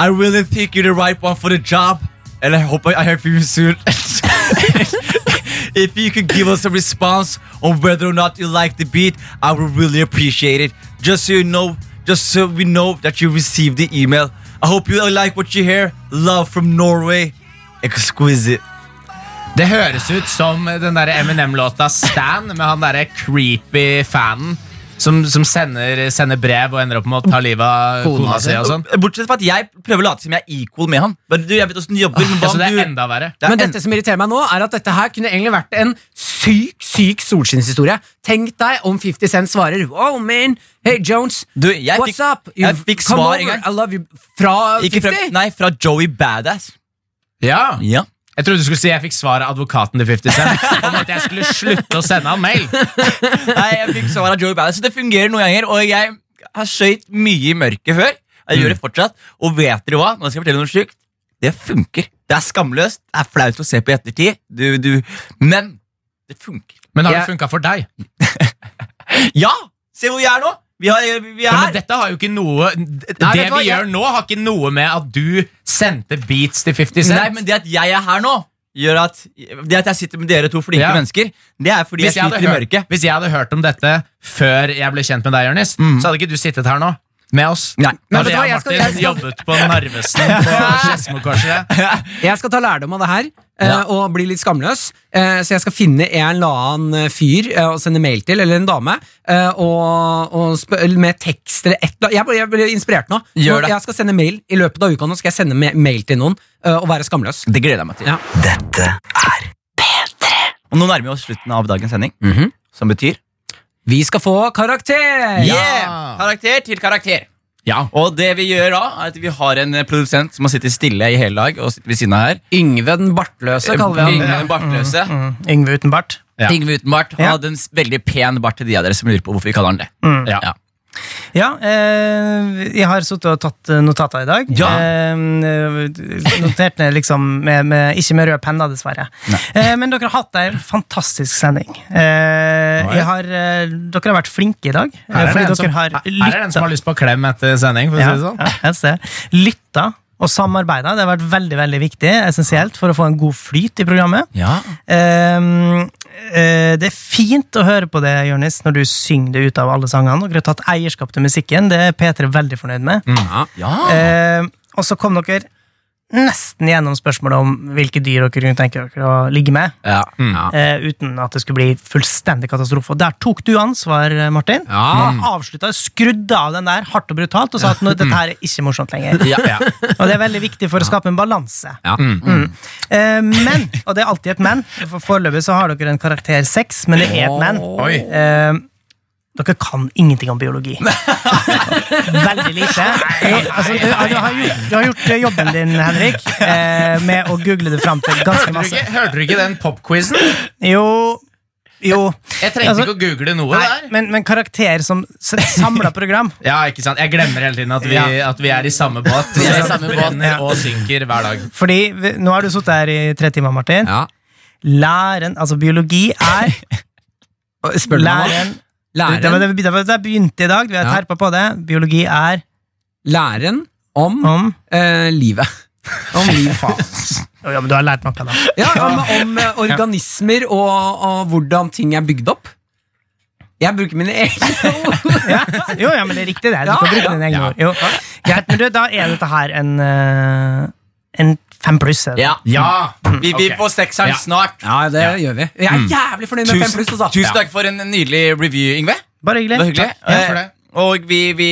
[SPEAKER 2] I really think you're the right one for the job. And I hope I, I help you soon. If you could give us a response on whether or not you like the beat, I would really appreciate it. Just so you know, just so we know that you received the email. I hope you like what you hear. Love from Norway. Exquisite.
[SPEAKER 4] Det høres ut som den der Eminem-låta Stan med han derre creepy fanen som, som sender, sender brev og ender opp med å ta livet av kona si og sånn.
[SPEAKER 2] Eh, Bortsett fra at jeg prøver å late som jeg er equal med han. Men du, jeg vet hvordan du jobber, men hva
[SPEAKER 4] Ja, så det
[SPEAKER 2] om
[SPEAKER 4] er
[SPEAKER 2] du...
[SPEAKER 4] enda verre.
[SPEAKER 2] Det er
[SPEAKER 7] Men
[SPEAKER 2] en-
[SPEAKER 7] dette som irriterer meg nå, er at dette her kunne egentlig vært en syk, syk solskinnshistorie. Tenk deg om 50 Cent svarer Oh man, hey Jones,
[SPEAKER 2] Du, jeg
[SPEAKER 7] what's
[SPEAKER 2] fikk-
[SPEAKER 7] up?
[SPEAKER 2] jeg
[SPEAKER 7] You've
[SPEAKER 2] fikk
[SPEAKER 7] come
[SPEAKER 2] svar
[SPEAKER 7] over,
[SPEAKER 2] en gang.
[SPEAKER 7] I love you. Fra
[SPEAKER 2] Ikke
[SPEAKER 7] 50?
[SPEAKER 2] fra, nei, fra Joey Badass.
[SPEAKER 4] Ja.
[SPEAKER 2] Ja.
[SPEAKER 4] Jeg trodde du skulle si jeg fikk svar av advokaten til 50 Cent om at jeg skulle slutte å sende han mail.
[SPEAKER 2] Nei, jeg fikk svar av Joey Ballas. Det fungerer noen ganger, og jeg har skøyt mye i mørket før. Jeg gjør det fortsatt, og vet dere hva? Nå skal jeg fortelle noe sjukt. Det funker. Det er skamløst, det er flaut å se på i ettertid, du, du. men det funker.
[SPEAKER 4] Men har
[SPEAKER 2] Jeg-
[SPEAKER 4] det funka for deg?
[SPEAKER 2] Ja! Se hvor vi er nå! Vi, har, vi er
[SPEAKER 4] Ja,
[SPEAKER 2] her.
[SPEAKER 4] men dette har jo ikke noe Det
[SPEAKER 7] vet du
[SPEAKER 4] vi
[SPEAKER 7] hva, jeg-
[SPEAKER 4] gjør nå, har ikke noe med at du sendte beats til 50 Cent.
[SPEAKER 2] Nei, men det at jeg er her nå, gjør at Det at jeg sitter med dere to flinke
[SPEAKER 4] Ja.
[SPEAKER 2] mennesker, det er fordi
[SPEAKER 4] hvis,
[SPEAKER 2] jeg
[SPEAKER 4] jeg hadde
[SPEAKER 2] sliter i
[SPEAKER 4] hørt,
[SPEAKER 2] mørket.
[SPEAKER 4] hvis jeg hadde hørt om dette før jeg ble kjent med deg, Jørnis, så hadde ikke du sittet her nå. Med oss.
[SPEAKER 2] Nei.
[SPEAKER 4] Da
[SPEAKER 7] Mm. Men vet
[SPEAKER 4] hadde
[SPEAKER 7] du hva,
[SPEAKER 4] jeg
[SPEAKER 7] jeg
[SPEAKER 4] og
[SPEAKER 7] skal-
[SPEAKER 4] Martin
[SPEAKER 7] jeg skal-
[SPEAKER 4] jobbet på Narvesen på Skedsmokorset.
[SPEAKER 7] Jeg skal ta lærdom av det her eh,
[SPEAKER 2] Ja.
[SPEAKER 7] og bli litt skamløs. Eh, Så jeg skal finne en eller annen eh, fyr eh, å sende mail til, eller en dame, eh, og, og spø- eller med tekst eller et eller annet. Jeg ble- Jeg ble inspirert nå.
[SPEAKER 2] Gjør
[SPEAKER 7] Nå-
[SPEAKER 2] det.
[SPEAKER 7] Jeg skal sende mail i løpet av uka nå skal jeg sende me- mail til noen eh, og være skamløs.
[SPEAKER 2] Det gleder jeg meg til.
[SPEAKER 7] Ja.
[SPEAKER 2] Og nå nærmer vi oss slutten av dagens sending, som betyr
[SPEAKER 7] Vi skal få karakter!
[SPEAKER 2] Eh, Yeah! Karakter til karakter.
[SPEAKER 4] Ja.
[SPEAKER 2] Og det vi gjør da, er at vi har en eh, produsent som har sittet stille i hele dag og sitter ved siden av her.
[SPEAKER 7] Yngve den bartløse, kaller vi han.
[SPEAKER 2] Yngve Bartløse.
[SPEAKER 8] Mm, Yngve uten bart.
[SPEAKER 4] Mm. Ja. Mm.
[SPEAKER 2] Yngve uten bart. Han hadde en s- veldig pen bart til de av dere som lurer på hvorfor vi kaller han det.
[SPEAKER 4] Ja.
[SPEAKER 2] Ja.
[SPEAKER 8] Ja, eh, jeg har sittet og tatt eh, notater i dag.
[SPEAKER 2] Ja.
[SPEAKER 8] Eh, notert ned liksom med, med, Ikke med rød penna, dessverre. Eh, men dere har hatt en fantastisk sending. Eh, jeg har, eh, dere har vært flinke i dag. eh,
[SPEAKER 4] Her er, det
[SPEAKER 8] fordi
[SPEAKER 4] en
[SPEAKER 8] dere
[SPEAKER 4] som, her
[SPEAKER 8] har
[SPEAKER 4] her er det en som har lyst på klem etter sending. For å si det sånn.
[SPEAKER 8] Ja, ja, jeg ser. Lytta og samarbeida. Det har vært veldig veldig viktig, essensielt for å få en god flyt i programmet.
[SPEAKER 2] Ja.
[SPEAKER 8] Ehm, eh, det er fint å høre på det, Jonis, når du synger det ut av alle sangene. Dere har tatt eierskap til musikken. Det er P3 veldig fornøyd med.
[SPEAKER 2] Mm. Ja.
[SPEAKER 8] Ehm, og så kom dere nesten gjennom spørsmålet om hvilke dyr dere kunne tenke dere å ligge med.
[SPEAKER 2] Ja. Ja.
[SPEAKER 8] eh, uten at det skulle bli fullstendig katastrofe. Og der tok du ansvar, eh, Martin.
[SPEAKER 3] Ja.
[SPEAKER 8] Og avslutta, skrudde av den der hardt og brutalt og
[SPEAKER 2] Mm.
[SPEAKER 8] sa at nå, dette her er ikke morsomt lenger.
[SPEAKER 2] Ja.
[SPEAKER 8] Og det er veldig viktig for å skape en balanse.
[SPEAKER 3] Ja.
[SPEAKER 8] Mm. Eh, men, og det er alltid et men, for foreløpig så har dere en karakter seks, men det er et men.
[SPEAKER 4] Oi.
[SPEAKER 8] Eh, dere kan ingenting om biologi. Veldig lite. Altså, du, du, har gjort, du har gjort eh, jobben din, Henrik, eh, med å google det fram til ganske
[SPEAKER 4] Hørte, du
[SPEAKER 8] masse.
[SPEAKER 4] ikke, hørte du ikke den popquizen?
[SPEAKER 8] Jo, jo.
[SPEAKER 4] Jeg trengte
[SPEAKER 8] Altså-
[SPEAKER 4] ikke å google noe
[SPEAKER 8] Nei,
[SPEAKER 4] der.
[SPEAKER 8] men, men karakter som samla program
[SPEAKER 4] Ja, ikke sant? Jeg glemmer hele tiden at vi,
[SPEAKER 8] Ja.
[SPEAKER 4] at vi er i samme båt. Vi
[SPEAKER 2] er i samme båt,
[SPEAKER 4] Brenner
[SPEAKER 8] ja.
[SPEAKER 4] og synker hver dag.
[SPEAKER 8] Fordi vi, nå har du sittet her i tre timer, Martin.
[SPEAKER 3] Ja.
[SPEAKER 8] Læren, altså biologi, er
[SPEAKER 7] Eh,
[SPEAKER 3] Spør du meg nå?
[SPEAKER 8] Læren Det var
[SPEAKER 3] Læren,
[SPEAKER 8] det vi- det var det jeg begynte i dag. Vi har
[SPEAKER 3] Ja.
[SPEAKER 8] terpa på det. Biologi er
[SPEAKER 3] læren om
[SPEAKER 8] om
[SPEAKER 3] eh, livet.
[SPEAKER 8] Om liv, faen. Ja, men du har lært noe, da.
[SPEAKER 3] Ja, om, om eh, organismer og, og hvordan ting er bygd opp. Jeg bruker mine egne ord.
[SPEAKER 8] Ja. Jo, ja, men det er riktig, det. Du
[SPEAKER 3] Ja,
[SPEAKER 8] kan bruke
[SPEAKER 3] ja.
[SPEAKER 8] dine egne ord. Jo. Greit, men du, da er dette her en eh, En fem pluss. er det?
[SPEAKER 2] ja.
[SPEAKER 4] Ja!
[SPEAKER 2] Vi blir på sekseren
[SPEAKER 4] Ja.
[SPEAKER 2] snart.
[SPEAKER 3] Ja, det gjør vi. Jeg er jævlig fornøyd med 5 pluss. Altså.
[SPEAKER 2] tusen takk for en nydelig review, Yngve.
[SPEAKER 8] Bare hyggelig.
[SPEAKER 2] Det var hyggelig.
[SPEAKER 4] Ja, for det.
[SPEAKER 2] Eh, Og vi, vi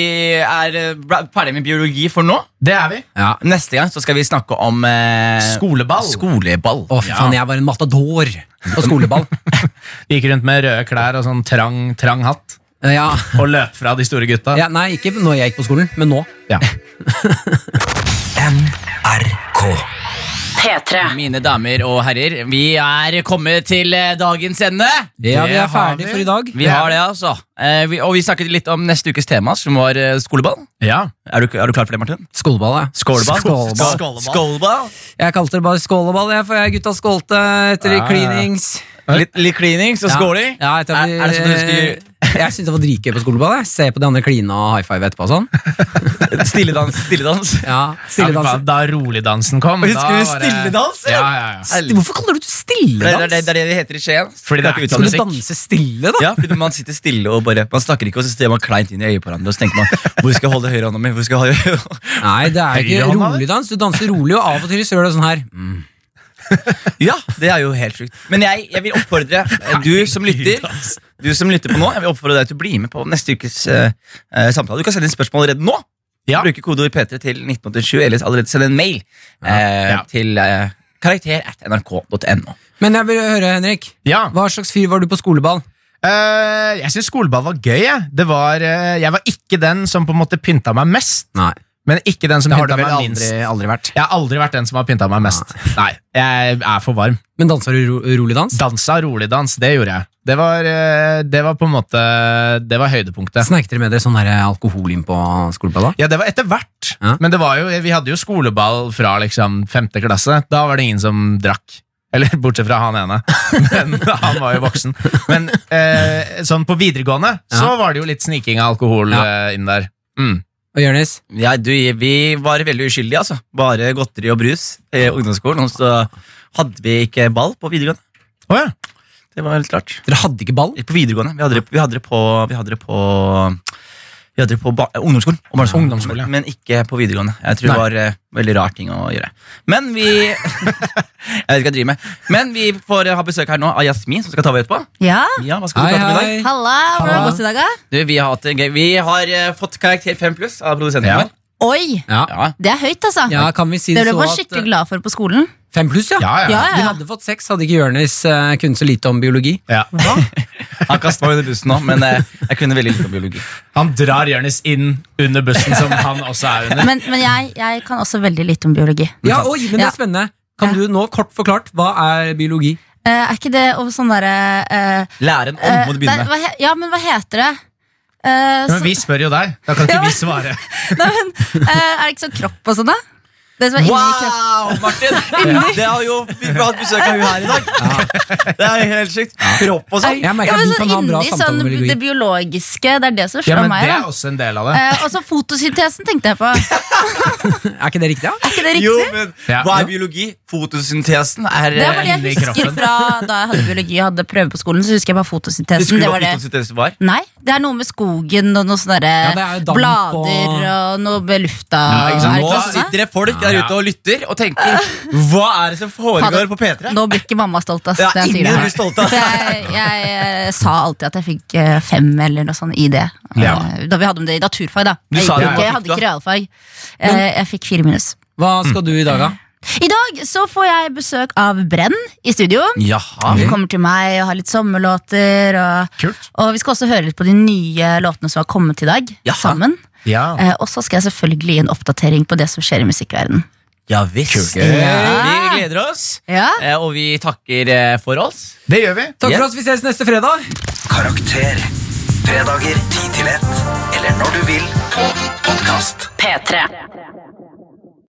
[SPEAKER 2] er eh, bra- ferdig med biologi for nå.
[SPEAKER 4] Det er vi.
[SPEAKER 2] Ja. Neste gang så skal vi snakke om eh,
[SPEAKER 4] Skoleball.
[SPEAKER 2] skoleball.
[SPEAKER 3] Å, fy faen, jeg var en matador på skoleball.
[SPEAKER 4] Vi Gikk rundt med røde klær og sånn trang, trang hatt.
[SPEAKER 3] Eh, Ja,
[SPEAKER 4] Og løp fra de store gutta.
[SPEAKER 3] ja, nei, ikke når jeg gikk på skolen, men nå.
[SPEAKER 4] Ja.
[SPEAKER 1] NRK.
[SPEAKER 5] P3.
[SPEAKER 2] Mine damer og herrer, vi er kommet til eh, dagens ende.
[SPEAKER 3] Ja, vi
[SPEAKER 4] Det
[SPEAKER 3] er
[SPEAKER 4] har
[SPEAKER 3] ferdig
[SPEAKER 4] vi.
[SPEAKER 3] for i dag.
[SPEAKER 2] Vi har det, altså. Eh, vi, og vi snakket litt om neste ukes tema, som var eh, skoleball.
[SPEAKER 4] Ja.
[SPEAKER 2] Er du, er du klar for det, Martin?
[SPEAKER 3] Skåleball, ja.
[SPEAKER 2] Skåleball.
[SPEAKER 3] Skåleball.
[SPEAKER 4] Skåleball.
[SPEAKER 2] Skåleball.
[SPEAKER 3] Jeg kalte det bare skåleball, jeg, for jeg gutta skålte etter
[SPEAKER 2] Ja, ja, ja.
[SPEAKER 3] cleanings.
[SPEAKER 2] Litt, litt klinings og
[SPEAKER 3] Ja.
[SPEAKER 2] skåling.
[SPEAKER 3] Ja, etter at
[SPEAKER 2] Er-
[SPEAKER 3] vi,
[SPEAKER 2] er det sånn at du husker-
[SPEAKER 3] Jeg syntes det var dritgøy på skoleball. Jeg. Se på de andre kline og high five etterpå og sånn.
[SPEAKER 2] Stilledans. Stilledans.
[SPEAKER 4] Ja,
[SPEAKER 3] Ja,
[SPEAKER 4] fy
[SPEAKER 3] stille
[SPEAKER 4] faen, da roligdansen kom
[SPEAKER 2] Husker
[SPEAKER 4] da
[SPEAKER 2] du
[SPEAKER 4] var det-
[SPEAKER 2] stilledans,
[SPEAKER 4] Ja, ja, ja.
[SPEAKER 3] Hvorfor kaller du det
[SPEAKER 2] Det er det,
[SPEAKER 3] stilledans?
[SPEAKER 2] er- det er det det heter i Skien.
[SPEAKER 4] Fordi det er ikke
[SPEAKER 3] Skal du
[SPEAKER 4] musikk.
[SPEAKER 3] danse stille, da?
[SPEAKER 2] Ja, fordi Man sitter stille og bare Man snakker ikke, og så ser man kleint inn i øyet på hverandre. Og så tenker man hvor skal jeg holde høyre hånda mi? Hvor skal jeg holde
[SPEAKER 3] Nei, det er ikke
[SPEAKER 4] Høyrehånda,
[SPEAKER 3] rolig dans. Du danser rolig, og av og til så gjør du sånn her. Mm.
[SPEAKER 2] Ja, det er jo helt sjukt. Men jeg, jeg vil oppfordre eh, du som lytter Du som lytter på nå, jeg vil oppfordre deg til å bli med på neste ukes eh, eh, samtale. Du kan sende inn spørsmål allerede nå.
[SPEAKER 4] Ja.
[SPEAKER 2] Bruke kodeord P3 til 1987, eller allerede send en mail eh,
[SPEAKER 4] Ja.
[SPEAKER 2] til eh, karakter at nrk.no.
[SPEAKER 3] Men jeg vil høre, Henrik.
[SPEAKER 4] Ja.
[SPEAKER 3] Hva slags fyr var du på skoleball?
[SPEAKER 4] Eh, jeg syns skoleball var gøy. Jeg. Det var, eh, jeg var ikke den som på en måte pynta meg mest,
[SPEAKER 3] Nei.
[SPEAKER 4] Men ikke den som
[SPEAKER 3] Det har du
[SPEAKER 4] pynta
[SPEAKER 3] vel
[SPEAKER 4] meg
[SPEAKER 3] aldri,
[SPEAKER 4] minst.
[SPEAKER 3] aldri vært.
[SPEAKER 4] Jeg har aldri vært den som har pynta meg mest. Nei, jeg er for varm.
[SPEAKER 7] Men danser du ro rolig dans?
[SPEAKER 4] Dansa roligdans, det gjorde jeg. Det var, eh, det var på en måte Det var høydepunktet.
[SPEAKER 7] Sneik dere med dere sånn der alkohol inn på skoleballa?
[SPEAKER 4] Ja, det var etter hvert.
[SPEAKER 7] Ja.
[SPEAKER 4] Men det var jo, vi hadde jo skoleball fra liksom femte klasse. Da var det ingen som drakk. Eller bortsett fra han ene. Men han var jo voksen. Men eh, sånn på videregående så var det jo litt sniking av alkohol eh, inn der. Mm.
[SPEAKER 7] Og Jonis?
[SPEAKER 2] Ja, du, vi var veldig uskyldige, altså. Bare godteri og brus i ungdomsskolen. Og så hadde vi ikke ball på videregående.
[SPEAKER 4] Å ja.
[SPEAKER 2] Det var helt klart.
[SPEAKER 7] Dere hadde ikke ball?
[SPEAKER 2] På videregående. Vi hadde det, vi hadde det på Vi hadde det på vi hadde det på ba- ungdomsskolen, og barneskolen.
[SPEAKER 4] Ungdomsskolen, ja.
[SPEAKER 2] men, men ikke på videregående. Jeg tror det var eh, veldig rar ting å gjøre. Men vi Jeg vet ikke hva jeg driver med. Men vi får eh, ha besøk her nå av Jasmin, som skal ta over etterpå.
[SPEAKER 9] Ja,
[SPEAKER 2] Ja, hva skal du prate om i dag?
[SPEAKER 9] halla, hvordan har det gått i dag? da?
[SPEAKER 2] Du, vi har, hatt en gøy- vi har eh, fått karakter 5 pluss av produsenten
[SPEAKER 4] Ja.
[SPEAKER 2] vår.
[SPEAKER 9] Oi,
[SPEAKER 7] Ja.
[SPEAKER 2] Ja.
[SPEAKER 9] det er høyt altså
[SPEAKER 7] ja, kan vi si
[SPEAKER 9] Det
[SPEAKER 7] det
[SPEAKER 9] ble
[SPEAKER 7] så
[SPEAKER 9] jeg bare
[SPEAKER 7] at eh,
[SPEAKER 9] skikkelig glad for på skolen
[SPEAKER 7] Fem pluss, ja.
[SPEAKER 4] Ja, ja, ja.
[SPEAKER 9] Ja, ja,
[SPEAKER 7] Vi
[SPEAKER 9] ja
[SPEAKER 7] hadde fått seks, hadde ikke Jonis eh, kunnet så lite om biologi.
[SPEAKER 2] Han kasta meg under bussen nå, men eh, jeg kunne veldig lite om biologi.
[SPEAKER 4] Han drar Jonis inn under bussen, som han også er under.
[SPEAKER 9] Men, men jeg, jeg kan også veldig litt om biologi
[SPEAKER 7] Ja, oi, men det
[SPEAKER 9] Ja.
[SPEAKER 7] er spennende. Kan du nå kort forklart, hva er biologi?
[SPEAKER 9] Eh, Er ikke det om sånn der eh,
[SPEAKER 2] Læren om,
[SPEAKER 9] eh,
[SPEAKER 2] må
[SPEAKER 9] nei,
[SPEAKER 2] du begynne med.
[SPEAKER 9] hva he- Ja, men hva heter det? Eh,
[SPEAKER 4] Men vi spør jo deg. Da kan ikke
[SPEAKER 9] Ja, men-
[SPEAKER 4] vi svare.
[SPEAKER 9] så, nei, men, eh, er det ikke sånn kropp og sånn da? Det som er inni kroppen
[SPEAKER 2] Wow, Martin! Det har jo Vi har hatt besøk av hun her i dag. Det er jo helt sykt. Kropp og sånn.
[SPEAKER 7] Jeg merker
[SPEAKER 9] ja,
[SPEAKER 7] at
[SPEAKER 9] men
[SPEAKER 7] vi kan ha en
[SPEAKER 9] sånn
[SPEAKER 7] bra
[SPEAKER 9] inni
[SPEAKER 7] samtale
[SPEAKER 9] sånn,
[SPEAKER 7] om biologi.
[SPEAKER 9] det biologiske Det er det som
[SPEAKER 4] Ja,
[SPEAKER 9] slår
[SPEAKER 4] men
[SPEAKER 9] meg
[SPEAKER 4] Det
[SPEAKER 9] da
[SPEAKER 4] er også en del av det.
[SPEAKER 9] Eh, Og så fotosyntesen tenkte jeg på Er
[SPEAKER 7] Er ikke det riktig? Ja?
[SPEAKER 9] ikke det riktig?
[SPEAKER 2] Jo, men
[SPEAKER 4] Ja.
[SPEAKER 2] Hva er biologi? Fotosyntesen er
[SPEAKER 9] Det
[SPEAKER 2] eh,
[SPEAKER 9] var det
[SPEAKER 4] inni
[SPEAKER 9] jeg husker
[SPEAKER 4] kroppen.
[SPEAKER 9] fra da jeg hadde biologi og hadde prøve på skolen. Så husker jeg bare
[SPEAKER 2] Husker
[SPEAKER 9] fotosyntesen.
[SPEAKER 2] du
[SPEAKER 9] Det
[SPEAKER 2] hva
[SPEAKER 9] var det.
[SPEAKER 2] fotosyntesen var?
[SPEAKER 9] Nei, det er noe med skogen og noe
[SPEAKER 7] Ja,
[SPEAKER 9] sånne
[SPEAKER 7] det er jo
[SPEAKER 9] derre
[SPEAKER 7] damp og-
[SPEAKER 9] blader og noe med lufta.
[SPEAKER 4] Ja, ikke sant?
[SPEAKER 9] Er det
[SPEAKER 2] Nå
[SPEAKER 9] ikke sånn, da?
[SPEAKER 2] sitter det folk der ute og lytter og tenker Hva er det som foregår
[SPEAKER 9] Fader.
[SPEAKER 2] på P3?
[SPEAKER 9] Nå blir ikke mamma stolt, ass.
[SPEAKER 2] Ja,
[SPEAKER 9] når jeg sier
[SPEAKER 2] ingen
[SPEAKER 9] det her.
[SPEAKER 2] blir stolt av.
[SPEAKER 9] For jeg, jeg eh, sa alltid at jeg fikk eh, fem eller noe sånt i det. Eh,
[SPEAKER 4] Ja.
[SPEAKER 9] Da vi hadde om det i naturfag, da.
[SPEAKER 2] Du
[SPEAKER 9] jeg,
[SPEAKER 2] sa
[SPEAKER 9] gikk jo
[SPEAKER 2] det,
[SPEAKER 9] ikke, jeg
[SPEAKER 2] hva fikk
[SPEAKER 9] hadde
[SPEAKER 2] du
[SPEAKER 9] ikke realfag. Eh, Jeg fikk fire minus.
[SPEAKER 7] Hva skal du i dag, da?
[SPEAKER 9] I dag så får jeg besøk av Brenn i studio.
[SPEAKER 2] Jaha.
[SPEAKER 9] De kommer til meg og har litt sommerlåter. Og,
[SPEAKER 4] Kult.
[SPEAKER 9] og vi skal også høre litt på de nye låtene som har kommet i dag.
[SPEAKER 2] Jaha.
[SPEAKER 9] sammen.
[SPEAKER 4] Ja.
[SPEAKER 9] Eh, og så skal jeg selvfølgelig gi en oppdatering på det som skjer i musikkverdenen.
[SPEAKER 2] Ja visst. Eh, Vi gleder oss,
[SPEAKER 9] Ja.
[SPEAKER 2] eh, og vi takker eh, for oss.
[SPEAKER 4] Det gjør vi.
[SPEAKER 7] Takk
[SPEAKER 2] Ja.
[SPEAKER 7] for oss, vi ses neste fredag!
[SPEAKER 1] Karakter. Fredager 10 til 1. Eller når du vil på podkast.
[SPEAKER 5] P3.